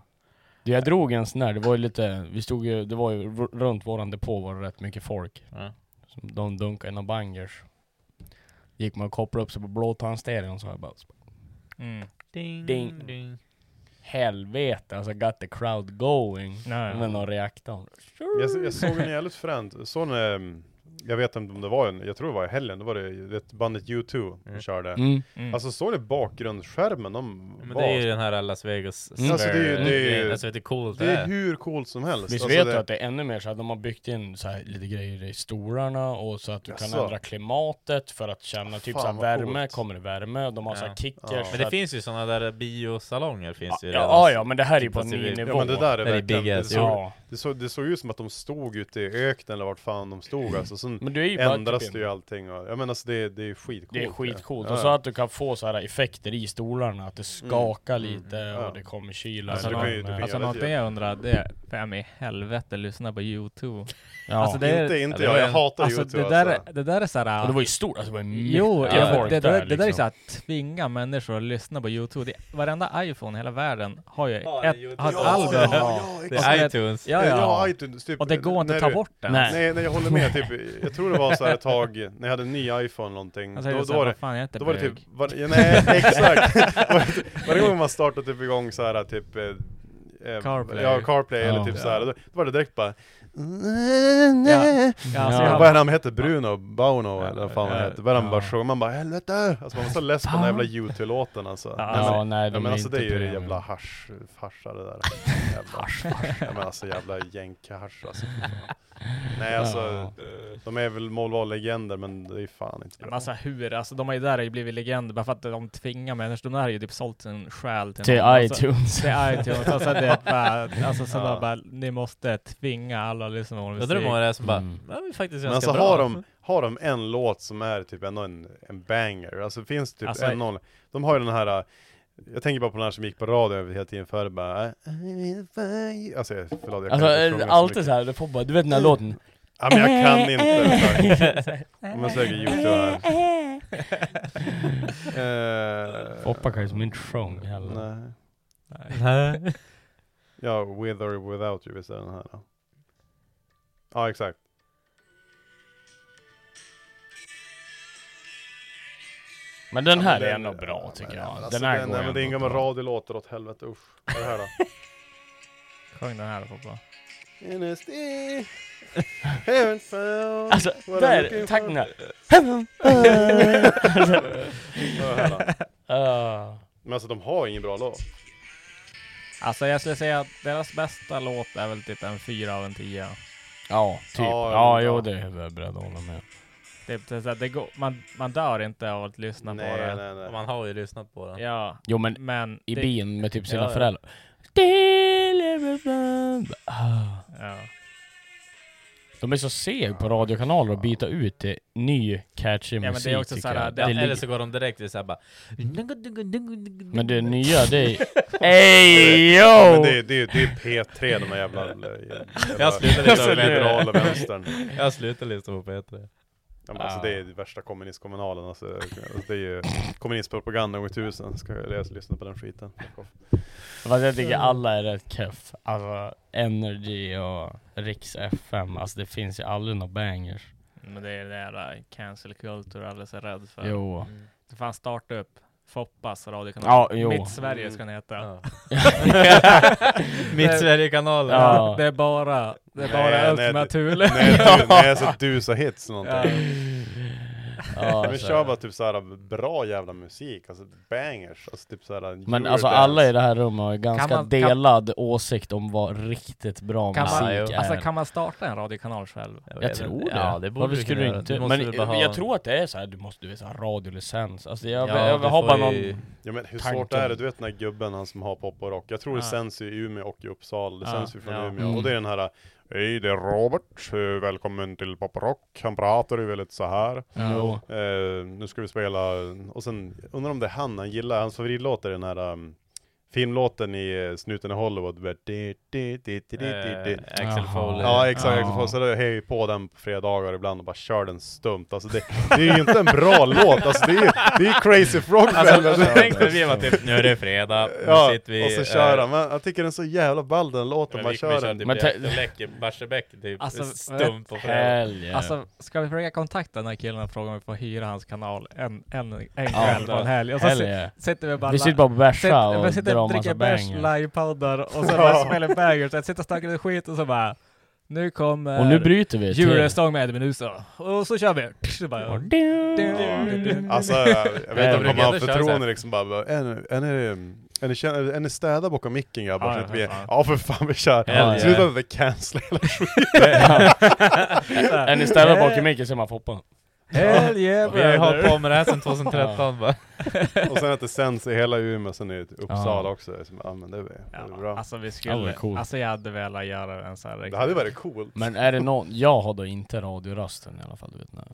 Du, jag drog en sån där, det var ju lite, vi stod ju, det var ju r- runt våran depå var det rätt mycket folk. Som de dunkade några bangers. Gick man och kopplade upp sig på blåtandstereon så jag bara Mm. Ding, Ding. ding. Helvete alltså, got the crowd going. Nej. Med någon reaktor. Jag, jag *laughs* såg en jävligt fränt, sån, ehm, jag vet inte om det var en, jag tror det var i helgen, då var det ju- det bandet U2 som körde. Mm. Mm. Alltså såg ni bakgrundsskärmen? De Men var det är ju den här Las Vegas Mm. Alltså, det är ju- det är ju- grejen. alltså vet du hur coolt det, det är är? hur coolt som helst. Visst Alltså, vet det- du att det är ännu mer så att de har byggt in så här lite grejer i stolarna och så att du kan Jaså? ändra klimatet för att känna typ Fan, så här vad värme, coolt. kommer det värme? De har så här kickers. Men så det att- finns ju sådana där biosalonger finns ju Ja, redan. ja, ja, men det här är ju Typ på fast en det ny blir- nivå. Ja men det där är Det är verkligen, big det ass, såg, ja. det, såg, det såg ut som att de stod ute i öknen eller vart fan de stod alltså. Sen Mm. Men du är ju bara ändras typ det ju allting och, jag menar alltså det, det är skitcoolt. Det är skitcoolt. Ja. Mm. Och så att du kan få så här effekter i stolarna, att det skakar lite och det kommer kyla. Alltså, i någon, värme. alltså något jag undrar, det är vem i helvete lyssnar på *laughs* YouTube? Ja. Inte- inte jag, jag hatar alltså, YouTube, det där, alltså. Det där är såhär... Och det var ju stort, alltså det var ju Jo, mycket ja, men folk det, där, där, det där är liksom. såhär, tvinga människor att lyssna på YouTube. Det, varenda iPhone i hela världen har ju Alltså, ett, har ett Ja, album. ja, ja, Och exakt. så Ja, ja. Ja, iTunes, typ, och det går inte när att ta du- bort den. Nej. nej, nej, jag håller med. Typ, jag tror det var så här ett tag, när jag hade en ny iPhone eller någonting. Alltså, Jag säger då, så här, då, var det, vad fan, jag är inte då var det typ, bög. var, ja, *laughs* nej exakt. Var- Varje gång man startade typ igång så här typ eh, eh, CarPlay. Ja, CarPlay eller Ja. typ så här. Då, då var det direkt bara Ja. Ja, Alltså, alltså, jag- Vad är det han hette? Bruno? Bono eller vad fan han ja, hette? Vad är det han ja. bara sjöng? Man bara helvete! Alltså man var så less på den här jävla YouTube-låten alltså. Ja, ja, nej, de ja, men är alltså det är inte ju det premium. jävla hasch, farsa det där. Jävla, ja, men alltså jävla jänkahasch alltså. Nej alltså, de är väl målvallegender men det är fan inte Men *laughs* bra. alltså hur, alltså de har ju där har ju blivit legender bara för att de tvingar människor, de där har ju typ sålt sin själ till, Till någon. Alltså, iTunes. Till iTunes, alltså det vet bara, alltså som ja. bara, ni måste tvinga alla att lyssna på vår Jag tror det är många där som bara, Mm. "Ja, vi är faktiskt Men ganska alltså bra." har de, har de en låt som är typ ändå en, en banger, alltså finns typ Alltså, en noll. De har ju den här, äh, jag tänker bara på den här som gick på radio över hela tiden förr bara, äh, alltså jag- förlåt jag kan Alltså, inte är sjunga det så alltid mycket. såhär, du får bara, du vet den här *laughs* låten? Ja men jag kan *laughs* inte, exakt. Om jag söker youtube här. Eh, Foppa kan ju som inte sjunga heller. Nej. ja, with or without you, visst är den här då? Ja, exakt. Men den Ja, här är ändå bra tycker ja, men jag. alltså, Den här den, går nej, men det är ändå inga med bra. radiolåtar åt helvete, usch. Vad är det *laughs* här då? Sjung den här då Foppa. *laughs* Alltså, där, tacken där. *laughs* Ah. uh. Men alltså de har ingen bra låt. Alltså jag skulle säga att deras bästa låt är väl typ en fyra av en tio. Ja, typ. Ja, Ja, ja. jo det är jag beredd att hålla med. Typ, det är så här, det går, man, man dör inte av att lyssna Nej, på det. nej, nej. Och man har ju lyssnat på det. Ja. Jo men, Men i det- bilen med typ sina Ja, ja. föräldrar. Ah. De är så seg på radiokanaler att byta ut till ny catchy Ja, musik men det är också tycker såhär, jag. det, ligger- eller så går de direkt till såhär bara Men det nya det är... *laughs* Ey yo! Men det, är- det, är- det är P3 de här jävla... eh, jävla Jag slutar lyssna på liberala P3. vänstern. Jag slutar lyssna på P3. Ja, men alltså Ah. det är det värsta kommunistkommunalen alltså, alltså det är ju kommunistpropaganda gånger tusen, ska jag läsa, lyssna på den skiten. Fuck off. Fast jag tycker alla är rätt keff. Alltså Energy och Riks FM, alltså det finns ju aldrig några bangers. Men det är det jävla cancel culture alla är så rädd för. Jo. Mm. Det fanns starta upp Foppas radiokanal. Ja, jo. Mitt Sverige ska den heta. Mitt Sverige-kanalen. Ja. *laughs* Det är bara, det är bara Nej, Ultima nej, Thule. Nej, du, nej alltså dusa hits eller någonting. Ja. alltså. Ja. Ja, men så kör är bara typ såhär bra jävla musik, alltså bangers, alltså typ såhär Men Eurodance. alltså alla i det här rummet har ju ganska Kan man- kan- delad åsikt om vad riktigt bra Kan man, musik är. alltså, kan man starta en radiokanal själv? Jag tror det. Ja, det borde Varför du skulle kunna du göra. inte? Du måste men väl bara ha- jag tror att det är så här, du måste du vet, så här radiolicens. Alltså jag, Ja, jag, du har bara får någon ju- Ja men hur tanke. svårt är det? Du vet den här gubben, han som har pop och rock. Jag tror det Ja. sänds i Umeå och i Uppsala. Det Ja, sänds ju från ja. Umeå. Mm. Och det är den här Hej det är Robert, Eh, välkommen till pop och rock. Han pratar ju väldigt så här. Ja. Jo. Eh, nu ska vi spela, och sen undrar om det är han han gillar. Hans favoritlåt är den här um, filmlåten i eh, Snuten i Hollywood. Med di, di, di, di, di, di. Eh, Axel *laughs* Jaha. Foley. Ja exakt, Ja. Axel Foley. Så då hejar vi på den på fredagar ibland och bara kör den stumt. Alltså det, det är ju inte en bra *laughs* låt, alltså det är ju det är Crazy Frog Alltså, *laughs* Velvet. alltså, tänk när vi var typ, "Nu är det fredag, nu ja, sitter vi, och så kör eh, han. Men jag tycker den är så jävla ball den låten, man kör den. Men typ läcker Barsebäck typ Alltså, stumt på vet- fredag. Alltså, ska vi försöka kontakta den här killen och fråga om vi får hyra hans kanal en, en, en Ja. kväll på en helg? Och så Hell si- yeah. sitter vi bara... Vi li- sitter bara på bärsa sitter- och vi sitter drar och dricker massa bärs, bangers. livepoddar och *laughs* så Ja. bara spelar bangers. Jag sitter och snackar lite skit och så bara... Nu kommer... Och nu bryter vi typ. till. Djurstång med Medusa. Och så kör vi! Så bara, *laughs* Alltså *laughs* jag vet inte om de brukar har ändå köra så förtroende här. liksom bara, bara, är ni- är ni- är ni känner- är ni städa bakom micken grabbar? Ja, Så ja, att vi, för fan. ja för fan vi kör! Hell yeah. Sluta med att cancella hela skiten! Är ni ställda bakom micken så är man Foppa. Hell yeah, Vi har ju brother. hållit på med det här sedan 2013 bara. Och sen att det sänds i hela Umeå, sen i Uppsala Ja. också. Så, ja men det är, det är bra. Alltså vi skulle... Alltså jag hade velat göra en sån här... Det hade varit coolt. Men är det någon, jag har då inte radiorösten i alla fall, du vet när.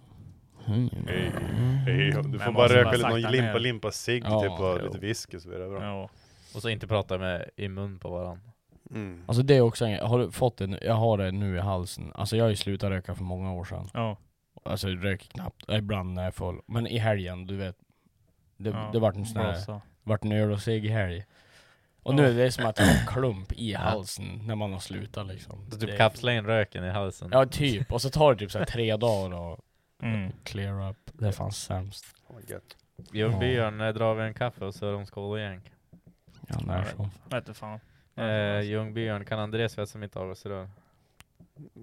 Mm. Hej, Mm. hej, du får Men bara måste röka bara lite, någon sakta limpa, ner. limpa cigg Ja, typ och jo. lite whisky så blir det bra. Och så inte prata med i mun på varandra. Mm. Alltså det är också en har du fått det nu? Jag har det nu i halsen. Alltså jag har ju slutat röka för många år sedan. Ja. Alltså jag röker knappt, Eh, ibland när jag är full. Men i helgen, du vet. Det, Ja, det vart en sån här, blåsa. vart en öl och cigg i helg. Och Ja. nu är det som att jag har en klump i halsen när man har slutat liksom. Så Det typ är- kapsla in röken i halsen. Ja typ, och så tar det typ så här tre dagar och Mm. clear up. Det är fan sämst. Jag och Ja. Björn eh, drar vi en kaffe och så är de skål och jänk. Ja, när så. Vet du fan. Eh, Ljungbyarn, kan Andreas göra som inte av oss idag?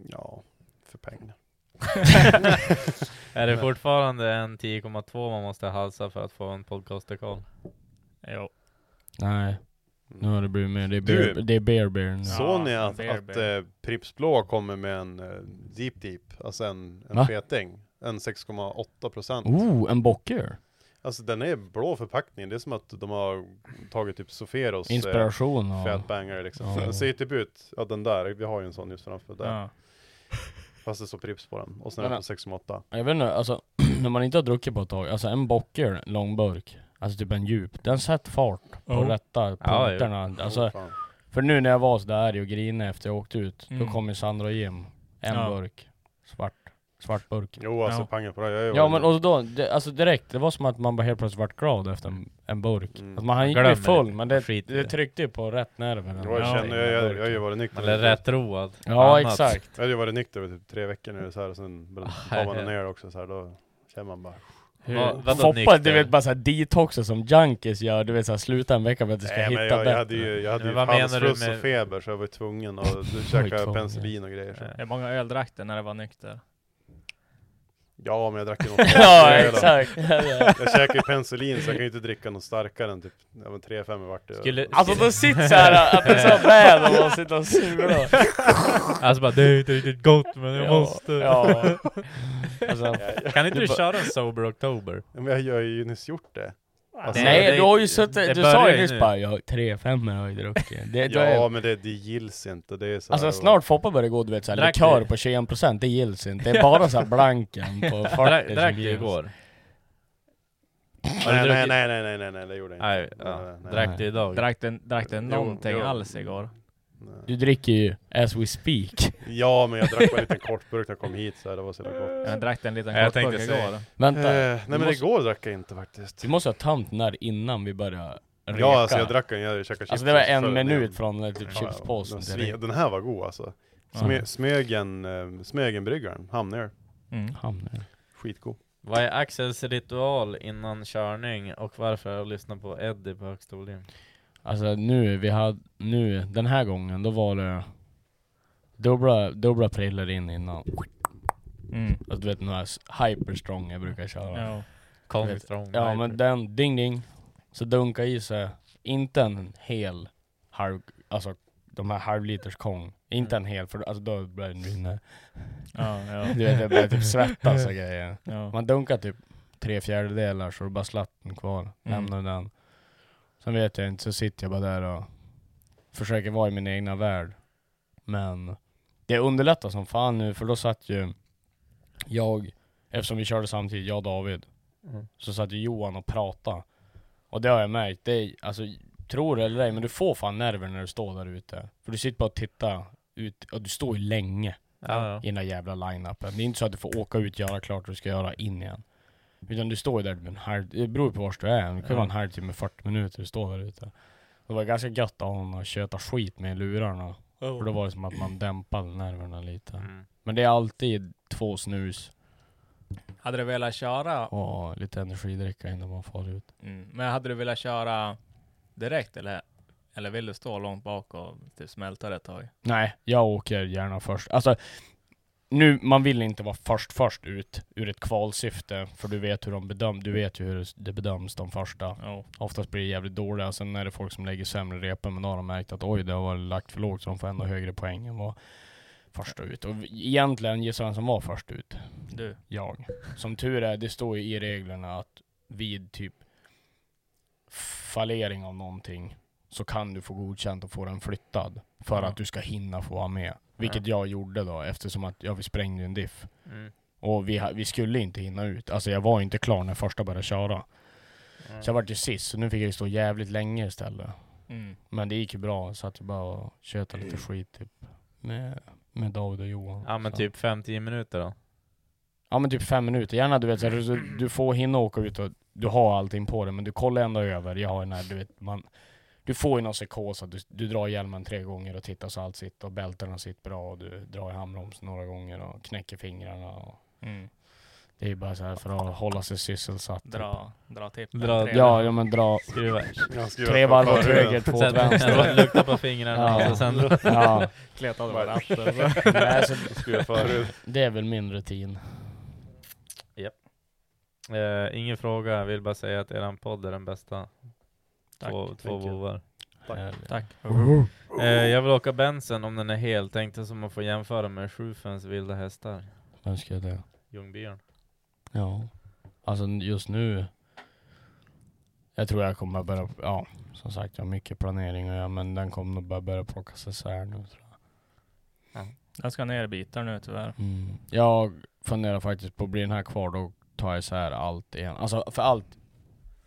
Ja, för pengar. *laughs* Är det fortfarande en 10,2 man måste halsa för att få en podcast-dekal? Jo. Nej. Nu har det blivit mer, det är Du- beer, det är beer, beer nu. Såg ni att, Bear att eh, Pripps Blå kommer med en eh, Deep Deep, alltså en, en Va? feting, en 6,8 procent. Oh, en bocker. Alltså den är blå förpackningen, det är som att de har tagit typ Soferos Inspiration eh, och- Fatbanger liksom. Ja. Den ser typ ut, ja den där, vi har ju en sån just framför där. Ja. Fast det står Pripps på den, och sen är Men- den på 6,8. Jag vet inte, alltså *clears throat* när man inte har druckit på ett tag, alltså en bocker långburk, alltså typ en djup, den sätter fart på Jo. rätta Ja, jo. punkterna. Jo, alltså, fan. för nu när jag var sådär och grinade efter jag åkte ut, Mm. då kom ju Sandra och Jim, en Ja. burk, svart, svart burk. Jo alltså pangen på det, jag är Ja men och då, det, alltså direkt, det var som att man bara helt plötsligt vart glad efter en, en burk. Mm. Att man han gick bli Glömmer full, det. men det, Skit i det det. tryckte ju på rätt nerver. Jo, jag känner, jag, jag, jag har ju varit nykter. typ- Man är rätt road. Ja, Annat. exakt. Jag har ju varit nykter i typ tre veckor nu så här, och sen tar man en öl också så här, då känner man bara... Ja, Foppa, du vet bara såhär detoxer som junkies gör, du vet såhär sluta en vecka för att du ska Nej, hitta men jag, jag bättre. hade ju, jag hade ju halsfluss och feber så jag var ju *laughs* tvungen att käka penicillin och grejer. Så. Eh, Hur många öl drack du när du var *laughs* nykter? Ja, men *laughs* jag drack ju *laughs* något Ja, starkare då. exakt. Jag käkar ju penicillin så jag kan ju inte dricka något starkare än typ, ja men 3-5 vart det. Skulle- Alltså, de sitter så här, att det är så bad och de sitter och surar. *laughs* Alltså bara, det är inte riktigt gott men jag Ja, måste. ja. Alltså, kan inte du bara- köra en Sober *laughs* October? Ja, Men jag har ju nyss gjort det. *laughs* Alltså, Nej det- du har ju suttit, du sa börjar ju nyss nu. bara jag har tre femmor har jag ju druckit. Det, då ja är, men det, det gills inte, det är så alltså här- snart Foppa börjar gå du vet såhär Drack likör du? på 21% det gills inte. Det är bara såhär *laughs* blanken på 40 som Drack du gills. igår? Nej, nej, nej, nej, nej, nej, nej, det gjorde jag inte. Nej, ja. Nej, nej. Drack du idag? Drack du, drack du Jo, någonting jo. alls igår? Du dricker ju as we speak. Ja, men jag drack bara en liten kortburk när jag kom hit så här, Eh, det var så jävla gott. Jag drack en liten Ja, jag kortburk tänkte säga. igår. Vänta. Eh, nej, men Du måste- igår drack jag inte faktiskt. Du måste ha tömt den där innan vi började reka. Ja, alltså jag drack en, jag käkade Alltså det var chips och så en följde minut ner. från eh, typ Ja, chipspåsen. Den, direkt. sve- den här var god alltså. Sme, Ja. Smögen, eh, Smögenbryggaren, Hamnöl. Mm. Hamnöl. Skitgod. Vad är Axels ritual innan körning och varför har jag lyssnat på Eddie på högsta volym? Alltså nu, vi hade, nu, den här gången, då var det dubbla, dubbla priller in innan. Mm. Alltså, du vet den här s- hyperstrong jag brukar köra. Ja. Du vet, Ja men den, ding ding. Så dunka i sig, inte en hel halv, alltså de här halvliters kong. Inte en hel, för alltså då börjar den rinna. Ja, ja. Du vet, jag *laughs* börjar typ svettas och grejer. Ja. Man dunkar typ tre fjärdedelar så är det bara slatten kvar. Lämnar den. Sen vet jag inte, så sitter jag bara där och försöker vara i min egna värld. Men det underlättar som fan nu, för då satt ju jag, eftersom vi körde samtidigt, jag och David, Mm. så satt ju Johan och pratade. Och det har jag märkt, det är, alltså, tror det eller ej, men du får fan nerver när du står där ute. För du sitter bara och tittar ut, och du står ju länge Ja, ja. i den där jävla line-upen. Det är inte så att du får åka ut, göra klart vad du ska göra, in igen. Utan du står ju där typ en halv, det beror ju på var du är, det kan Ja. vara en halvtimme, 40 minuter du står där ute. Det var ganska gött av honom att köta skit med lurarna. Oh. Ja. För då var det som att man dämpade nerverna lite. Mm. Men det är alltid två snus Hade du velat köra, och lite energidricka innan man far ut. mm. men hade du velat köra direkt eller, eller vill du stå långt bak och typ smälta det ett tag? Nej, jag åker gärna först. Alltså, nu, man vill inte vara först först ut ur ett kvalsyfte, för du vet hur de bedöms, du vet ju hur det bedöms de första. Oftast blir det jävligt dåliga, sen är det folk som lägger sämre repen, men då har de märkt att oj, det har varit lagt för lågt, så de får ändå högre poäng än vad första ut. Och egentligen, gissa vem som var först ut? Du. Jag. Som tur är, det står ju i reglerna att vid typ fallering av någonting så kan du få godkänt och få den flyttad för Ja. att du ska hinna få vara med. Vilket jag gjorde då eftersom att jag sprängde ju en diff. Mm. Och vi, ha- vi skulle inte hinna ut. Alltså jag var ju inte klar när första började köra. Så jag vart ju sist, så nu fick jag ju stå jävligt länge istället. Mm. Men det gick ju bra, så att jag bara och tjötade lite skit typ. Med, med David och Johan. Ja men så. typ 5-10 minuter då? Ja men typ fem minuter, gärna du vet så här, du, du får hinna åka ut och du har allting på dig men du kollar ändå över, jag har den här du vet man Du får ju någon psykos att du, du drar hjälmen tre gånger och tittar så allt sitter och bältena sitter bra och du drar i handbromsen några gånger och knäcker fingrarna och Mm. Det är ju bara så här för att hålla sig sysselsatt typ. Dra, dra tippen. Dra- Tre- ja, ja men dra Skruva. *laughs* Ja, skruva tre från varv åt förhuden. höger, två Sen- åt *laughs* vänster. lukta på fingrarna och sen- ja. Kleta av ratten. Nej, så, *laughs* Skruva förhuden. det är väl min rutin. Eh, ingen fråga, jag vill bara säga att eran podd är den bästa. två två Thank you. vovvar. Tack. Tack. Eh, jag vill åka Benson om den är hel, tänkte som att få jämföra med Schufens vilda hästar. Önskar jag det. Ljungbyarn. Ja. Alltså just nu Jag tror jag kommer börja, ja som sagt jag har mycket planering att göra men den kommer nog bara börja plockas isär nu tror jag. Jag ska ner i bitar nu tyvärr. Jag funderar faktiskt på, blir den här kvar då tar jag isär allt igen. Alltså för allt,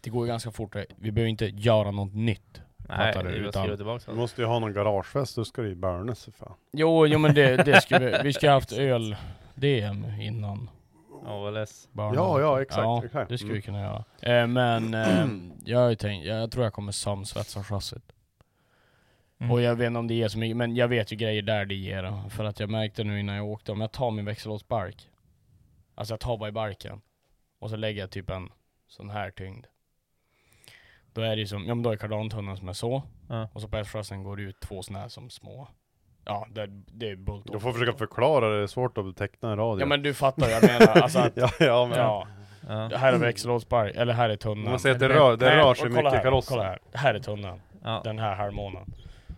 det går ju ganska fort. Vi behöver inte göra något nytt. fattar du? Utan, Du måste ju ha någon garagefest, då ska det ju burnas för fan. Jo, jo men det, det skulle vi, vi ska ha haft öl-DM innan. ALS. Ja, ja, exakt, Ja, exakt. det skulle vi Mm. kunna göra. Eh, men *clears throat* eh, jag, har ju tänkt, jag, jag tror jag kommer samsvetsa chassit. Mm. Och jag vet inte om det ger så mycket, men jag vet ju grejer där det ger. då. För att jag märkte nu innan jag åkte, om jag tar min växellådsbark, alltså jag tar bara i barken, och så lägger jag typ en sån här tyngd. Då är det ju som, ja men då är kardantunneln som är så, Ja. och så på F-chassin går det ut två såna här som små. Ja, det, det är bult. Du får försöka förklara det, det är svårt att teckna en radio. Ja men *laughs* du fattar vad jag menar. Alltså att, *laughs* ja, ja, men. ja. Det Här är växellådspark, eller här är tunneln. Man säger att det rör- det Nej, rör och sig kolla mycket i här, karossen. Kolla här, här är tunneln. Den här harmonen.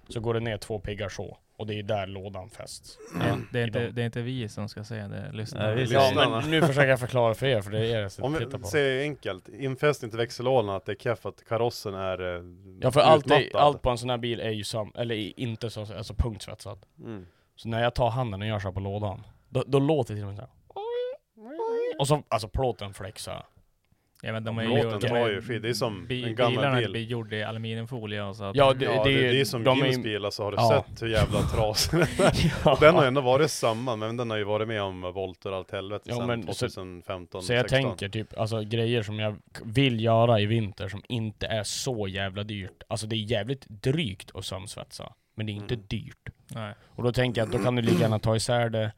Så går det ner två piggar så. Och det är där lådan fästs. Mm. Ja, det, är inte, det är inte vi som ska säga det, lyssna. ja, men nu försöker jag förklara för er, för det är er jag Om sitter och tittar vi på. säger enkelt, infästning till växellådan att det är keff att karossen är eh, Ja för allt, är, utmattad. allt på en sån här bil är ju sam, eller i- inte så, alltså punktsvetsat. Mm. Så när jag tar handen och gör så här på lådan, då, då låter det till och med så här. Och så, alltså plåten flexar. Ja men de är Plåten de var är- ju skit, det är som bi- en gammal bilarna bil. blir gjorda i aluminiumfolie och så att- Ja, det, det, är, det är som *laughs* Jimmys bil alltså, har du Ja. sett hur jävla trasig den är? Och Den har ändå varit samma, men den har ju varit med om volter och allt helvete Ja, sedan men så- 2015 Så jag 16. tänker typ, alltså grejer som jag k- vill göra i vinter som inte är så jävla dyrt. Alltså det är jävligt drygt att sömsvetsa. Men det är inte dyrt. Nej. Och då tänker jag att då kan du lika gärna ta isär det,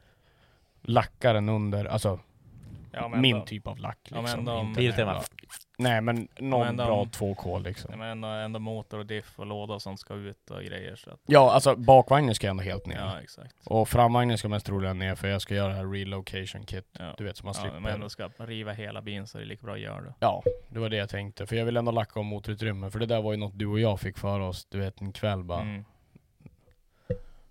lacka den under, alltså Ja, men min ändå- typ av lack Ja, men liksom. ändå om- Inte en Biltema. jävla- Nej men någon Men ändå bra om- 2K liksom. Ja, men ändå, ändå motor och diff och låda och sånt ska ut och grejer så att... Ja alltså bakvagnen ska jag ändå helt ner. Ja, exakt. Och framvagnen ska mest troligen ner för jag ska göra det här relocation kit. Du vet så man Ja, slipper. men ändå ska riva hela bilen så är det lika bra att göra det. Ja, det var det jag tänkte. För jag vill ändå lacka om motorutrymme. För det där var ju något du och jag fick för oss, du vet, en kväll bara. Mm.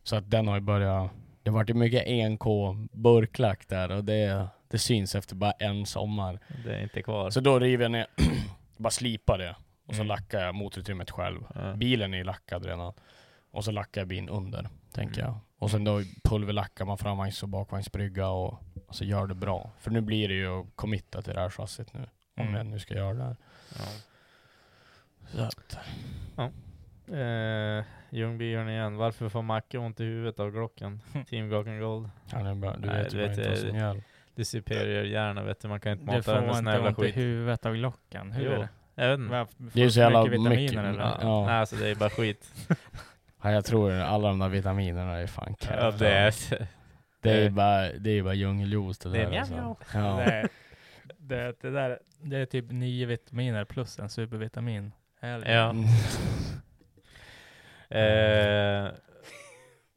Så att den har ju börjat... Det vart ju mycket E 1K burklack där och det, det syns efter bara en sommar. Det är inte kvar. Så då river jag ner, *clears throat* bara slipar det. Och så Mm. lackar jag motorutrymmet själv. Bilen är ju lackad redan. Och så lackar jag bilen under, tänker Mm. jag. Och sen då pulverlackar man framvagns och bakvagnsbrygga och, och så gör det bra. För nu blir det ju att committa till det här chassit nu. Om Mm. jag nu ska göra det här. Så att, Ja. Eh, Ljungbyarn igen. Varför får Macke ont i huvudet av *laughs* Glocken? Team Glocken Gold. Han är bra. Du vet ju bara inte vad eh, som gäller. Det är superior hjärna vet du. Man kan inte Du mata får den med inte sån här jävla ont i skit. huvudet av Glocken, hur Jo, Mm. är det? jag vet inte. Vad- Det är ju får så jävla mycket vitaminer mycket- eller? ja. Nej, alltså det är bara skit. ja, jag tror alla de där vitaminerna är fan kaff. Ja, det är- Det är ju bara, det är ju bara djungeljuice det, Det är där. alltså. mjau, Ja. Det, är- det, det, där, det är typ nio vitaminer plus en supervitamin. Helvete. Ja. eh,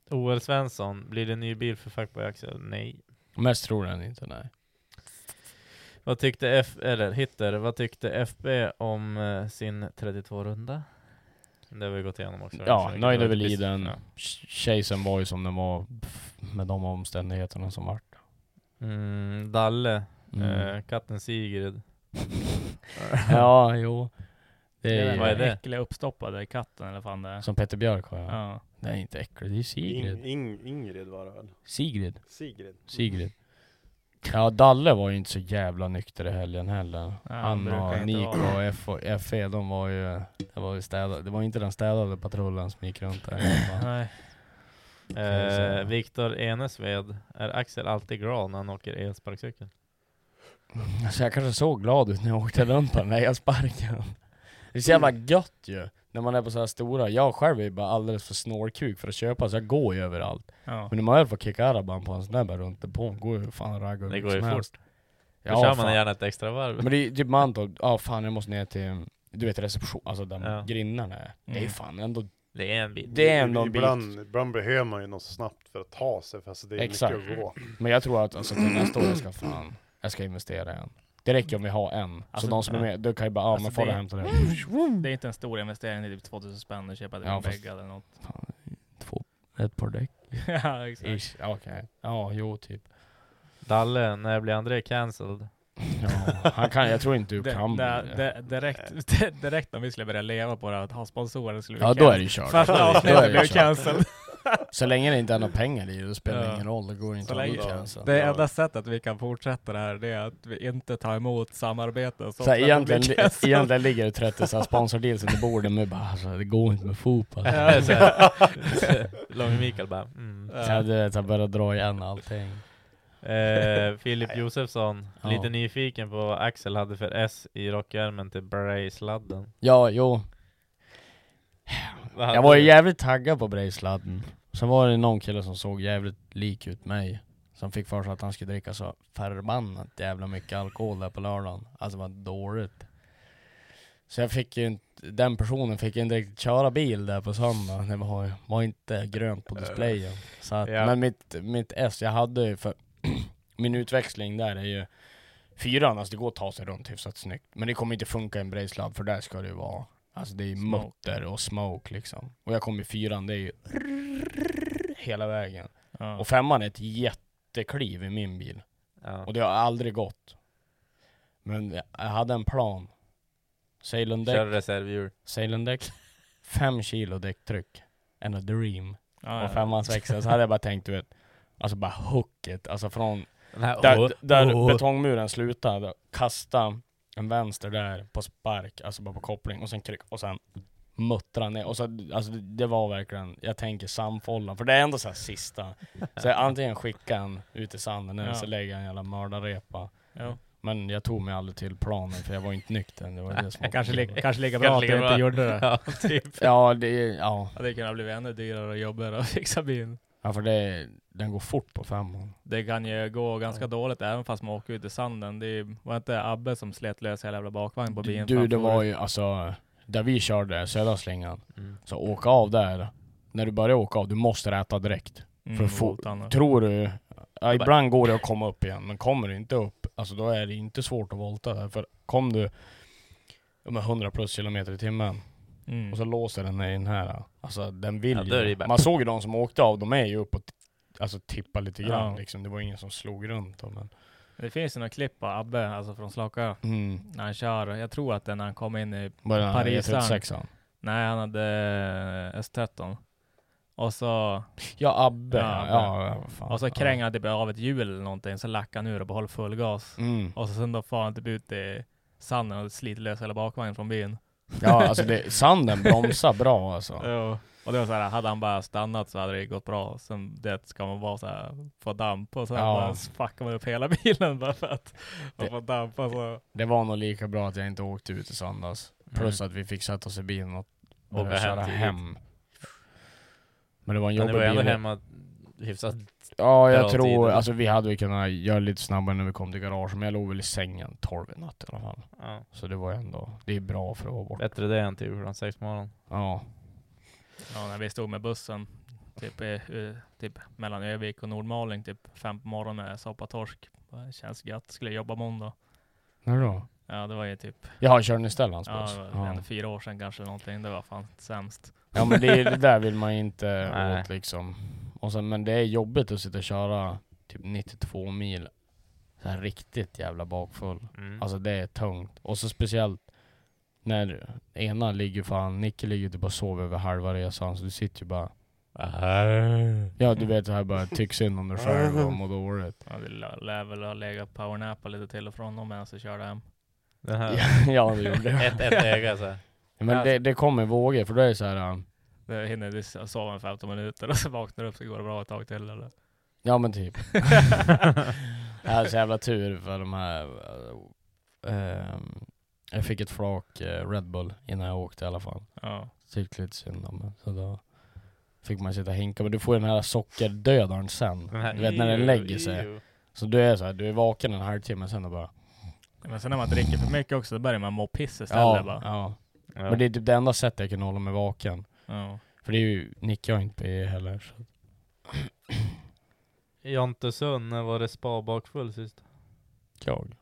OL Svensson, blir det ny bil för Fuckboy Axel? Nej. *laughs* Mest tror jag inte, nej. Vad tyckte F, eller Hitter, vad tyckte FB om eh, sin 32-runda? Det har vi gått igenom också. Ja, Så nöjd är jag- väl i den. Chasen var ju som den var pff, med de omständigheterna som vart. Mm, Dalle, Mm. eh, katten Sigrid. *laughs* Ja, jo. Det är den Vad är det? äckliga uppstoppade katten eller fan det är. Som Petter Björk har Ja. Det är inte äckligt, det är ju Sigrid. In, in, Ingrid var det väl? Sigrid. Sigrid. Sigrid. Ja, Dalle var ju inte så jävla nykter i helgen heller. han Han brukar och inte Niko vara. och, F och FE, de var ju... Det var ju städa, det var inte den städade patrullen som gick runt där. *laughs* Nej. Kan jag säga. Eh, Viktor Enesved, är Axel alltid glad när han åker elsparkcykel? Alltså jag kanske såg glad ut när jag åkte runt på den där elsparken. Det är så jävla gött ju, när man är på så här stora. Jag själv är ju bara alldeles för snårkuk för att köpa, så jag går ju överallt. Ja. Men när man väl får kicka araban på en sån där bara runt på, går ju fan ragga Det hur går ju som fort. helst. Då kör man fan. gärna ett extra varv. Men det är ju typ Mantorp, ja fan jag måste ner till, du vet reception, alltså där Ja. grindarna är. Det är ju Mm. fan ändå... Det är en Mm. bit. Det är ändå en bit. ibland, ibland behöver man ju något snabbt för att ta sig, för alltså det är Exakt. mycket att gå. Men jag tror att alltså, till nästa år jag ska fan, jag ska investera i en. Det räcker om vi har en. Alltså, så de som är ja. med, då kan ju bara, ja Alltså, men far det- och hämta det. Mm. Det är inte en stor investering, det är typ 2000 spänn att köpa Ja, en fast- vägg eller något. Två, ett par däck. *laughs* ja, exakt. Ish, okej. Ja, jo typ. Dalle, när blir André cancelled? Ja, han kan, jag tror inte du Det- kan. det- det- direkt, *laughs* direkt om vi skulle börja leva på det, att ha sponsorer skulle vi Ja då är det ju cancel. kört. Då Första är det- då är avsnittet det blev ju cancelled. *laughs* *laughs* kört. Så länge det inte är några pengar i det, det spelar Ja. ingen roll. Det går inte Så att alltså. bli länge- cancelled. Det enda sättet vi kan fortsätta det här, det är att vi inte tar emot samarbeten. som Så här, sen blir egentligen, cancelled. egentligen ligger det 30 så här sponsordeals under bordet, men vi bara alltså, det går inte med fotboll. Ja, det *laughs* är så här. *laughs* Långe Mikael bara, mm. Så här, du vet, jag börjar dra igen allting. Eh, Filip Josefsson, Ja. lite nyfiken på vad Axel hade för S i rockärmen till Bray-sladden. Ja, jo. Vad hade Jag var ju du? jävligt taggad på Brejsladden. Sen var det någon kille som såg jävligt lik ut mig. Som fick för sig att han skulle dricka så förbannat jävla mycket alkohol där på lördagen. Alltså det var dåligt. Så jag fick ju inte, den personen fick ju inte riktigt köra bil där på söndagen. Det var, var inte grönt Äh. på displayen. Så att, Ja. Men mitt, mitt S, jag hade ju för min utväxling där är ju fyran, alltså det går att ta sig runt hyfsat snyggt. Men det kommer inte funka i en Brejslav för där ska det ju vara, alltså det är Smoke. mutter och smoke liksom. Och jag kom i fyran, det är ju hela vägen. Och femman är ett jättekliv i min bil. Och det har aldrig gått. Men jag jag hade en plan. Sailondäck. Kör reservhjul. Sailondäck. Fem kilo däcktryck. And a dream. Ja, och ja. femman, sexan. Så hade jag bara tänkt du vet. Alltså bara hooket. Alltså från Oh, Den här- där, åh, där åh. betongmuren slutade. Kasta en vänster där på spark. Alltså bara på koppling. Och sen kryck. Och sen muttra ner. Och så, alltså det- det var verkligen, jag tänker samfollan. För det är ändå så här sista. Så jag antingen skickar han ut i sanden eller Ja. så lägger jag en jävla mördarrepa. *laughs* Ja. Men jag tog mig aldrig till planen för jag var inte nykter. Det var det *laughs* som var *laughs* Kanske li- problemet. kanske lika bra Kanske att lika du inte bra. gjorde det. *laughs* Ja, *laughs* typ. ja, det, ja. Det kunde ha blivit ännu dyrare och jobbigare att fixa bilen. ja för det, den går fort på femman. Det kan ju gå ganska dåligt även fast man åker ut i sanden. Det är- var inte Abbe som slet lös hela jävla bakvagn på bilen Du, det framför. var ju alltså, där vi körde södra slingan. Mm. Så åka av där. När du börjar åka av, du måste äta direkt. Mm, för att få, botarna. tror du... Ja, bara- ibland går det att komma upp igen, men kommer du inte upp, alltså då är det inte svårt att volta där. För kom du med 100 plus kilometer i timmen Mm. och så låser den i den här. Alltså den vill Ja, då är det ju. ju bara- Man såg ju de som åkte av, de är ju upp och t- alltså, tippar lite grann Ja. liksom. Det var ingen som slog runt dem. Men... Det finns ju några klipp på Abbe, alltså från Slaka, Mm. när han kör. Jag tror att det är när han kom in i Var det när han hade Parisaren. 36an? Nej, han hade eh, S13. Och så... Ja, Abbe. Ja, ja, vad fan. och så Ja. krängde han typ av ett hjul eller någonting, så lackade han ur och behöll full gas. Mm. Och så sen då far han typ ut i sanden och sliter lös hela bakvagnen från bilen. Ja, alltså det, sanden bromsar bra alltså. Ja. Och det var så här, hade han bara stannat så hade det gått bra. Sen det ska man bara så här, få damp och sen Ja. bara fuckar man upp hela *laughs* bilen bara för att man får damp. Alltså. Det var nog lika bra att jag inte åkte ut i söndags. Plus Mm. att vi fick sätta oss i bilen och Mm. Åka börja hem köra till- hem. Men det var en Men jobbig det var ändå bil. hemma hyfsat Ja, bra jag tror, tid. alltså vi hade ju kunnat göra lite snabbare när vi kom till garaget, men jag låg väl i sängen 12 i natt i alla fall. Ja. Så det var ändå, det är bra för att vara borta. Bättre det än till klockan sex på morgonen. Ja. Ja, när vi stod med bussen typ, i, i- typ mellan Övik och Nordmaling typ fem på morgonen med soppatorsk. Bara, Känns gött, skulle jobba måndag. När då? Ja, det var ju typ... Jaha, körde ni Stellans Ja, buss? det var Ja. ändå fyra år sedan kanske någonting. Det var fan sämst. Ja men det, är- det där vill man ju inte Nej. åt liksom. Och sen, men det är jobbigt att sitta och köra typ 92 mil så här riktigt jävla bakfull. Mm. Alltså det är tungt. Och så speciellt när ena ligger fan, Nicke ligger typ och sover över halva resan så du sitter ju bara Ja du vet så här bara tyck synd om dig själv och mår dåligt. Ja, det lär lär väl ha legat powernappa lite till och från om medan jag körde hem. Den *laughs* ja det gjorde jag. *laughs* Ett- ett alltså. öga, så här. Ja, Men det, det kommer vågor för då är det så här. äh, Jag hinner dis- jag sova en 15 minuter och så vaknar jag upp så går det bra ett tag till *laughs* eller? Ja men typ. jag hade så jävla tur för de här... eh, ehm, jag fick ett flak eh, Red Bull innan jag åkte i alla fall. Ja. Tyckte lite synd om det. Så då fick man sitta och hinka. Men du får ju den här sockerdödaren sen. Den här- du vet när den Ew, lägger sig. ew. Så du är så här, du är vaken en halvtimme sen och bara... Men sen när man dricker för mycket också, då börjar man må piss istället Ja, bara. ja. Men det är typ det enda sättet jag kan hålla mig vaken. Ja. För det är ju, nickar jag inte på er heller. Så. Jontesund, när var det spa bakfull sist? Jag?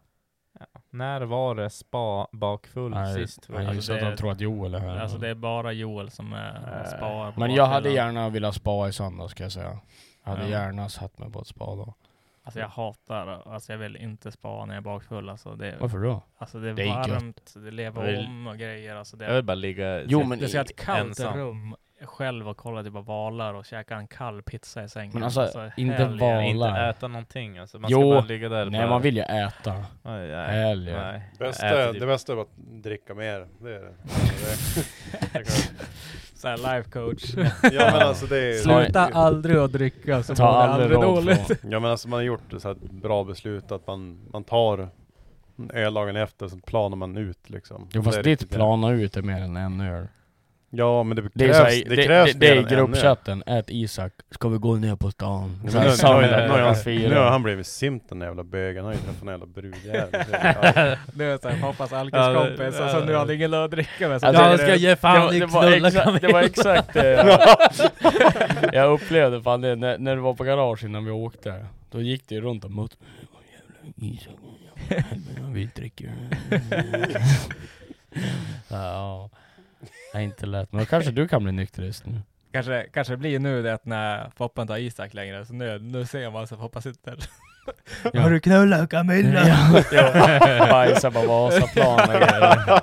Ja. När var det spa bakfull Nej, sist? Alltså, nej, just att han tror att Joel är här. Alltså det är bara Joel som Eh, är spar. på Eh, Men jag bakfyllan. hade gärna velat spa i söndags ska jag säga. Jag hade Ja. gärna satt mig på ett spa då. Alltså jag hatar, alltså jag vill inte spara när jag är bakfull. Alltså det, Varför då? Alltså det är, Det är varmt, det lever Jag vill- om och grejer. Alltså det, jag vill bara ligga Jo, men det ska i- vara ett kallt ensam. rum själv och kolla typ av valar och käka en kall pizza i sängen. Men alltså, inte helgen. valar. Inte äta någonting alltså. Man ska bara ligga där och nej bara- man vill ju äta. Nej, nej, Helger. nej. Jag Bästa, äter typ det bästa är att dricka mer. Det är *laughs* det. Såhär life coach. ja men alltså det är... Sluta aldrig att *laughs* dricka så mår du aldrig dåligt. Ja men alltså man har gjort så här bra beslut att man, man tar öllagen efter så planar man ut liksom. Jo Det fast är ditt riktigt- plana ut är mer än en öl. Ja men det krävs, Det är, det så krävs, här, det, det, det, mer är än en öl. gruppchatten, ät Isak, ska vi gå ner på stan? Ja, Så här, men nu, nu, har samlar- jag- nu, har jag- Alltså, fyra. nu har han blivit simp den där jävla bögen, han har ju träffat en *laughs* jävla brudjävel. Det är såhär, pappas alkiskompis, och så alltså, nu har du ingen lön att dricka med. Så Alltså, jag det- ska ge det fan var- i det var knulla, exakt- kom Det var igen. exakt det *laughs* jag, *laughs* jag upplevde fan det när, när du var på garage innan vi åkte. Då gick det ju runt och mot "Åh, jävla Isak, *laughs* jävla- vi dricker. ja, det är inte lätt. Men då kanske du kan bli nykterist nu. Kanske, kanske det blir nu det att när Foppa inte har Isak längre, så nu, nu ser man så Foppa sitter. *laughs* Ja. Har du knullat Camilla? *laughs* Ja. Ja. Bajsar på Vasaplan och grejer.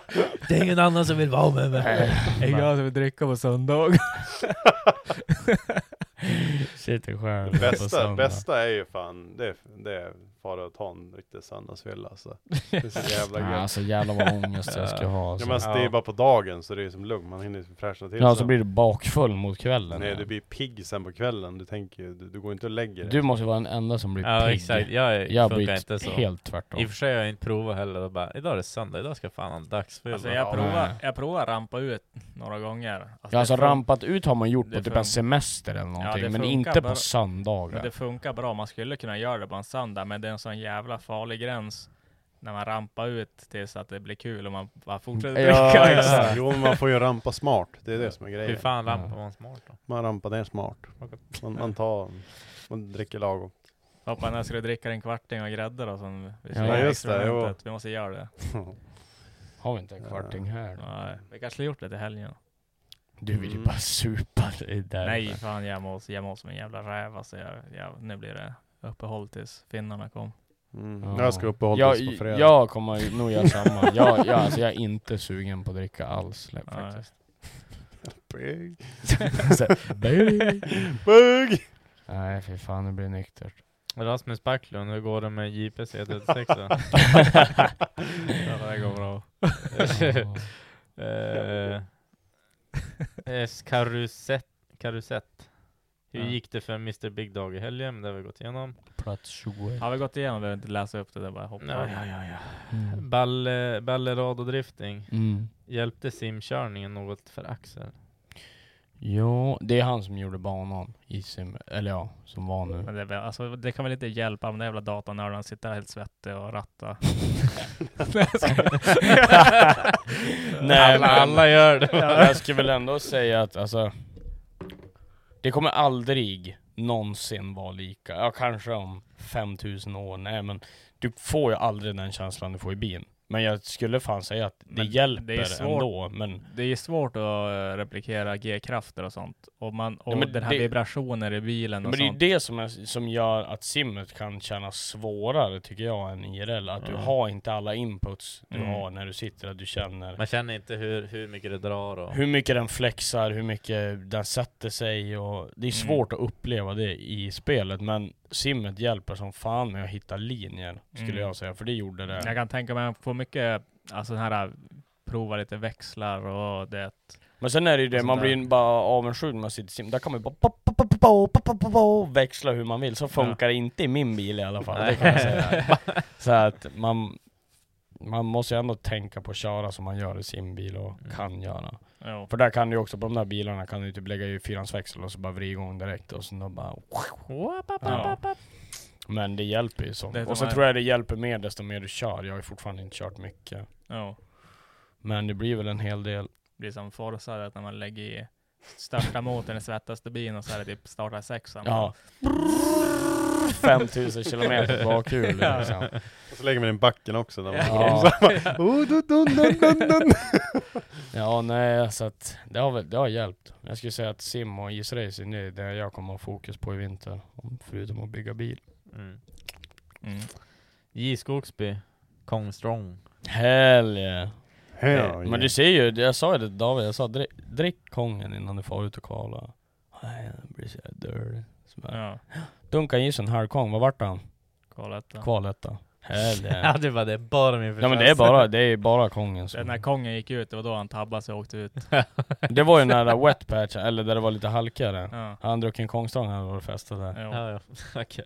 Det är ingen annan som vill vara med mig. *laughs* Nej. Ingen annan som vill dricka på *laughs* söndag. Sitter själv på Det Alltså, bästa, söndag. bästa är ju fan, det är, det är fara och ta en riktig söndagsfylla alltså. Det är så jävla Ja, gött. alltså, jävlar vad ångest jag skulle ha, alltså. Ja, men alltså, det är Ja. bara på dagen så det är som lugnt, man hinner fräscha till Ja, sig. så blir du bakfull mot kvällen. Nej, du blir pigg sen på kvällen. Du tänker ju- du, du går inte och lägger dig. Du måste ju vara den enda som blir Ja pigg. exakt, jag, är- jag funkar blir inte så. helt tvärtom. I och för sig har jag inte provat heller och bara, idag är det söndag, idag ska jag fan ha en dagsfylla. Alltså jag provar, jag provar rampa ut några gånger. Alltså, Ja, alltså det fun- rampat ut har man gjort det på typ fun- en semester eller Ja, någonting, det men funkar inte bra. på söndagar. Men det funkar bra, man skulle kunna göra det på en söndag, men det är en sån jävla farlig gräns när man rampar ut tills att det blir kul och man bara fortsätter dricka. *laughs* Jo, men man får ju rampa smart. Det är det som är grejen. Hur fan rampar man smart då? Man rampar ner smart. Man, man tar, man dricker lagom. *laughs* Pappa, när ska du dricka en kvarting och grädde då? Som vi Ja, ska göra i just det, jo. experimentet? Vi måste göra det. Har vi inte en kvarting här? Nej, vi kanske skulle gjort det till helgen. Du vill ju Mm. bara supa dig där. Nej, fan jag mår, jag mår som en jävla räv alltså. Jag, jag, nu blir det uppehåll tills finnarna kom. Ja. Mm. Jag ska uppehålla Jag- oss på fredag. Jag kommer ju nog göra samma. Jag, jag, alltså, jag är inte sugen på att dricka alls le- faktiskt. *laughs* Pigg. Så här, "Bög." Bög! Nej, fy fan, det blir nyktert. Rasmus Backlund, hur går det med JPC 36 *laughs* då? Ja, det går bra. Eh, S. Karusett. Karusett. Hur Ja. gick det för Mr Big Dog i helgen? Det har vi gått igenom. Plats *laughs* 21. Har vi gått igenom? Behöver inte läsa upp det, det är bara hoppa. Ja, ja, ja, ja. Mm. Balle, ballerad och drifting. Mm. Hjälpte simkörningen något för Axel? Jo, det är han som gjorde banan i sim, eller ja, som var nu. Men det, är väl- alltså, det kan väl inte hjälpa om den jävla datanörden sitter helt svettig och rattar. Nej, men- Ja. Jag skulle väl ändå säga att alltså, det kommer aldrig någonsin vara lika. Ja, kanske om 5000 år. Nej, men du får ju aldrig den känslan du får i bilen. Men jag skulle fan säga att det hjälper det är svårt, ändå. Men Det är svårt att eh, replikera G-krafter och sånt. Och, man, och Ja, men den här det- vibrationer i bilen Ja, och Men det är ju sånt. det som, är, som gör att simmet kan kännas svårare tycker jag än IRL. Att du Mm. har inte alla inputs du Mm. har när du sitter, att du känner Man känner inte hur, hur mycket det drar och... hur mycket den flexar, hur mycket den sätter sig och det är Mm. svårt att uppleva det i spelet. Men simmet hjälper som fan med att hitta linjer skulle Mm. jag säga, för det gjorde det. Jag kan tänka mig att få mycket, alltså den här, prova lite växlar och det. Men sen är det ju det, Sånt man Alltså där. blir ju bara avundsjuk när man sitter i sim. Där kan man ju bara pop, pop, pop, pop, pop, pop, pop, pop, pop, växla hur man vill. Så funkar det inte i min bil i alla fall, det kan *laughs* jag säga. *laughs* Så att man, man måste ju ändå tänka på att köra som man gör i sin bil och Mm. kan göra. Jo. För där kan du ju också, på de där bilarna kan du ju typ lägga i fyrans växel och så bara vrida igång direkt och sen då bara... Ja. Men det hjälper ju Det är sånt. de Och så här- tror jag det hjälper mer desto mer du kör. Jag har ju fortfarande inte kört mycket. Ja. Men det blir väl en hel del Det blir som Forza, att när man lägger i största motorn i svettaste bilen och så är det typ starta sexan. Ja. 5000 kilometer på bakhjul. Liksom. Och så lägger man in backen också. När man Ja. Oh, dun, dun, dun, dun, dun. ja, nej, så att det har, väl, det har hjälpt. Jag skulle säga att sim och isracing, det är det jag kommer att ha fokus på i vinter. om- Förutom att bygga bil. Mm. J Skogsby, Kong Strong. Hell yeah. Hell Ja, yeah. Men du ser ju, jag sa ju det till David, jag sa drick, drick kongen innan du far ut och kvala. Nej, den blir så jävla dirty. Så bara, Duncan Gibson, halv kong, vad vart han? Kvaletta. Kvaletta. Hell *laughs* yeah. Ja, det var det. Bara min Ja men det är förtjänst. bara, det är bara kongen som... Den här kongen gick ut, det var då han tabbade sig och åkte ut. Det var ju den där wet patch, eller där det var lite halkigare. Ja. Han druckit en kongstång när han var och festade där. Ja, *laughs* ja. Okej.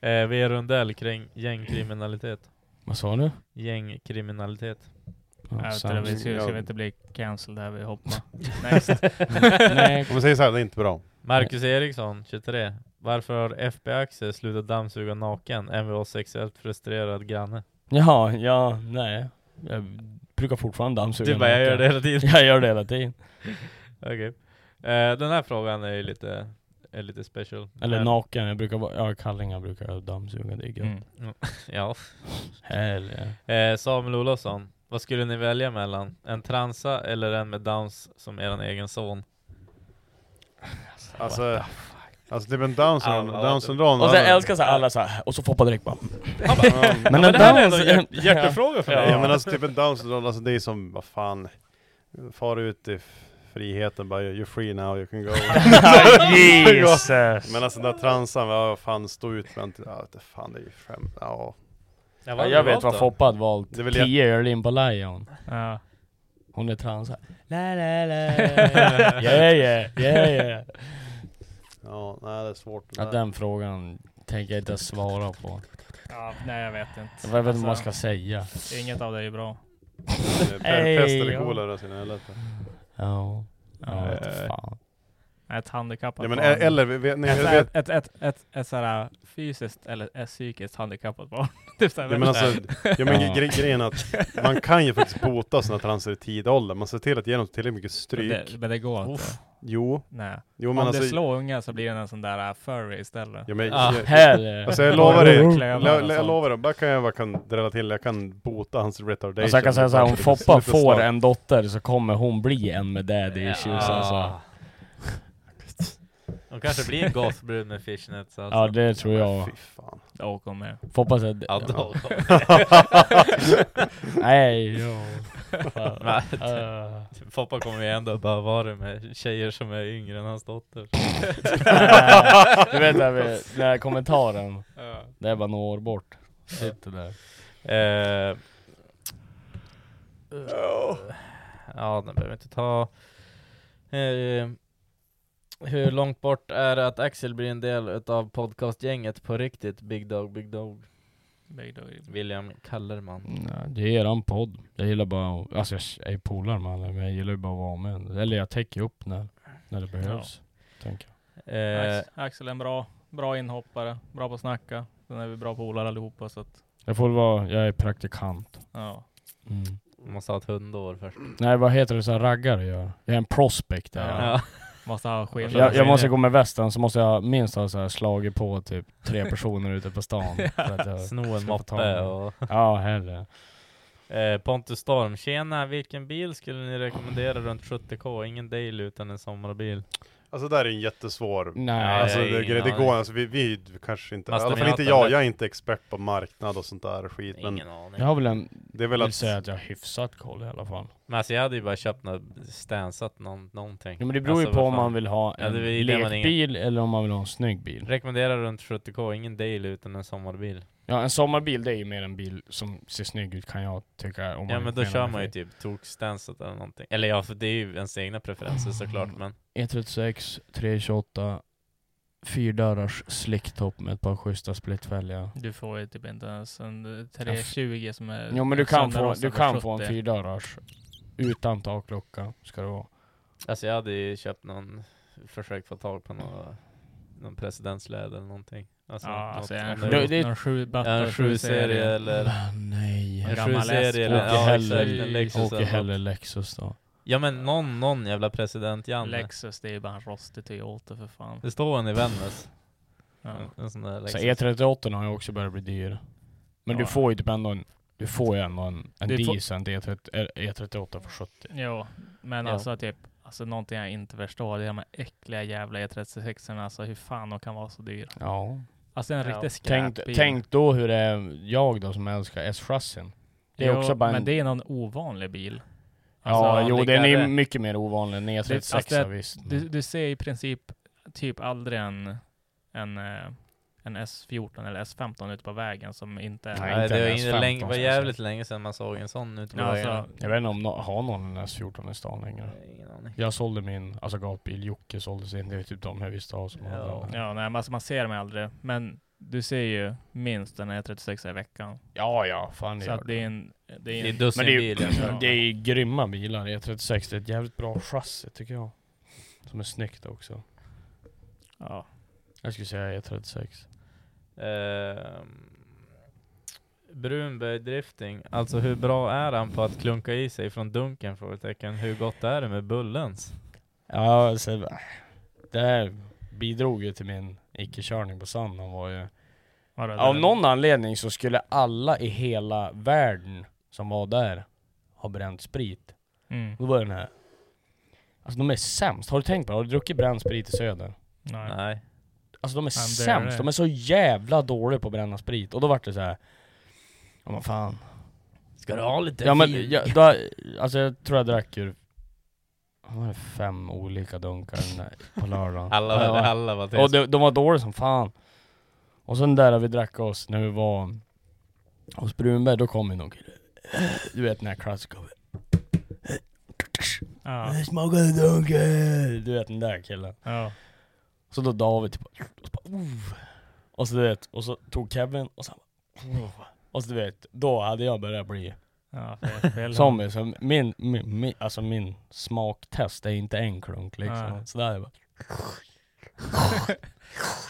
Eh, vi är rundell kring gängkriminalitet. Vad sa du? Gängkriminalitet. Jag vet inte, vi ska, ska vi inte bli cancelled här, vi hoppar. Next. *laughs* Nej. Om vi säger så här, det är inte bra. Marcus Eriksson, 23. Varför har FB-Axel slutat dammsuga naken? Mvh sexuellt frustrerad granne. Jaha, ja, nej. Jag brukar fortfarande dammsuga. Du bara, jag naken. gör det *laughs* hela tiden. Jag gör det hela tiden. Okej. Eh, den här frågan är ju lite, är lite special. Eh, Eller Men- naken, jag brukar vara, ja kallingar brukar jag dammsuga, det är Mm. gött. Ja. Hell yeah. Eh, Samuel Olofsson, vad skulle ni välja mellan? En transa eller en med downs som eran egen son? Alltså, alltså typ en down syndrom, down syndrom Och så jag alla- älskar såhär alla såhär, och så Foppa direkt bara Ja, Men men en det här är ändå dans- hjärt- *laughs* ja. hjärtefråga för mig. Ja. Ja men alltså typ en down syndrom, alltså det är som, vad fan. Far ut i f- friheten bara, you're free now, *laughs* you can go. *laughs* Jesus. Men alltså den där transan, ja vad fan stå ut med, ja vet du fan det är ju skämt, ja. Ja, Jag vet vad Foppa hade valt, Det 10 är väl jag- öl in på Lion Hon är trans här. *laughs* La, la, la. yeah yeah, yeah yeah Ja, nej det är svårt. det ja, där. Den frågan tänker jag inte svara på Ja, nej jag vet inte. Alltså, Jag vet inte vad man ska säga. Inget *laughs* av det är bra. Hey, pest eller ja. kolera, så Eh, är det helvete. Ja, Ja. jag vet Eh, inte fan Ett handikappat Ja, men barn. e- eller vi vet- ni- ett, vet- ett, ett, ett, ett, ett sådär fysiskt eller ett psykiskt handikappat barn. *laughs* Typ såhär, Ja men alltså, ja, men Ja. gre grejen är att man kan ju faktiskt bota sådana transer i tidig ålder. Man ser till att ge dem tillräckligt mycket Men stryk. det, men det går inte. Jo. Nej. Jo, Om men du alltså- slår unga så blir den en sån där uh, furry istället. Ja, men, jag, hell. alltså jag lovar dig, Klövar jag, och jag, sånt. jag lovar dig, bara kan jag, bara kan drälla till, jag kan bota hans retardation. Alltså jag kan säga såhär, om Lite- lite Foppa får snabbt. en dotter så kommer hon bli en med daddy issues alltså *laughs* De kanske blir en gothbrud med fishnets alltså. Ja *laughs* det tror jag Då kommer Foppa säger Ja, då *laughs* Nej, jo. Fan. Eh. Nej, Foppa kommer ju ändå bara vara med tjejer som är yngre än hans dotter. Du vet den här, den här kommentaren, det är bara några år bort. Sitter där. Eh, ja, den behöver vi inte ta. Eh, hur långt bort är det att Axel blir en del utav podcastgänget på riktigt? Big Dog, Big Dog. Big Dog. William Kallerman. Nej, det är eran podd. Jag gillar bara att- alltså jag är ju polare med alla, men jag gillar ju bara att vara med. Eller jag täcker upp när, när det behövs. Tänker Eh, jag. Ax- Axel är en bra, bra inhoppare, bra på att snacka. Sen är vi bra polare allihopa så att, Jag får väl vara, jag är praktikant. ja. Mm. Måste ha ett hundår först. Nej vad heter det så här raggare gör? Jag är en prospect där. *laughs* Ja. Måste ha skinn. Jag, jag måste gå med västen så måste jag minst ha så här slagit på typ tre personer ute på *laughs* stan. för att jag Sno ska en få tag i moppe dem. och... Ja, hellre. Eh, Pontus Storm, tjena, vilken bil skulle ni rekommendera runt 70k? Ingen daily utan en sommarbil. Alltså där är en jättesvår. Nej, alltså, jag har det, ingen det, det aning. går alltså, vi, vi kanske inte, i Fast alla de fall är inte allt annat. jag, jag är inte expert på marknad och sånt där skit. Men Ingen aning. Jag har väl en, det är väl vill att, säga att jag har hyfsat koll i alla fall. Men alltså jag hade ju bara köpt något, stansat någon, någonting. Ja, men det beror alltså, ju på vad om fan. man vill ha en det var ju det man ingen- lekbil eller om man vill ha en snygg bil. Rekommenderar runt 70k, ingen daily utan en sommarbil. Ja, en sommarbil det är ju mer en bil som ser snygg ut kan jag tycka. Om Ja men då menar kör med man ju det. typ tokstansat eller någonting. Eller ja, för det är ju ens egna preferenser såklart men. E36, 328, fyrdörrars slicktopp med ett par schyssta splitfälgar. Du får ju typ inte ens en 320 som är Jo men du kan, få, sönderrostad du för kan få en 70. fyrdörrars. Utan taklucka ska det vara. Alltså jag hade ju köpt någon, försökt få tag på någon, någon presidentsläde eller någonting. Alltså, Ja, något- alltså, en något- sju- något- det- någon sju- Ja, en sju serie eller... Ah, Nej. En sju serie eller... Åker Ja, exakt, hellre en Lexus åker eller något. hellre Lexus då. Ja men någon, någon jävla president Janne. Lexus det är ju bara en rostig Toyota för fan. Det står en i Vännäs. Ja. En- En sån där Så E Lexus. E38 har ju också börjat bli dyr. Men du Ja. får ju typ ändå en, du får ju ändå en, en Du får- decent E30, eh, E38 för 70. Jo, men Ja. alltså typ, alltså någonting jag inte förstår, det är de här äckliga jävla E36 erna alltså hur fan de kan vara så dyra. Ja. Alltså en riktig tänk, skräpbil. tänk då hur det är jag då som älskar S-chassin. Det är jo, också bara en... Men det är någon ovanlig bil. ja, Alltså, jo den är liggare- ju mycket mer ovanlig än Det- E36 alltså det- visst. Du, du ser i princip typ aldrig en, en, eh, en S14 eller S15 ute på vägen som inte är... Nej, det var, ju länge, var jävligt länge sedan man såg en sån ute på Ja, vägen. alltså, Jag vet inte om no har någon en S14 i stan längre. Ingen aning. Jag sålde min, alltså gatbil, Jocke sålde sin, det är typ de jag visste av som hade Ja, den. ja nej, men alltså man ser dem aldrig. Men du ser ju minst en E36 i veckan. Ja, ja, fan det Så gör att det är en... Det är, en, Men det är, ju- alltså. *clears throat* det är ju grymma bilar, E36, det är ett jävligt bra chassi tycker jag. Som är snyggt också. Ja. Jag skulle säga E36. Ehm, Brunberg drifting, alltså hur bra är han på att klunka i sig från dunken? Frågetecken. Hur gott är det med bullens? Ja, så, det här bidrog ju till min icke-körning på Sandhamn var ju... det- Av det- någon anledning så skulle alla i hela världen som var där ha bränt sprit. Mm. Då var den här... Alltså de är sämst, har du tänkt på det? Har du druckit bränd sprit i Söder? Nej. Alltså de är Ja, det är sämst, det. de är så jävla dåliga på att bränna sprit. Och då vart det så här. Ja men fan. Ska du ha lite Ja men vin? jag, då, alltså jag tror jag drack ur vad var det fem olika dunkar den där på lördagen. *laughs* Alla var- Ja. alla var Och de, de var dåliga som fan. Och sen där har vi drack oss när vi var hos Brunberg, då kom ju någon kille. *clears throat* Du vet den här klassiska. Ja. Smaka dunken! Du vet den där killen. Ja. Så då David typ bara, och så bara, "Oh." Och så du vet, och så tog Kevin och så han bara, "Oh." Och så du vet, då hade jag börjat bli Ja, fel- fel. zombie. Så min, min, min, alltså min smaktest är inte en klunk liksom. Nej. Så där är jag bara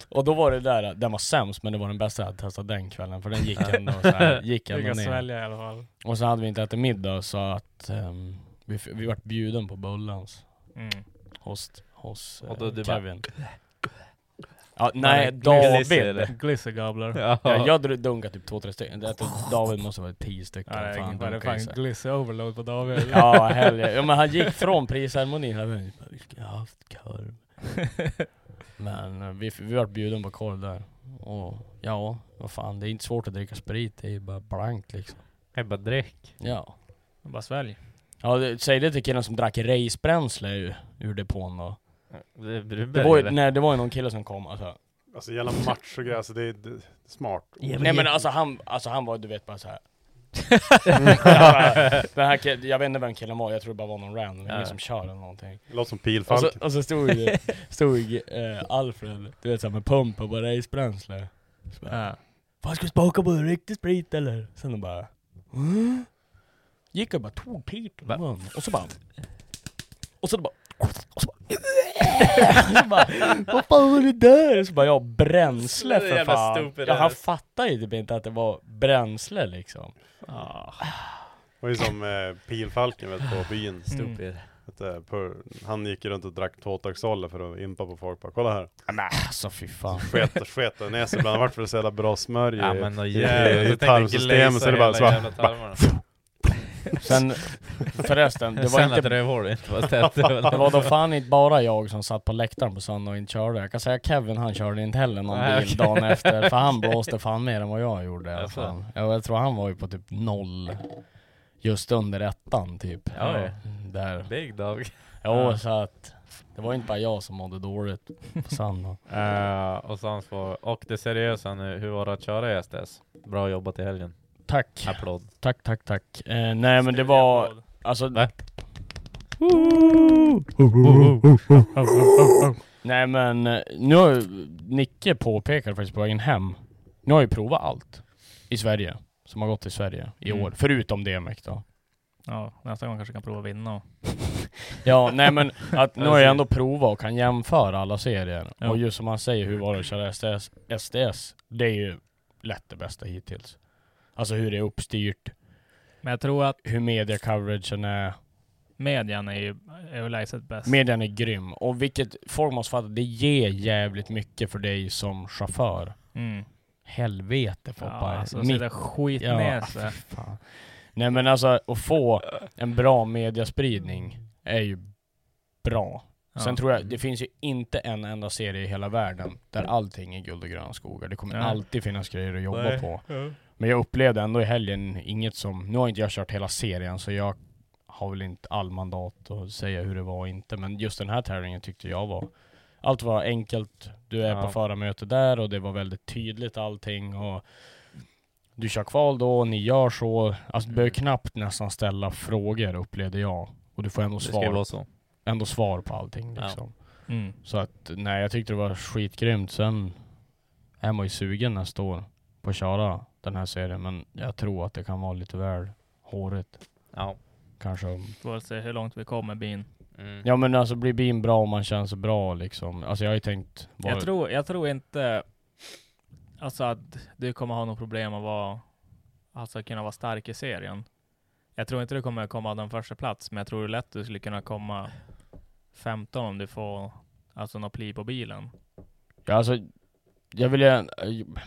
och då var det där, den var sämst men det var den bästa jag hade testat den kvällen för den *laughs* gick Ja. ändå så här, gick Du ändå kan ner. svälja i alla fall. Och så hade vi inte ätit middag så att ehm, vi, f- vi vart bjuden på Bullens. Mm. Hos, hos Och då eh, du bara- Kevin. Ja, Var nej, det David! glisser eller? Glissergablar. Ja. Ja. jag dr- dunkade typ två, tre stycken. Det- David måste vara tio stycken. Ja, det Fan, var det dunkar i fan sig. gliss overload på David. Ja, helvete. Ja, men han gick från prisceremonin. Han bara, vi skulle ha haft korv. Men eh, vi, vi vart bjuden på korv där. Och ja, vad fan. Det är inte svårt att dricka sprit. Det är ju bara blankt liksom. Det är bara dräck. Ja. *laughs* Bara *laughs* svälj. Ja, det, säg det till killen som drack racebränsle ur, ur depån då. Det, Det var, ju, nej, det var ju någon kille som kom alltså. Alltså jävla macho grej, alltså det är det är smart. Nej men alltså han, alltså han var du vet bara *laughs* såhär Den här killen, jag vet inte vem killen var, jag tror det bara var någon random, Ja. ingen som kör eller någonting Låter som pilfalken. Och så, och så stod, ju- stod eh, Alfred, du vet såhär med pump och bara racebränsle Så bara, "Äh, Mm. Fan ska vi smaka på riktig sprit eller? Sen de bara "Mm." Gick och bara tog pipen i munnen och så bara Och så bara och så bara, *laughs* så bara *laughs* Vad fan var det där? Så bara ja bränsle Så för jävla fan stupid ja, Han ass. fattar ju typ inte att det var bränsle liksom Ah. Det var ju som eh, pilfalken vet, på byn. Mm. Stupid. Att, eh, på, han gick ju runt och drack tåtaxolle för att impa på folk. Bara, kolla här. Nej alltså *laughs* fy fan. *laughs* Sket, sket och ner sig ibland. Vart för det så jävla bra smörj i, Ja, men då i, jävlar. Jag i, i tänkte tarmsystemet. Så är det bara, glaza så bara, hela jävla tarmarna. Sen förresten, det var Sen inte... att rövhålet inte var tätt. det var då fan inte bara jag som satt på läktaren på söndag och inte körde. Jag kan säga Kevin han körde inte heller någon Nej, bil okej. dagen efter. För han blåste fan mer än vad jag gjorde. i alla Jaså? fall. Ja, Jag tror han var ju på typ noll. Just under ettan typ. Ja, ja. Där. Big dog. Jo, Ja. så att det var inte bara jag som mådde dåligt på söndag. Eh, och, sen så, och det seriösa nu, hur var det att köra i STS? Bra jobbat i helgen. Tack. Applåd. Tack, tack, tack. Eh, nej men det var, alltså... Nej men, eh, nu har ju- Nicke påpekade faktiskt på vägen hem. Nu har jag ju provat allt. I Sverige. Som har gått i Sverige i Mm. år. Förutom DMX då. Ja, nästa gång kanske jag kan prova att vinna. Ja, *laughs* nej men att nu har jag Precis. ändå provat och kan jämföra alla serier. Ja. Och just som han säger, hur var det att köra STS? STS, det är ju lätt det bästa hittills. Alltså hur det är uppstyrt. Men jag tror att... Hur media coveragen är. Median är ju överlägset bäst. Median är grym. Och vilket folk måste fatta, det ger jävligt mycket för dig som chaufför. Mm. Helvete Foppa. Ja, alltså, Mitt- sitta skit ner sig. fy fan. Nej men alltså, att få en bra mediaspridning är ju bra. Sen tror jag, det finns ju inte en enda serie i hela världen där allting är guld och gröna skogar. Det kommer Nej. alltid finnas grejer att jobba Nej. på. Ja. Men jag upplevde ändå i helgen inget som, nu har inte jag kört hela serien så jag har väl inte all mandat att säga hur det var och inte, men just den här tävlingen tyckte jag var allt var enkelt, du är Ja. på förarmöte där och det var väldigt tydligt allting och du kör kval då, och ni gör så. Alltså du behöver Mm. knappt nästan ställa frågor upplevde jag. Och du får ändå Det ska svar, ju vara så. Ändå svar på allting Ja. liksom. Mm. Så att nej, jag tyckte det var skitgrymt. Sen är man ju sugen nästa år på att köra den här serien. Men jag tror att det kan vara lite väl hårigt. Ja. Kanske om Får se hur långt vi kommer bin. Ja men alltså blir bin bra om man känner sig bra liksom? Alltså jag har ju tänkt... vara- Jag, tror, jag tror inte alltså att du kommer ha något problem att vara, alltså kunna vara stark i serien. Jag tror inte du kommer komma av den första plats, men jag tror lätt du skulle kunna komma 15 om du får alltså något pli på bilen. Ja, alltså, jag vill ju,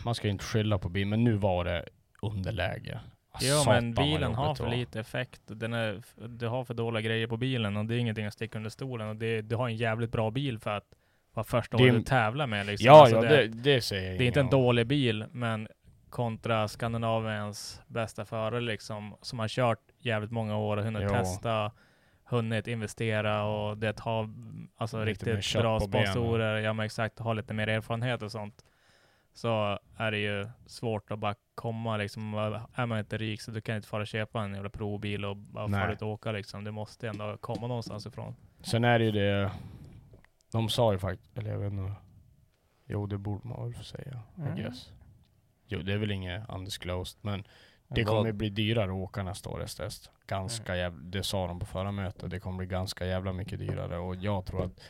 man ska ju inte skylla på bilen, men nu var det underläge. Jo Ah, Satan, men vad bilen har jobbigt för det var. lite effekt. Den är, du har för dåliga grejer på bilen och det är ingenting att sticka under stolen. Och det, du har en jävligt bra bil för att vara första Det är- året du tävlar med. Liksom. Ja, ja, det- det säger jag Det är inte inget en om. dålig bil, men kontra Skandinaviens bästa förare liksom, som har kört jävligt många år och hunnit Jo. testa, hunnit investera och det har alltså, Lite mer riktigt kött bra på benen. sponsorer, ja men exakt, har lite mer erfarenhet och sånt så är det ju svårt att bara komma liksom. Är man inte rik så du kan inte fara och köpa en jävla provbil och bara Nej. fara ut och åka liksom. Du måste ändå komma någonstans ifrån. Sen är det ju det, de sa ju faktiskt, eller jag vet inte. Jo det borde man väl få säga, Mm. I guess. Jo det är väl inget undisclosed, men det Men vad- kommer *laughs* bli dyrare att åka nästa år test. Ganska jävla, det sa de på förra mötet, det kommer bli ganska jävla mycket dyrare och jag tror att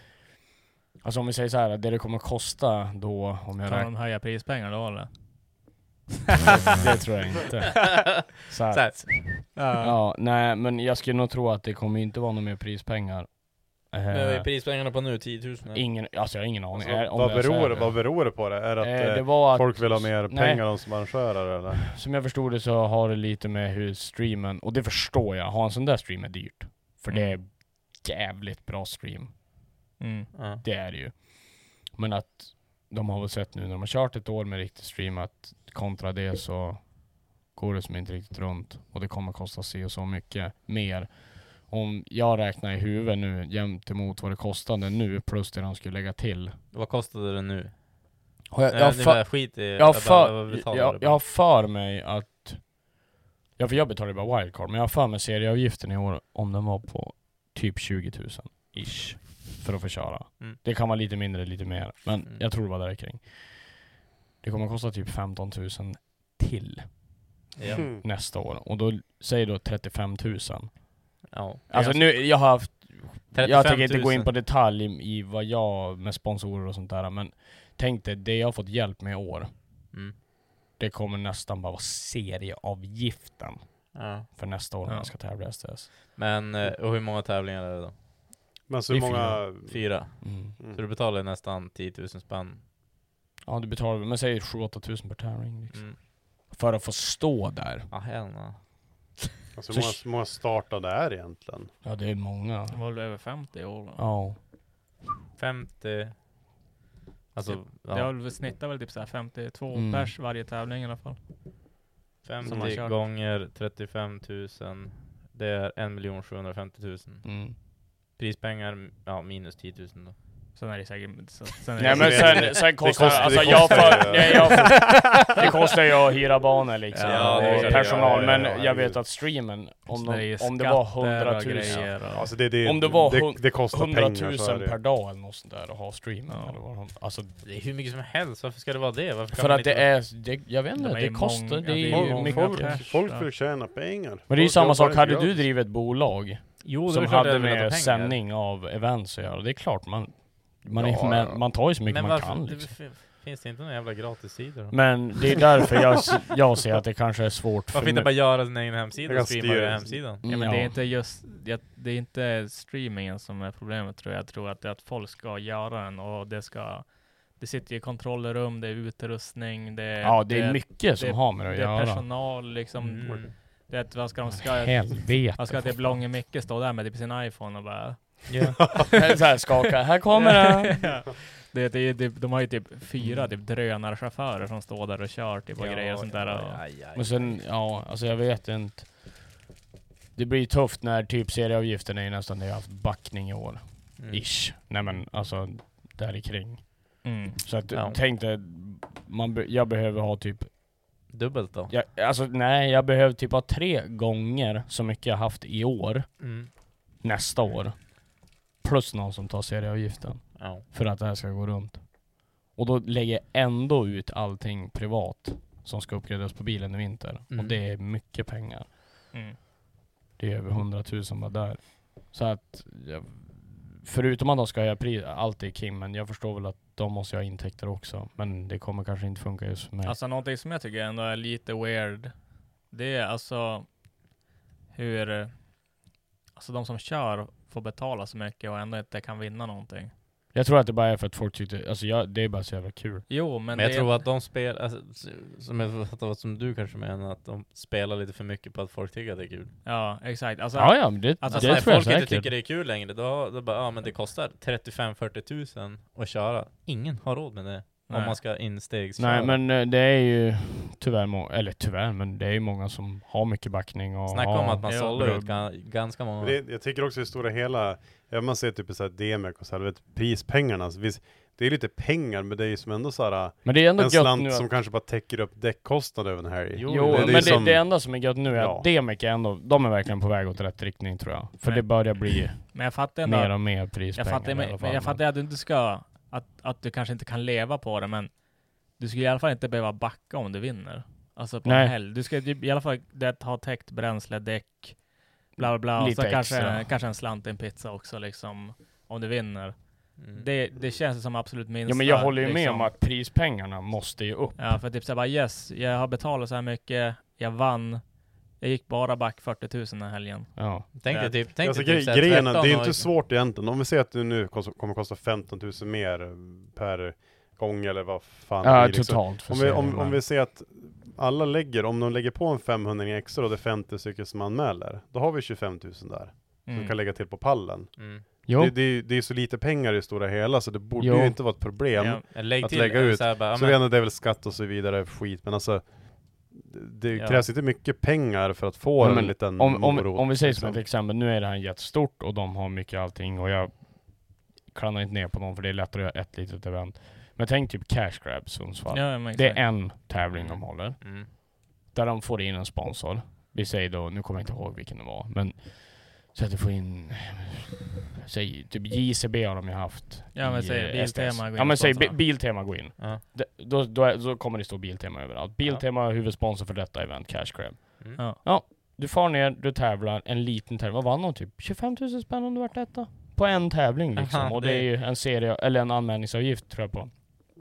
Alltså om vi säger så här, det det kommer kosta då om jag Kan *laughs* räknar de höja prispengar då eller? det tror jag inte. Så att, Så här. Ja. Eh, nej men jag skulle nog tro att det kommer inte vara några mer prispengar. Eh, Men vad är prispengarna på nu? 10 000? eller? Ingen, alltså jag har ingen aning. Alltså, Eh, om vad, jag beror, säger det- vad beror det på det? Är det att, Eh, eh, det var att- folk vill ha mer nej. pengar än som arrangörer eller? Som jag förstod det så har det lite med hur streamen, och det förstår jag, ha en sån där stream är dyrt. För det Mm. är jävligt bra stream. Mm. Det är det ju. Men att de har väl sett nu när de har kört ett år med riktig stream att kontra det så går det som inte riktigt runt och det kommer kosta sig och så mycket mer. Om jag räknar i huvudet nu jämt emot vad det kostade nu plus det de skulle lägga till. Vad kostade det nu? Har jag, Nej, jag, har nu för, bara skit i- jag, jag har bara- vad för, betalar du jag, jag har för mig att... Ja, för jag betalar ju bara wildcard, men jag har för mig serieavgiften i år, om den var på typ 20 000 ish. För att få köra. Mm. Det kan vara lite mindre, lite mer. Men jag tror det var där kring. Det kommer kosta typ 15 000 till. Ja. Hmm. Mm. Nästa år. Och då säger då 35 000. Ja. Alltså nu, jag har haft... Jag 35 tänker inte gå in 000. på detalj i- i vad jag, med sponsorer och sånt där, men tänk dig, det jag har fått hjälp med i år, Mm. det kommer nästan bara vara serieavgiften Mm. Ja. för nästa år när Ja. jag ska tävla i STS. Men, eh, och hur många tävlingar är det då? Men alltså hur Det är många- Fyra. fyra. Mm. Så du betalar nästan 10 000 spänn? Ja, du betalar väl, men säg 7-8 tusen per tävling liksom. Mm. För att få stå där. Ja, hell no. Alltså Så hur många, hur många startade är egentligen? Ja, det är många. Det var väl över 50 i år då? Ja. 50... Alltså, typ, Det har ja. väl snittat väl typ så här 52 Mm. pers varje tävling i alla fall. Som har 50 kört. gånger 35 000. Det är 1 750 000. Mm. *laughs* Prispengar, ja minus 10 000 då. Sen är det säkert... så- Sen är Nej Alltså, *laughs* men sen, sen kostar, det alltså jag får, nej, jag får, det kostar ju att hyra banor liksom, Ja, och det- personal, ja, ja, ja, men jag ja. vet att streamen, om, Sen är det ju de, om det var skatter och 100 grejer 000, och- Alltså, det- det- om det var det- hun- det kostar 100 000 pengar, så är det ju. per dag eller något sånt där att ha streamen eller vad de- alltså, Det är hur mycket som helst, varför ska det vara det? Varför kan För man liksom- att det inte- är, det, jag vet inte, De är det ju kostar, många- det är ja, det är ju många mycket. cash. Folk Ja. vill tjäna pengar. Men det är ju Folk samma jobbar sak, inte hade du gratis. drivit ett bolag Jo, det är som klart jag hade hade velat ha med pengar. sändning av events att göra, det är klart man, man, är, Ja, man, man tar ju så mycket Men man varför- kan det- liksom. fin- Finns det inte någon jävla gratissida då? Men det är därför jag, *laughs* jag ser att det kanske är svårt Varför inte mig- bara göra sin egen hemsida och streama över hemsidan? Ja, men det är inte just, det, det är inte streamingen som är problemet tror jag. Jag tror att det är att folk ska göra den och det ska, det sitter ju kontrollrum, det är utrustning, det är... Ja, det är mycket som har med det att det är göra. personal liksom. Mm. Det, är att vad ska de, ska, Helvete, Vad ska det Blånge Micke stå där med typ sin iPhone och bara *laughs* Ja. *laughs* så här skaka, här kommer den! Ja. *laughs* det, det, är ju typ- de har ju typ fyra Mm. typ drönarchaufförer som står där och kör typ och Ja, grejer och sånt där. Men sen, ja, alltså jag vet inte. Det blir tufft när typ serieavgiften är ju nästan det jag haft backning i år. Mm. Ish. Nej men alltså, där i kring. Mm. Så att, Ja. tänk dig, man, be- jag behöver ha typ... Dubbelt då? Jag, alltså nej, jag behöver typ ha tre gånger så mycket jag haft i år. Mm. Nästa år. Plus någon som tar serieavgiften. För att det här ska gå runt. Och då lägger jag ändå ut allting privat som ska uppgraderas på bilen i vinter. Mm. Och det är mycket pengar. Mm. Det är över 100 000 bara där. Så att, jag, förutom att de ska höja pris, allt är Kim, men jag förstår väl att de måste ju ha intäkter också. Men det kommer kanske inte funka just för mig. Alltså någonting som jag tycker ändå är lite weird. Det är alltså hur alltså de som kör får betala så mycket och ändå inte kan vinna någonting. jag tror att det bara är för att folk tyckte, alltså jag, det är bara så jävla kul. Jo, men, Men jag det tror att de spelar, alltså, s- som, jag fattar, vad som du kanske menar, att de spelar lite för mycket på att folk tycker att det är kul. Ja, exakt. Alltså, Ja, ja, men det- alltså, det så här, När tror jag folk inte säkert. tycker det är kul längre, då, då bara, ja men det kostar 35-40 tusen att köra. Ingen har råd med det. Nej. Om man ska instegsköra. Nej men eh, det är ju tyvärr många, eller tyvärr, men det är ju många som har mycket backning och Snacka har, om att man Ja. sållar ut ga- ganska många. Men Det, jag tycker också i det stora hela, ja, man ser typ i så här DMX och så här, du vet, prispengarna, alltså, visst, det är lite pengar men det är ju som ändå så här, Men det är ändå en gött slant nu att- som liksom- kanske bara täcker upp däckkostnader över den här. Jo, men det, det enda som är gött nu är att Demek är ändå, de är verkligen på väg åt rätt riktning tror jag. För Men- det börjar bli Men jag fattar ändå mer att- och mer jag prispengar fattar, i alla men, fall. men jag fattar att du inte ska, att, att du kanske inte kan leva på det, men du skulle i alla fall inte behöva backa om du vinner. Alltså på Nej. en helg. Du ska ju i alla fall det, ha täckt bränsle, däck, bla bla bla. Och Lite så kanske, extra. kanske en slant i en pizza också liksom, om du vinner. Mm. Det, det känns som absolut minsta. Mm. ja men jag håller ju med liksom. om att prispengarna måste ju upp. Ja, för typ såhär bara yes, jag har betalat så här mycket, jag vann, jag gick bara back 40 000 den här helgen. Ja. Tänk dig typ, tänk alltså, dig typ gre- så här grejen är, 13 det är och- inte svårt egentligen. Om vi säger att du nu kos- kommer kosta 15 000 mer per gång eller vad fan Ja, det blir, liksom. totalt för Om vi, serien, om, om men- vi säger att alla lägger, om de lägger på en 500 extra och det är 50 stycken som anmäler, då har vi 25 000 där. Som Mm. kan lägga till på pallen. Mm. Jo. Det, det, är- det är så lite pengar i det stora hela så det borde Jo. ju inte vara ett problem Ja, men lägg att till, lägga ut. så Så, här bara, ja, så men- det enda det är väl skatt och så vidare, skit, men alltså det Ja. krävs inte mycket pengar för att få Ja, en men liten om, om, morot. om vi säger som liksom. ett exempel, nu är det här jättestort och de har mycket allting och jag klandrar inte ner på dem för det är lättare att göra ett litet event. Men tänk typ Cash Grab Sundsvall. Ja, ja, men det är exakt. en tävling de håller. Mm. Där de får in en sponsor. Vi säger då, nu kommer jag inte ihåg vilken det var, men så att du får in, säg typ JCB har de ju haft. Ja, men i, säg eh, Biltema STS. går in Ja och men säg sponsrar. Bi- Biltema går in. Ja. Det- Då, då, är- då kommer det stå Biltema överallt. Biltema är huvudsponsor för detta event, Cash Grab. Mm. Ja. Ja, du far ner, du tävlar, en liten tävling. Vad vann de typ? 25 000 spänn om du vart detta? På en tävling liksom. Aha, och det det- är ju en serie, eller en anmälningsavgift tror jag på.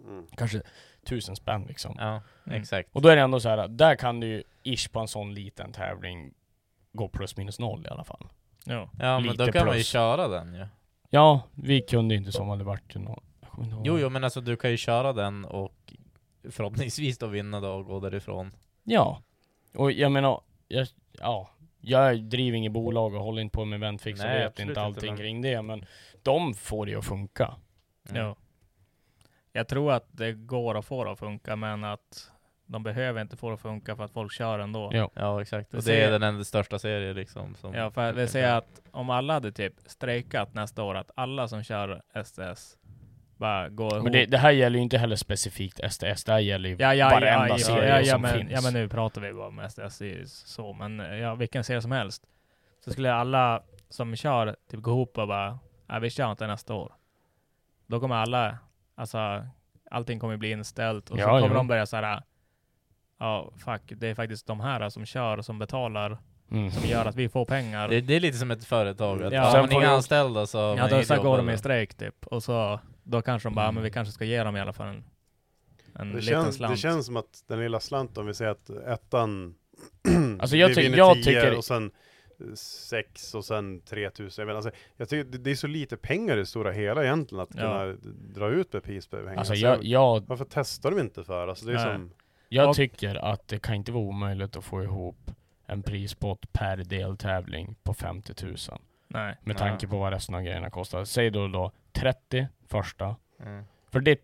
Mm. Kanske 1000 spänn liksom. Ja, exakt. Och då är det ändå så här, där kan du ju ish på en sån liten tävling gå plus minus noll i alla fall. Ja. Ja, men Lite då kan man ju plus. köra den ju. Ja, vi kunde ju inte som hade varit ju nå- jag kommer inte ihåg. Jo, jo, men alltså du kan ju köra den och förhoppningsvis då vinna då och gå därifrån. Ja. Och jag menar, jag, ja. Jag driver inget bolag och håller inte på med eventfix och Nej, vet absolut inte inte, allting men- kring det, men de får det att funka. Mm. Mm. Ja. Jag tror att det går att få det att funka, men att de behöver inte få det att funka för att folk kör ändå. Ja. Ja, exakt. Det Och det ser- är den enda största serien liksom. Som Ja, för det säger jag att om alla hade typ strejkat nästa år, att alla som kör STS bara går ihop. Men det, det här gäller ju inte heller specifikt STS, det här gäller ju ja, ja, ja, varenda ja, serie ja, ja, som men, finns. Ja, men nu pratar vi bara om STS, det är ju så, men eh, ja, vilken serie som helst. Så skulle alla som kör typ gå ihop och bara, nej vi kör inte nästa år. Då kommer alla, alltså allting kommer bli inställt och Ja, så kommer ja. de börja såhär, ja fuck, det är faktiskt de här som kör och som betalar, Mm. som gör att vi får pengar. Det, det är lite som ett företag. Att Ja. Har Sen man får inga du- anställda så... har Ja, man då inget så jobb går de eller? i strejk typ. Och så, då kanske de bara, men vi kanske ska ge dem i alla fall en, Mm, en det, liten känns, slant. det känns som att den lilla slanten, om vi säger att ettan, *clears throat* Alltså jag vi tyck- vinner jag 10 tycker- och sen eh, sex och sen 3000. Jag, menar, alltså, jag tycker det, det är så lite pengar i det stora hela egentligen att Ja. kunna d- dra ut med prispengar. Alltså, jag- jag- Varför testar de inte för? Alltså, det är Nej. som, Jag Och- tycker att det kan inte vara omöjligt att få ihop en prispott per deltävling på 50 000. Nej. Med tanke på vad resten av grejerna kostar. Säg då då 30 första. Mm. För det...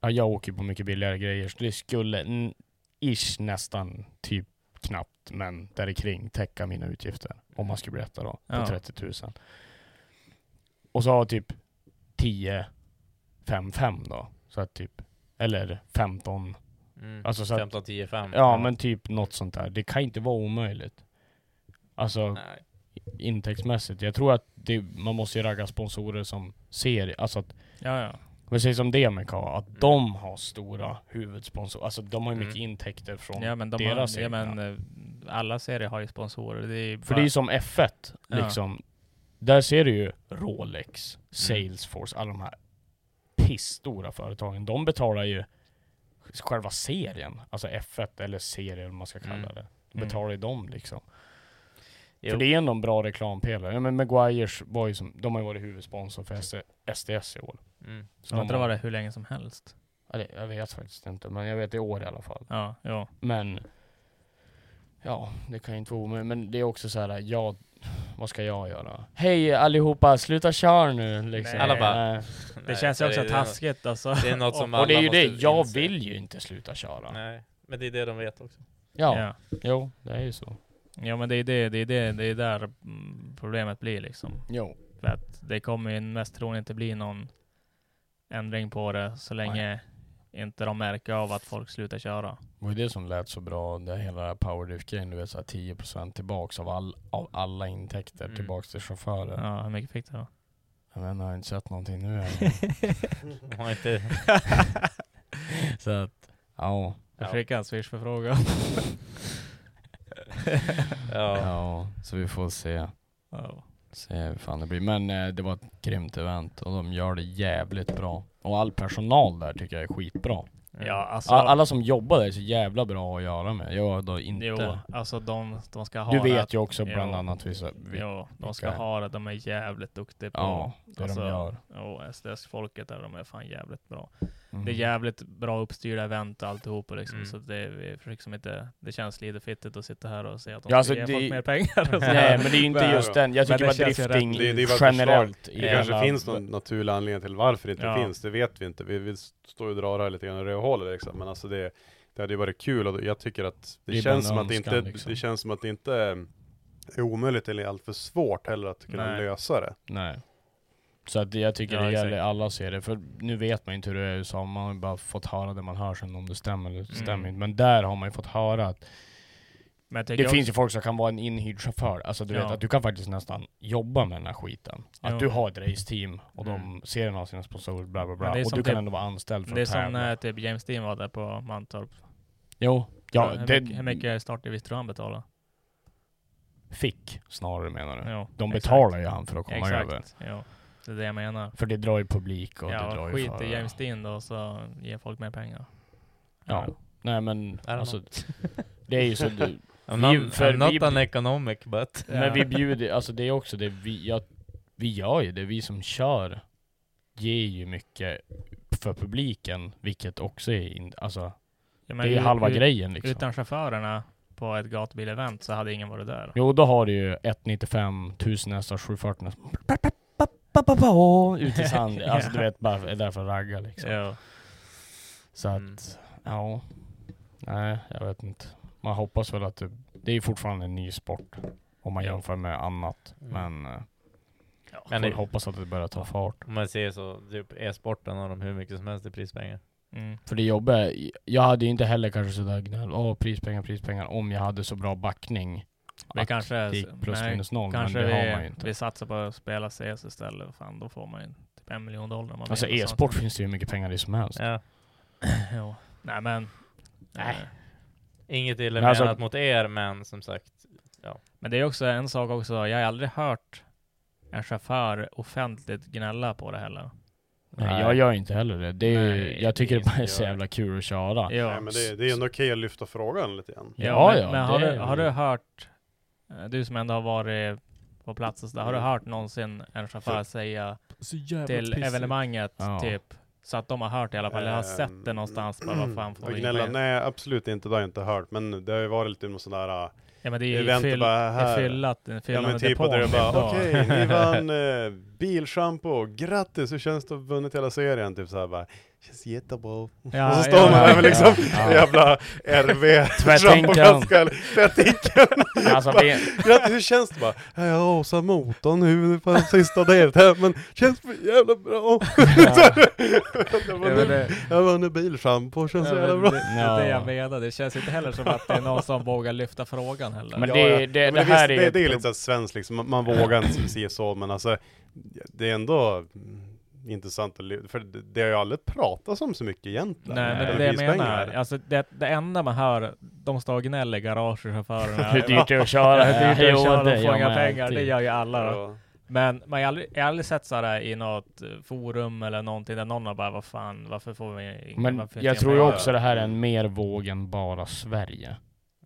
Ja, jag åker ju på mycket billigare grejer, så det skulle n- ish nästan typ knappt, men där i kring täcka mina utgifter. Om man skulle berätta då, på Ja. 30 000. Och så har typ 10, 5, 5 då. Så att typ, eller 15. Mm. Alltså så att- 15, 10, 5. Ja, men typ något sånt där. Det kan inte vara omöjligt. Alltså intäktsmässigt. Jag tror att det, man måste ju ragga sponsorer som ser, alltså att Ja, ja. vi säger som Demeka, att Mm. de har stora huvudsponsorer. Alltså de har ju mycket intäkter från ja, men de deras har, ja, egna. men eh, alla serier har ju sponsorer. Det är För bara- det är ju som F1, Ja. Mm. liksom. Där ser du ju Rolex, Salesforce, alla de här pissstora företagen. De betalar ju själva serien, alltså F1 eller serien vad man ska kalla Mm. det. De betalar ju dem liksom. Jo. För det är ändå en bra reklampelare. Ja, men Maguires var ju som, de har ju varit huvudsponsor för SD, SDS i år. Mm. De har inte varit hur länge som helst. Ja, det- Jag vet faktiskt inte, men jag vet i år i alla fall. Ja, ja. Men, ja, det kan ju inte vara omöjligt. Men det är också så här, jag, vad ska jag göra? Hej allihopa, sluta köra nu liksom. Alla bara, Nej. Det Nej, känns ju det- också det- taskigt, alltså. *laughs* Det är något *laughs* som Och det är alla ju det, måste jag inse. vill ju inte sluta köra. Nej, men det är det de *laughs* vet också. Ja. jo, det är ju så. Ja, men det är det, det är det, det är där mm, problemet blir liksom. Jo. För att det kommer ju mest troligen inte bli någon ändring på det så länge inte de märker av att folk slutar köra. Det var ju det som lät så bra, det hela den här powerdrift-grejen, du vet såhär 10% tillbaks av, all, av alla intäkter Mm. tillbaks till chaufförer. Ja, hur mycket fick du då? Jag vet inte, jag har inte sett någonting nu *laughs* Har inte- *laughs* Så att, ja. Jag fick en swish-förfrågan. Ja. *laughs* så vi får se. Se hur fan det blir. Men eh, det var ett grymt event och de gör det jävligt bra. Och all personal där tycker jag är skitbra. Ja, alltså- All- alla som jobbar där är så jävla bra att göra med. Jag då inte. Jo, alltså de, de ska ha Du det. vet ju också bland annat vissa- vi- Jo, de ska vilka- ha det. De är jävligt duktiga på... alltså, Ja, det de Alltså, gör. Jo, SDS-folket där, de är fan jävligt bra. Mm. Det är jävligt bra uppstyrda event och alltihopa liksom. Mm. Så att det, vi försöker liksom inte, det känns lite fittigt att sitta här och säga att de Ja, alltså, ska ge det- folk mer pengar. *laughs* och så. *laughs* Nej, men det är ju inte just den. Jag Men tycker bara känns ju drifting rätt. Det, det, är bara ett generellt förslag. i det kanske hela- finns någon naturlig anledning till varför det inte Ja. finns, det vet vi inte. Vi, vi står ju och drar här lite grann i rövhålet liksom. men alltså det, det hade ju varit kul och jag tycker att det, Det är bara känns en som att det önskan, inte, liksom. det känns som att det inte är omöjligt eller allt för svårt heller att kunna Nej. lösa det. Nej. Så att jag tycker Ja, det gäller exakt. alla serier, för nu vet man ju inte hur det är i USA, man har ju bara fått höra det man hör sen om det stämmer eller stämmer Mm. inte. Men där har man ju fått höra att Men jag det tycker finns också- ju folk som kan vara en inhyrd chaufför, alltså du vet Ja. att du kan faktiskt nästan jobba med den här skiten. Att Jo. du har ett raceteam och de serien har sina sponsorer bla bla Men bla, Mm. det är och som du kan typ- ändå vara anställd för Det är att som tävla. när typ James Dean var där på Mantorp. Jo, ja, hur, det- mycket, hur mycket startavgift tror han betalade? Fick snarare menar du. Jo, de exakt. betalar ju han för att komma Exakt, över. Ja, det är det jag menar. För det drar ju publik och det ja, drar ju skit förare. i James Dean då så ger folk mer pengar. Ja. Nej men don't alltså, know. det är ju så... Du, *laughs* I'm not- I'm not an economic, but- Men vi bjuder, alltså det är också det vi, ja, vi gör ju det, vi som kör ger ju mycket för publiken, vilket också är, in, alltså, Ja, men det är ju ut- halva ut- grejen liksom. Utan chaufförerna på ett gatubilevent så hade ingen varit där. Jo, då har du ju 195, 1000 hästar, 740 nästan. Ut i sand. Alltså du vet, bara är där för att ragga liksom. Ja. Mm. Så att, ja. Nej, jag vet inte. Man hoppas väl att det, det är ju fortfarande en ny sport. Om man Ja. jämför med annat. Mm. Men, eh, Men får det- hoppas att det börjar ta fart. Om man ser så, typ e-sporten har de hur mycket som helst i prispengar. Mm. För det jobbiga, är- jag hade ju inte heller kanske sådär gnäll, åh prispengar, prispengar, om jag hade så bra backning. Vi att kanske, det gick plus minus noll, men kanske det har vi, man ju inte. vi satsar på att spela CS istället. Fan, då får man ju typ en miljon dollar. om Man Alltså vinner e-sport sånt. finns det ju hur mycket pengar i som helst. *clears throat* Ja. jo. Nej men. eh, Nej. Inget illa Men alltså- menat mot er, men som sagt, ja. Men det är också en sak också. Jag har aldrig hört en chaufför offentligt gnälla på det heller. Nej, jag gör inte heller det. det är ju, Nej, jag tycker det inte bara är så jag. jävla kul att köra. Ja. Nej, men det, det är ändå okej att lyfta frågan lite grann. Ja, Ja, men, ja, men har, det du, är- har du hört, eh, du som ändå har varit på Mm. plats och sådär, har du hört någonsin en chaufför Så- säga så jävla till pissigt. evenemanget Ja. typ Så att de har hört i alla fall, eller har Ehm, sett det någonstans. Bara, vad fan får Och de gnälla, ingen- nej absolut inte, det har jag inte hört. Men det har ju varit lite någon sån där äh, Ja, men det är ju event fyll- bara här. det är fyllat, det är ja, men fyllande typ, och depå. det är bara, Ja. okej, *laughs* ni vann eh, bilschampo, grattis, hur känns det att ha vunnit hela serien? Typ såhär bara, känns jättebra. Ja, och så står man ja, där med ja, liksom ja. jävla *laughs* RV, Tvättinkeln. schampoflaska, tvättinkeln. *laughs* Alltså, Bara, vi- Grattis, hur känns det? Bara, "Ja, jag asar motorn nu på sista deltävlingen, men känns för jävla bra. *laughs* jag Ja, men det- vann- jag vann bilschampo, känns *laughs* så Ja, jävla men bra. Det, det är det jag menar, det känns inte heller som att det är någon som vågar lyfta frågan heller. Ja, ja. Ja, men visst, det, det är lite såhär svenskt liksom, man, man vågar inte se så, men alltså det är ändå mm, intressant att ly- för det, det har ju aldrig pratats om så mycket egentligen. Nej, men det är det jag menar. Alltså, det, det enda man hör, de står och gnäller i garagechaufförerna. Hur dyrt *laughs* det är att köra. Hur dyrt det är Jo, att köra, det typ. de gör får inga man pengar. alltid. Det gör ju alla Ja. då. Men man har aldrig, jag har aldrig sett sådär i något eh, forum eller någonting där någon har bara vad fan, varför får vi inga, Men varför finns jag inga tror ju pengar?" också det här är en mer våg än bara Sverige.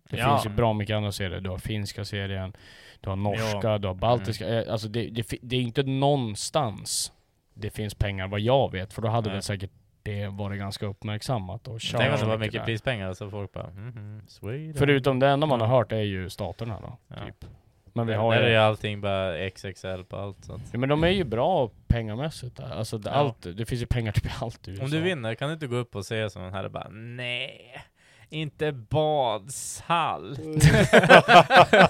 Det Ja. finns ju bra mycket andra serier. Du har finska serien, du har norska, Ja. du har baltiska. Mm. Eh, Alltså det, det, fi- det är inte någonstans det finns pengar vad jag vet, för då hade Nej. väl säkert det varit ganska uppmärksammat och Tänk om det var mycket mycket där. prispengar så folk bara mhm, Sweden. Förutom det enda man har hört är ju staterna då, typ. Men vi har Där är ju ju... allting bara XXL på allt sånt. Ja, men de är ju bra pengamässigt där. Alltså det, Ja. allt, det finns ju pengar till allt i USA. Om du vinner kan du inte gå upp och säga som den här och bara nej, inte badshall. Mm.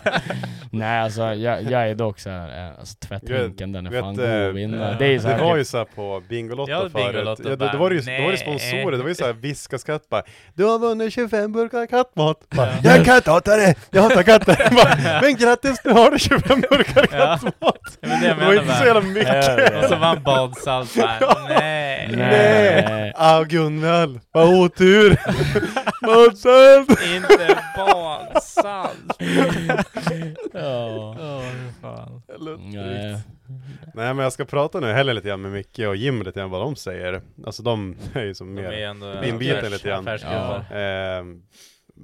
*laughs* Nej alltså jag, jag är dock såhär, eh, alltså tvättinken den är Vet, fan eh, god att vinna. eh, det är typ- ju det såhär, var ju såhär på Bingolotto Ja, förut, Bingolotto ja, då, bara, då, var det ju, då var det nej. sponsorer, det var ju såhär viskaskatt bara Du har vunnit 25 burkar kattmat! Bara, Jag är katthatare! Jag hatar katter! *laughs* Bara, Men grattis, nu har du 25 burkar Ja. kattmat! Ja, men det jag det var menar ju inte så bara. jävla mycket! Ja, och så vann badsalt bara, *laughs* Ja. nej. Nej! Ah Gunvald, vad otur! Badsalt! Inte *laughs* badsalt. Ja. fan. Mm, Nej. Nej men jag ska prata nu heller lite grann med Micke och Jim lite grann vad de säger. Alltså de *laughs* är ju som De mer är ändå inbiten affärs- lite grann. affärsgubbar. Ehm,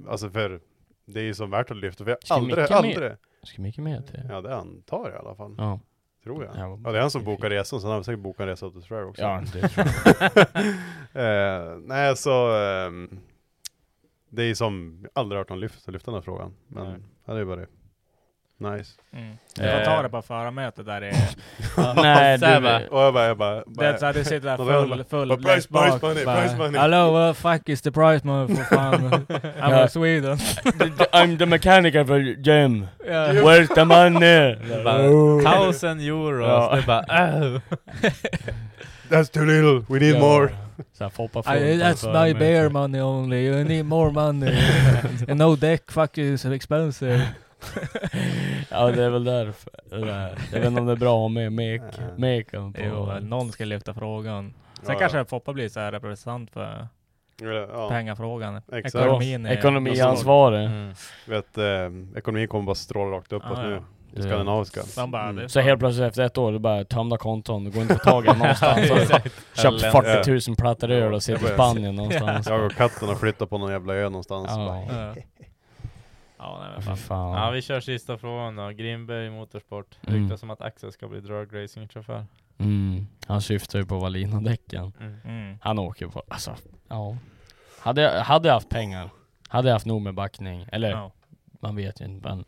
alltså för det är ju som värt att lyfta för jag Ska aldrig, Micke med? aldrig. Ska Micke med till? Ja det antar jag i alla fall. Ja. Tror jag. Ja, vad Ja det är han som bokar resan, så han har säkert bokat en resa åt Australien också. Ja, det tror *laughs* eh, nej så, ehm, det är ju som, jag har aldrig hört någon lyfta, lyfta den här frågan. Men ja, det är bara det. Nice. Mm. Du får ta det på förarmötet där i... *laughs* Nej, Så här du- bara- och jag bara- jag bara- Det är så här, du sitter där Och då är de full, bara, full "Vad price, längst bak, price money, bara, price money." Hello, what the fuck is the price money for *laughs* fan? I'm Ja. from Sweden. I'm the mechanic of Jim. Ja. Where's the money? Bara, Oh. Tusen euro, så det bara "Åh." That's too little, we need Ja. more. Så här, Foppa får I, inte that's för my mycket. beer money only, you need more *laughs* money. And no deck fuck is expensive. Ja *laughs* det är väl därför. det där. Jag vet inte om det är bra med mek, *laughs* meken på... Jo, någon ska lyfta frågan. Sen Ja, kanske Foppa blir så här representant för pengafrågan. Exakt. Ekonomin. är- *laughs* Mm. Vet, eh, ekonomin kommer bara stråla rakt uppåt Ah, ja. nu. Det skandinaviska. Så han bara, det är Så helt plötsligt efter ett år, det är bara tömda konton, det går inte att få tag i den *laughs* någonstans. alltså. Ja, Så exakt. Köpt Ja. 40 000 plattor öl och sitter i Jag Spanien börjar- någonstans. Jag och katten har flyttat på någon jävla ö någonstans. Ja. Bara, Ja. Ja, nej, men Fy fan. fan. ja, vi kör sista frågan då. Grimberg Motorsport. Mm. Ryktas som att Axel ska bli dragracingchaufför. Mm. Han syftar ju på Wallina-däcken. Mm. Han åker på, alltså, ja. Hade jag, hade jag haft pengar, hade jag haft nog med backning, eller Ja. man vet ju inte men